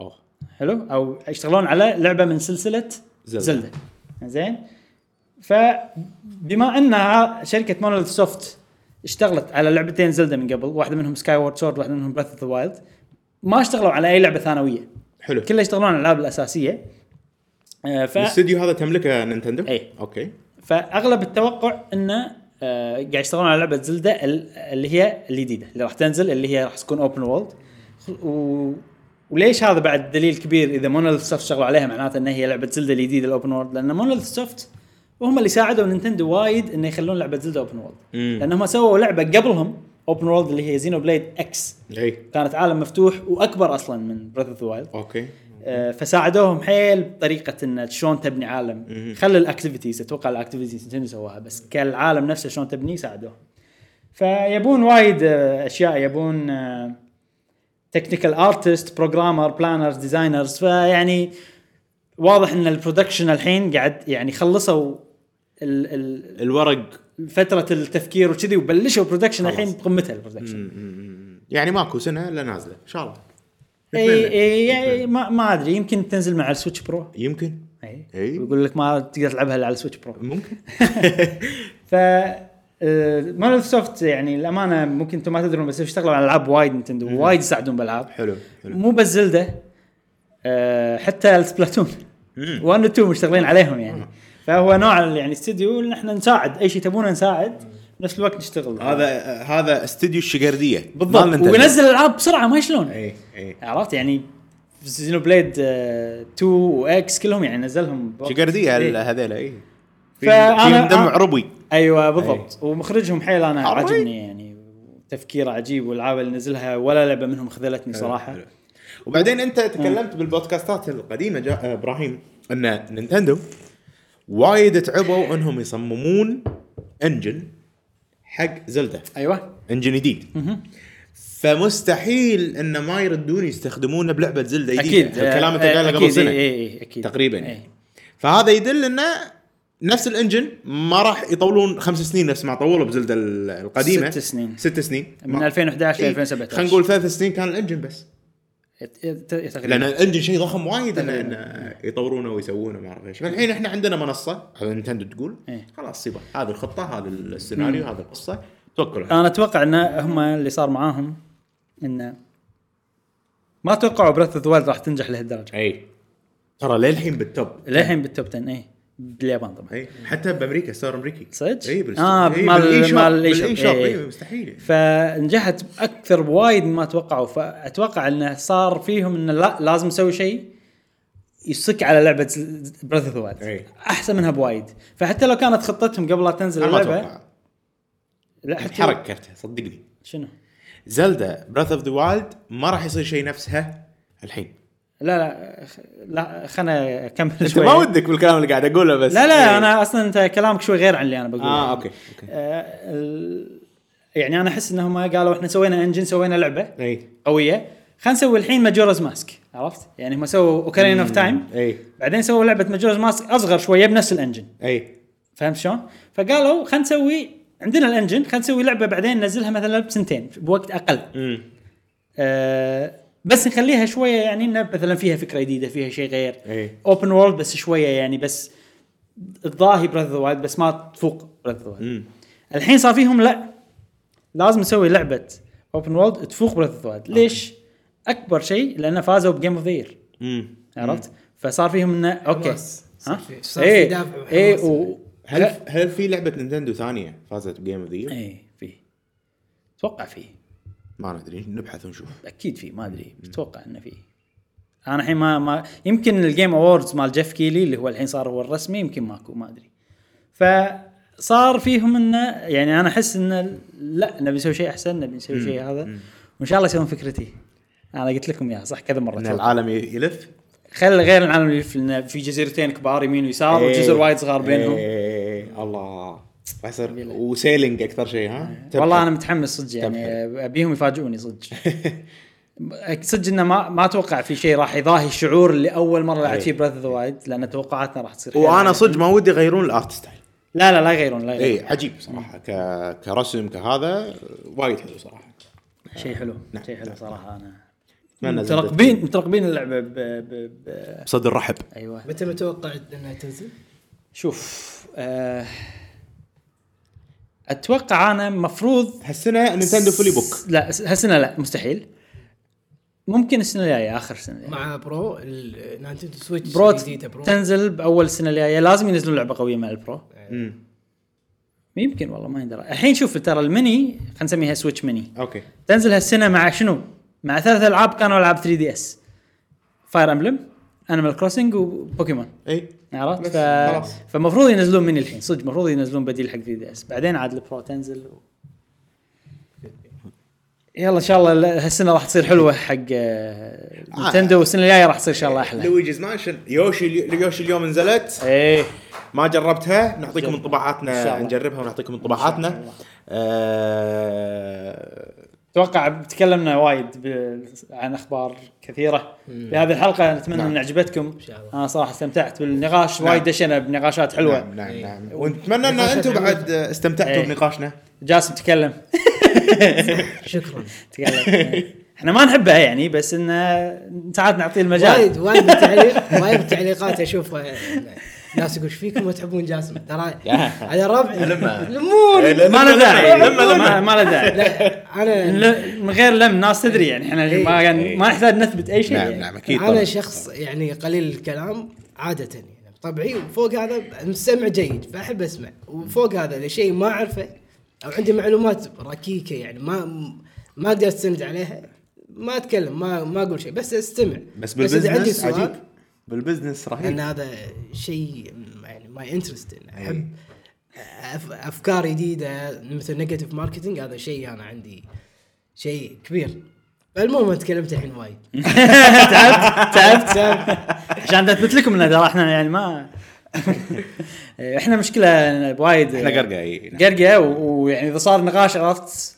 Speaker 3: اوه
Speaker 1: حلو او يشتغلون على لعبه من سلسله
Speaker 3: زلدة.
Speaker 1: زلده, زلدة. زين فبما ان ها- شركه مونوليث سوفت اشتغلت على لعبتين زلده من قبل واحده منهم سكاي وورد سورد واحده منهم براث اوف ذا وايلد ما اشتغلوا على اي لعبه ثانويه
Speaker 3: حلو
Speaker 1: كلها يشتغلون على الالعاب الاساسيه آه، ف... إيه.
Speaker 3: الاستديو هذا تملكه نينتندو؟
Speaker 1: إي.
Speaker 3: اوكي
Speaker 1: فاغلب التوقع انه آه، قاعد يشتغلون على لعبه زلده ال- اللي هي الجديده اللي راح تنزل اللي هي راح تكون اوبن وولد و... وليش هذا بعد دليل كبير اذا مونوليث سوفت شغلوا عليها معناته ان هي لعبه زلده الجديده الاوبن وولد لان مونوليث سوفت وهم اللي ساعدوا نينتندو وايد انه يخلون لعبه زلده اوبن وولد
Speaker 3: مم.
Speaker 1: لانهم سووا لعبه قبلهم اوبن وولد اللي هي زينو بليد اكس
Speaker 3: اي
Speaker 1: كانت عالم مفتوح واكبر اصلا من براذر اوف ذا وايلد
Speaker 3: اوكي
Speaker 1: آه، فساعدوهم حيل بطريقه ان شلون تبني عالم
Speaker 3: مهم.
Speaker 1: خلى الاكتيفيتيز اتوقع الاكتيفيتيز نتندو سواها بس كالعالم نفسه شلون تبنيه ساعدوهم فيبون وايد آه، اشياء يبون آه، تكنيكال ارتست بروجرامر بلانرز ديزاينرز فيعني واضح ان البرودكشن الحين قاعد يعني خلصوا ال- ال-
Speaker 3: الورق
Speaker 1: فتره التفكير وكذي وبلشوا برودكشن
Speaker 3: خلاص.
Speaker 1: الحين بقمتها البرودكشن
Speaker 3: يعني ماكو سنه الا نازله ان شاء الله
Speaker 1: اي
Speaker 3: نتمنى.
Speaker 1: اي إي، ما ما ادري يمكن تنزل مع السويتش برو
Speaker 3: يمكن
Speaker 1: اي
Speaker 3: إي.
Speaker 1: إيه. ويقول لك ما تقدر تلعبها الا على السويتش برو
Speaker 3: ممكن
Speaker 1: ف مايكروسوفت سوفت يعني الامانه ممكن انتم ما تدرون بس يشتغلوا على العاب وايد نتندو وايد يساعدون بالالعاب
Speaker 3: حلو إيه. حلو
Speaker 1: مو بس زلده أه حتى السبلاتون
Speaker 3: إيه.
Speaker 1: 1 و 2 مشتغلين عليهم
Speaker 3: آه.
Speaker 1: يعني فهو نوع ال- يعني استديو ان احنا نساعد اي شيء تبونه نساعد نفس الوقت نشتغل
Speaker 3: هذا هذا استديو الشقرديه مال
Speaker 1: بالضبط
Speaker 3: نينتندو.
Speaker 1: وينزل العاب بسرعه ما شلون
Speaker 3: اي اي
Speaker 1: عرفت يعني آه، زينو بليد 2 واكس كلهم يعني نزلهم
Speaker 3: شقرديه
Speaker 1: إيه.
Speaker 3: ال- هذيلا اي
Speaker 1: فأنا-
Speaker 3: فانا دمع
Speaker 1: أنا-
Speaker 3: عربي
Speaker 1: ايوه بالضبط ومخرجهم حيل انا
Speaker 3: عربي.
Speaker 1: عاجبني يعني تفكيره عجيب والالعاب اللي نزلها ولا لعبه منهم خذلتني صراحه
Speaker 3: حلو. وبعدين انت تكلمت بالبودكاستات القديمه جا... ابراهيم ان نينتندو وايد تعبوا انهم يصممون انجن حق زلده
Speaker 1: ايوه
Speaker 3: انجن جديد فمستحيل انه ما يردون يستخدمونه بلعبه زلده جديده
Speaker 1: اكيد
Speaker 3: الكلام اللي قاله قبل
Speaker 1: أكيد،
Speaker 3: سنه
Speaker 1: إي- إي- إي، اكيد
Speaker 3: تقريبا
Speaker 1: إي.
Speaker 3: يعني. فهذا يدل انه نفس الانجن ما راح يطولون خمس سنين نفس ما طولوا بزلده ال- القديمه
Speaker 1: ست سنين.
Speaker 3: ست سنين
Speaker 1: من
Speaker 3: ما-
Speaker 1: 2011 ل
Speaker 3: إي.
Speaker 1: 2017
Speaker 3: خلينا نقول ثلاث سنين كان الانجن بس لان
Speaker 1: تقريبا
Speaker 3: الانجن شيء ضخم وايد انه إنه يطورونه ويسوونه ما اعرف ايش فالحين احنا عندنا منصه هذا نينتندو تقول
Speaker 1: إيه.
Speaker 3: خلاص سيبه هذه الخطه هذا السيناريو هذا القصه توكلوا على
Speaker 1: انا اتوقع ان هم اللي صار معاهم انه ما توقعوا بريث اوف راح تنجح لهالدرجه
Speaker 3: الله. اي ترى للحين بالتوب
Speaker 1: للحين بالتوب 10 اي باليابان طبعا
Speaker 3: اي حتى بامريكا صار امريكي
Speaker 1: صدق؟
Speaker 3: اي بالست-
Speaker 1: آه،
Speaker 3: إي،
Speaker 1: مال-
Speaker 3: إيه، بالإي شوب-
Speaker 1: مال الإي شوب. إيه.
Speaker 3: بالإي شوب
Speaker 1: إي.
Speaker 3: اي مستحيل
Speaker 1: فنجحت اكثر بوايد مما توقعوا فاتوقع انه صار فيهم انه لا لازم نسوي شيء يصك على لعبه بريث اوف
Speaker 3: إي.
Speaker 1: احسن منها بوايد فحتى لو كانت خطتهم قبل لا تنزل
Speaker 3: انا ما
Speaker 1: اللعبه
Speaker 3: اتوقع
Speaker 1: لا حتى
Speaker 3: حرق كرتها صدقني
Speaker 1: شنو؟
Speaker 3: زلدا براث اوف ذا وايلد ما راح يصير شيء نفسها الحين
Speaker 1: لا لا خ- لا خلنا اكمل
Speaker 3: انت ما
Speaker 1: شوي
Speaker 3: ودك إيه. بالكلام اللي قاعد اقوله بس
Speaker 1: لا
Speaker 3: إي.
Speaker 1: لا انا اصلا انت كلامك شوي غير عن اللي انا بقوله
Speaker 3: اه اوكي اوكي
Speaker 1: آه، ال- يعني انا احس انهم قالوا احنا سوينا انجن سوينا لعبه
Speaker 3: اي
Speaker 1: قويه خلينا نسوي الحين ماجورز ماسك عرفت؟ يعني هم سووا اوكرين اوف تايم
Speaker 3: اي
Speaker 1: بعدين سووا لعبه ماجورز ماسك اصغر شويه بنفس الانجن
Speaker 3: اي
Speaker 1: فهمت شلون؟ فقالوا خلينا نسوي عندنا الانجن خلينا نسوي لعبه بعدين ننزلها مثلا بسنتين بوقت اقل
Speaker 3: امم
Speaker 1: أه بس نخليها شويه يعني إنه مثلا فيها فكره جديده فيها شيء غير
Speaker 3: اي
Speaker 1: اوبن وورلد بس شويه يعني بس تضاهي براذ وايد بس ما تفوق براذ وايد
Speaker 3: امم
Speaker 1: الحين صار فيهم لا لازم نسوي لعبه اوبن وورلد تفوق براذ وايد ليش؟ اكبر شيء لانه فازوا بجيم اوف ذير
Speaker 3: امم
Speaker 1: عرفت؟ فصار فيهم انه اوكي
Speaker 2: حماس. صار
Speaker 1: ها؟
Speaker 2: في- صار في
Speaker 1: ايه
Speaker 2: دافع وحماس.
Speaker 1: ايه و...
Speaker 3: هل هل في لعبه نينتندو ثانيه فازت بجيم اوف ذا
Speaker 1: ايه في اتوقع في
Speaker 3: ما ندري نبحث ونشوف
Speaker 1: اكيد في ما ادري بس اتوقع انه في انا الحين ما ما يمكن الجيم اووردز مال جيف كيلي اللي هو الحين صار هو الرسمي يمكن ماكو ما ادري فصار فيهم انه يعني انا احس انه لا نبي نسوي شيء احسن نبي نسوي شيء هذا وان شاء الله يسوون فكرتي انا قلت لكم اياها صح كذا
Speaker 3: ان
Speaker 1: مره
Speaker 3: العالم يلف
Speaker 1: خل غير العالم اللي في- إنه في جزيرتين كبار يمين ويسار
Speaker 3: إيه.
Speaker 1: وجزر وايد صغار بينهم
Speaker 3: إيه. الله راح يصير وسيلينج اكثر شيء ها
Speaker 1: إيه. والله انا
Speaker 3: تبحث.
Speaker 1: متحمس صدق يعني ابيهم يفاجئوني صدق صدق انه ما ما اتوقع في شيء راح يضاهي الشعور اللي اول مره
Speaker 3: إيه.
Speaker 1: لعبت فيه براذ ذا وايد لان توقعاتنا راح تصير حيل
Speaker 3: وانا
Speaker 1: عالية.
Speaker 3: صدق ما ودي يغيرون الارت ستايل
Speaker 1: لا لا لا يغيرون لا يغيرون
Speaker 3: اي إيه، عجيب صراحه ك... كرسم كهذا وايد حلو صراحه
Speaker 1: شيء حلو
Speaker 3: نعم.
Speaker 1: شيء حلو صراحه انا
Speaker 3: أتمنى زلدة
Speaker 1: مترقبين مترقبين اللعبه ب... ب... ب...
Speaker 3: بصدر رحب
Speaker 1: ايوه
Speaker 2: متى متوقع انها تنزل؟
Speaker 1: شوف آه... اتوقع انا مفروض
Speaker 3: هالسنه نينتندو فولي بوك
Speaker 1: لا هالسنه لا مستحيل ممكن السنه الجايه اخر سنه الجاية.
Speaker 2: مع برو ال- نينتندو سويتش
Speaker 1: برو
Speaker 2: الجديده برو
Speaker 1: تنزل باول السنه الجايه لازم ينزلون لعبه قويه مع البرو
Speaker 3: أمم.
Speaker 1: يمكن والله ما يندرى الحين شوف ترى الميني خلينا نسميها سويتش ميني
Speaker 3: اوكي
Speaker 1: تنزل هالسنه مع شنو؟ مع ثلاث العاب كانوا العاب 3 دي اس فاير امبلم انيمال كروسنج وبوكيمون
Speaker 3: اي
Speaker 1: عرفت؟ ف...
Speaker 3: خلاص.
Speaker 1: فمفروض ينزلون ميني الحين صدق المفروض ينزلون بديل حق 3 دي اس بعدين عاد البرو تنزل و... يلا ان شاء الله ال- هالسنه راح تصير حلوه حق آه، نينتندو والسنه الجايه راح تصير ان شاء الله احلى
Speaker 3: لويجيز مانشن يوشي يوشي اليوم نزلت
Speaker 1: ايه
Speaker 3: ما جربتها نعطيكم
Speaker 1: جرب. إن شاء
Speaker 3: انطباعاتنا
Speaker 1: الله.
Speaker 3: نجربها ونعطيكم انطباعاتنا آه،
Speaker 1: اتوقع تكلمنا وايد ب- عن اخبار كثيره في هذه الحلقه نتمنى
Speaker 3: نعم.
Speaker 1: ان عجبتكم
Speaker 2: شاء الله.
Speaker 1: انا صراحه استمتعت بالنقاش وايد دشينا بنقاشات حلوه
Speaker 3: نعم نعم نعم ونتمنى ان انتم بعد استمتعتوا
Speaker 1: إيه.
Speaker 3: بنقاشنا
Speaker 1: جاسم تكلم
Speaker 2: شكرا
Speaker 1: تكلم احنا ما نحبها يعني بس انه ساعات نعطيه المجال
Speaker 2: وايد وايد التعليق وايد التعليقات اشوفها ناس يقول ايش فيكم ما تحبون جاسم ترى على ربعي
Speaker 3: لما.
Speaker 2: لموني
Speaker 3: إيه،
Speaker 1: ما له داعي
Speaker 3: لما
Speaker 1: ما-
Speaker 3: لما
Speaker 1: ما له داعي
Speaker 2: انا
Speaker 1: ل- من غير لم ناس تدري يعني احنا
Speaker 2: إيه.
Speaker 1: ما ما نحتاج نثبت اي شيء
Speaker 3: نعم
Speaker 1: يعني.
Speaker 3: نعم اكيد
Speaker 2: انا
Speaker 3: طبعاً.
Speaker 2: شخص يعني قليل الكلام عاده يعني طبعي وفوق هذا مستمع جيد فاحب اسمع وفوق هذا لشيء ما اعرفه او عندي معلومات ركيكه يعني ما ما اقدر استند عليها ما اتكلم ما ما اقول شيء بس استمع
Speaker 3: بس
Speaker 2: إذا عندي
Speaker 3: بالبزنس
Speaker 2: سؤال
Speaker 3: عجيب بالبزنس
Speaker 2: لان
Speaker 3: رهيب
Speaker 2: هذا شيء يعني ماي انترست
Speaker 3: إيه.
Speaker 2: احب أف- افكار جديده مثل نيجاتيف ماركتنج هذا شيء انا عندي شيء كبير المهم أنا تكلمت الحين وايد
Speaker 1: تعبت تعبت تعبت عشان اثبت لكم ان ترى احنا يعني ما احنا مشكله وايد
Speaker 3: احنا قرقاي
Speaker 1: قرقه و- ويعني اذا صار نقاش عرفت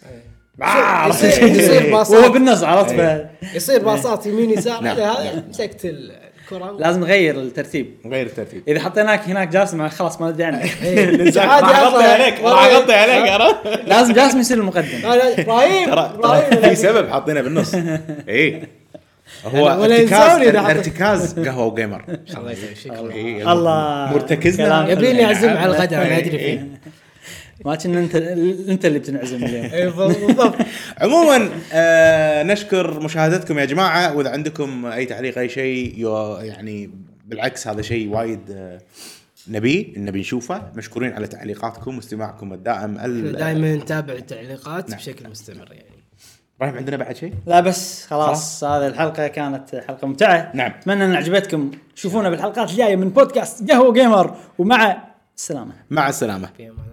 Speaker 3: آه،
Speaker 1: عرفت؟
Speaker 3: إيه،
Speaker 2: يصير- يصير باصات. إيه.
Speaker 1: وهو بالنص عرفت ف-
Speaker 2: يصير باصات يمين يسار
Speaker 3: نعم،
Speaker 2: هذا
Speaker 3: نعم.
Speaker 2: هذا مسكت الكره
Speaker 1: لازم نغير الترتيب
Speaker 3: غير الترتيب
Speaker 1: اذا حطيناك هناك جاسم خلاص ما ندري عنك
Speaker 3: راح
Speaker 2: إيه. عادي
Speaker 3: اغطي
Speaker 2: أصلاً.
Speaker 3: عليك راح اغطي عليك عرفت
Speaker 1: لازم جاسم يصير المقدم
Speaker 2: لا لا ابراهيم
Speaker 3: ترى ترى في
Speaker 2: ابراهيم
Speaker 3: سبب حاطينه بالنص اي هو
Speaker 2: ولا
Speaker 3: ارتكاز
Speaker 2: إنسان إذا حط-
Speaker 3: ارتكاز قهوه وجيمر
Speaker 2: الله يسلمك شكرا
Speaker 3: إي،
Speaker 1: الله كلام
Speaker 3: مرتكزنا إيه.
Speaker 2: يبيني اعزم على
Speaker 3: الغداء
Speaker 2: الغداء ما ادري فيه
Speaker 1: ما كنا انت انت اللي بتنعزم اليوم
Speaker 2: إي، إيه، بالضبط
Speaker 3: عموما آه نشكر مشاهدتكم يا جماعه واذا عندكم اي تعليق اي شيء يو- يعني بالعكس هذا شيء وايد آه، نبيه نبي نشوفه مشكورين على تعليقاتكم واستماعكم الدائم ال-
Speaker 2: دائما نتابع التعليقات
Speaker 3: نعم.
Speaker 2: بشكل مستمر يعني
Speaker 3: ابراهيم عندنا بعد شيء
Speaker 1: لا بس خلاص هذه الحلقه كانت حلقه ممتعه
Speaker 3: نعم.
Speaker 1: اتمنى ان عجبتكم شوفونا بالحلقات الجايه من بودكاست قهوه جيمر ومع السلامه
Speaker 3: مع السلامه
Speaker 2: في امان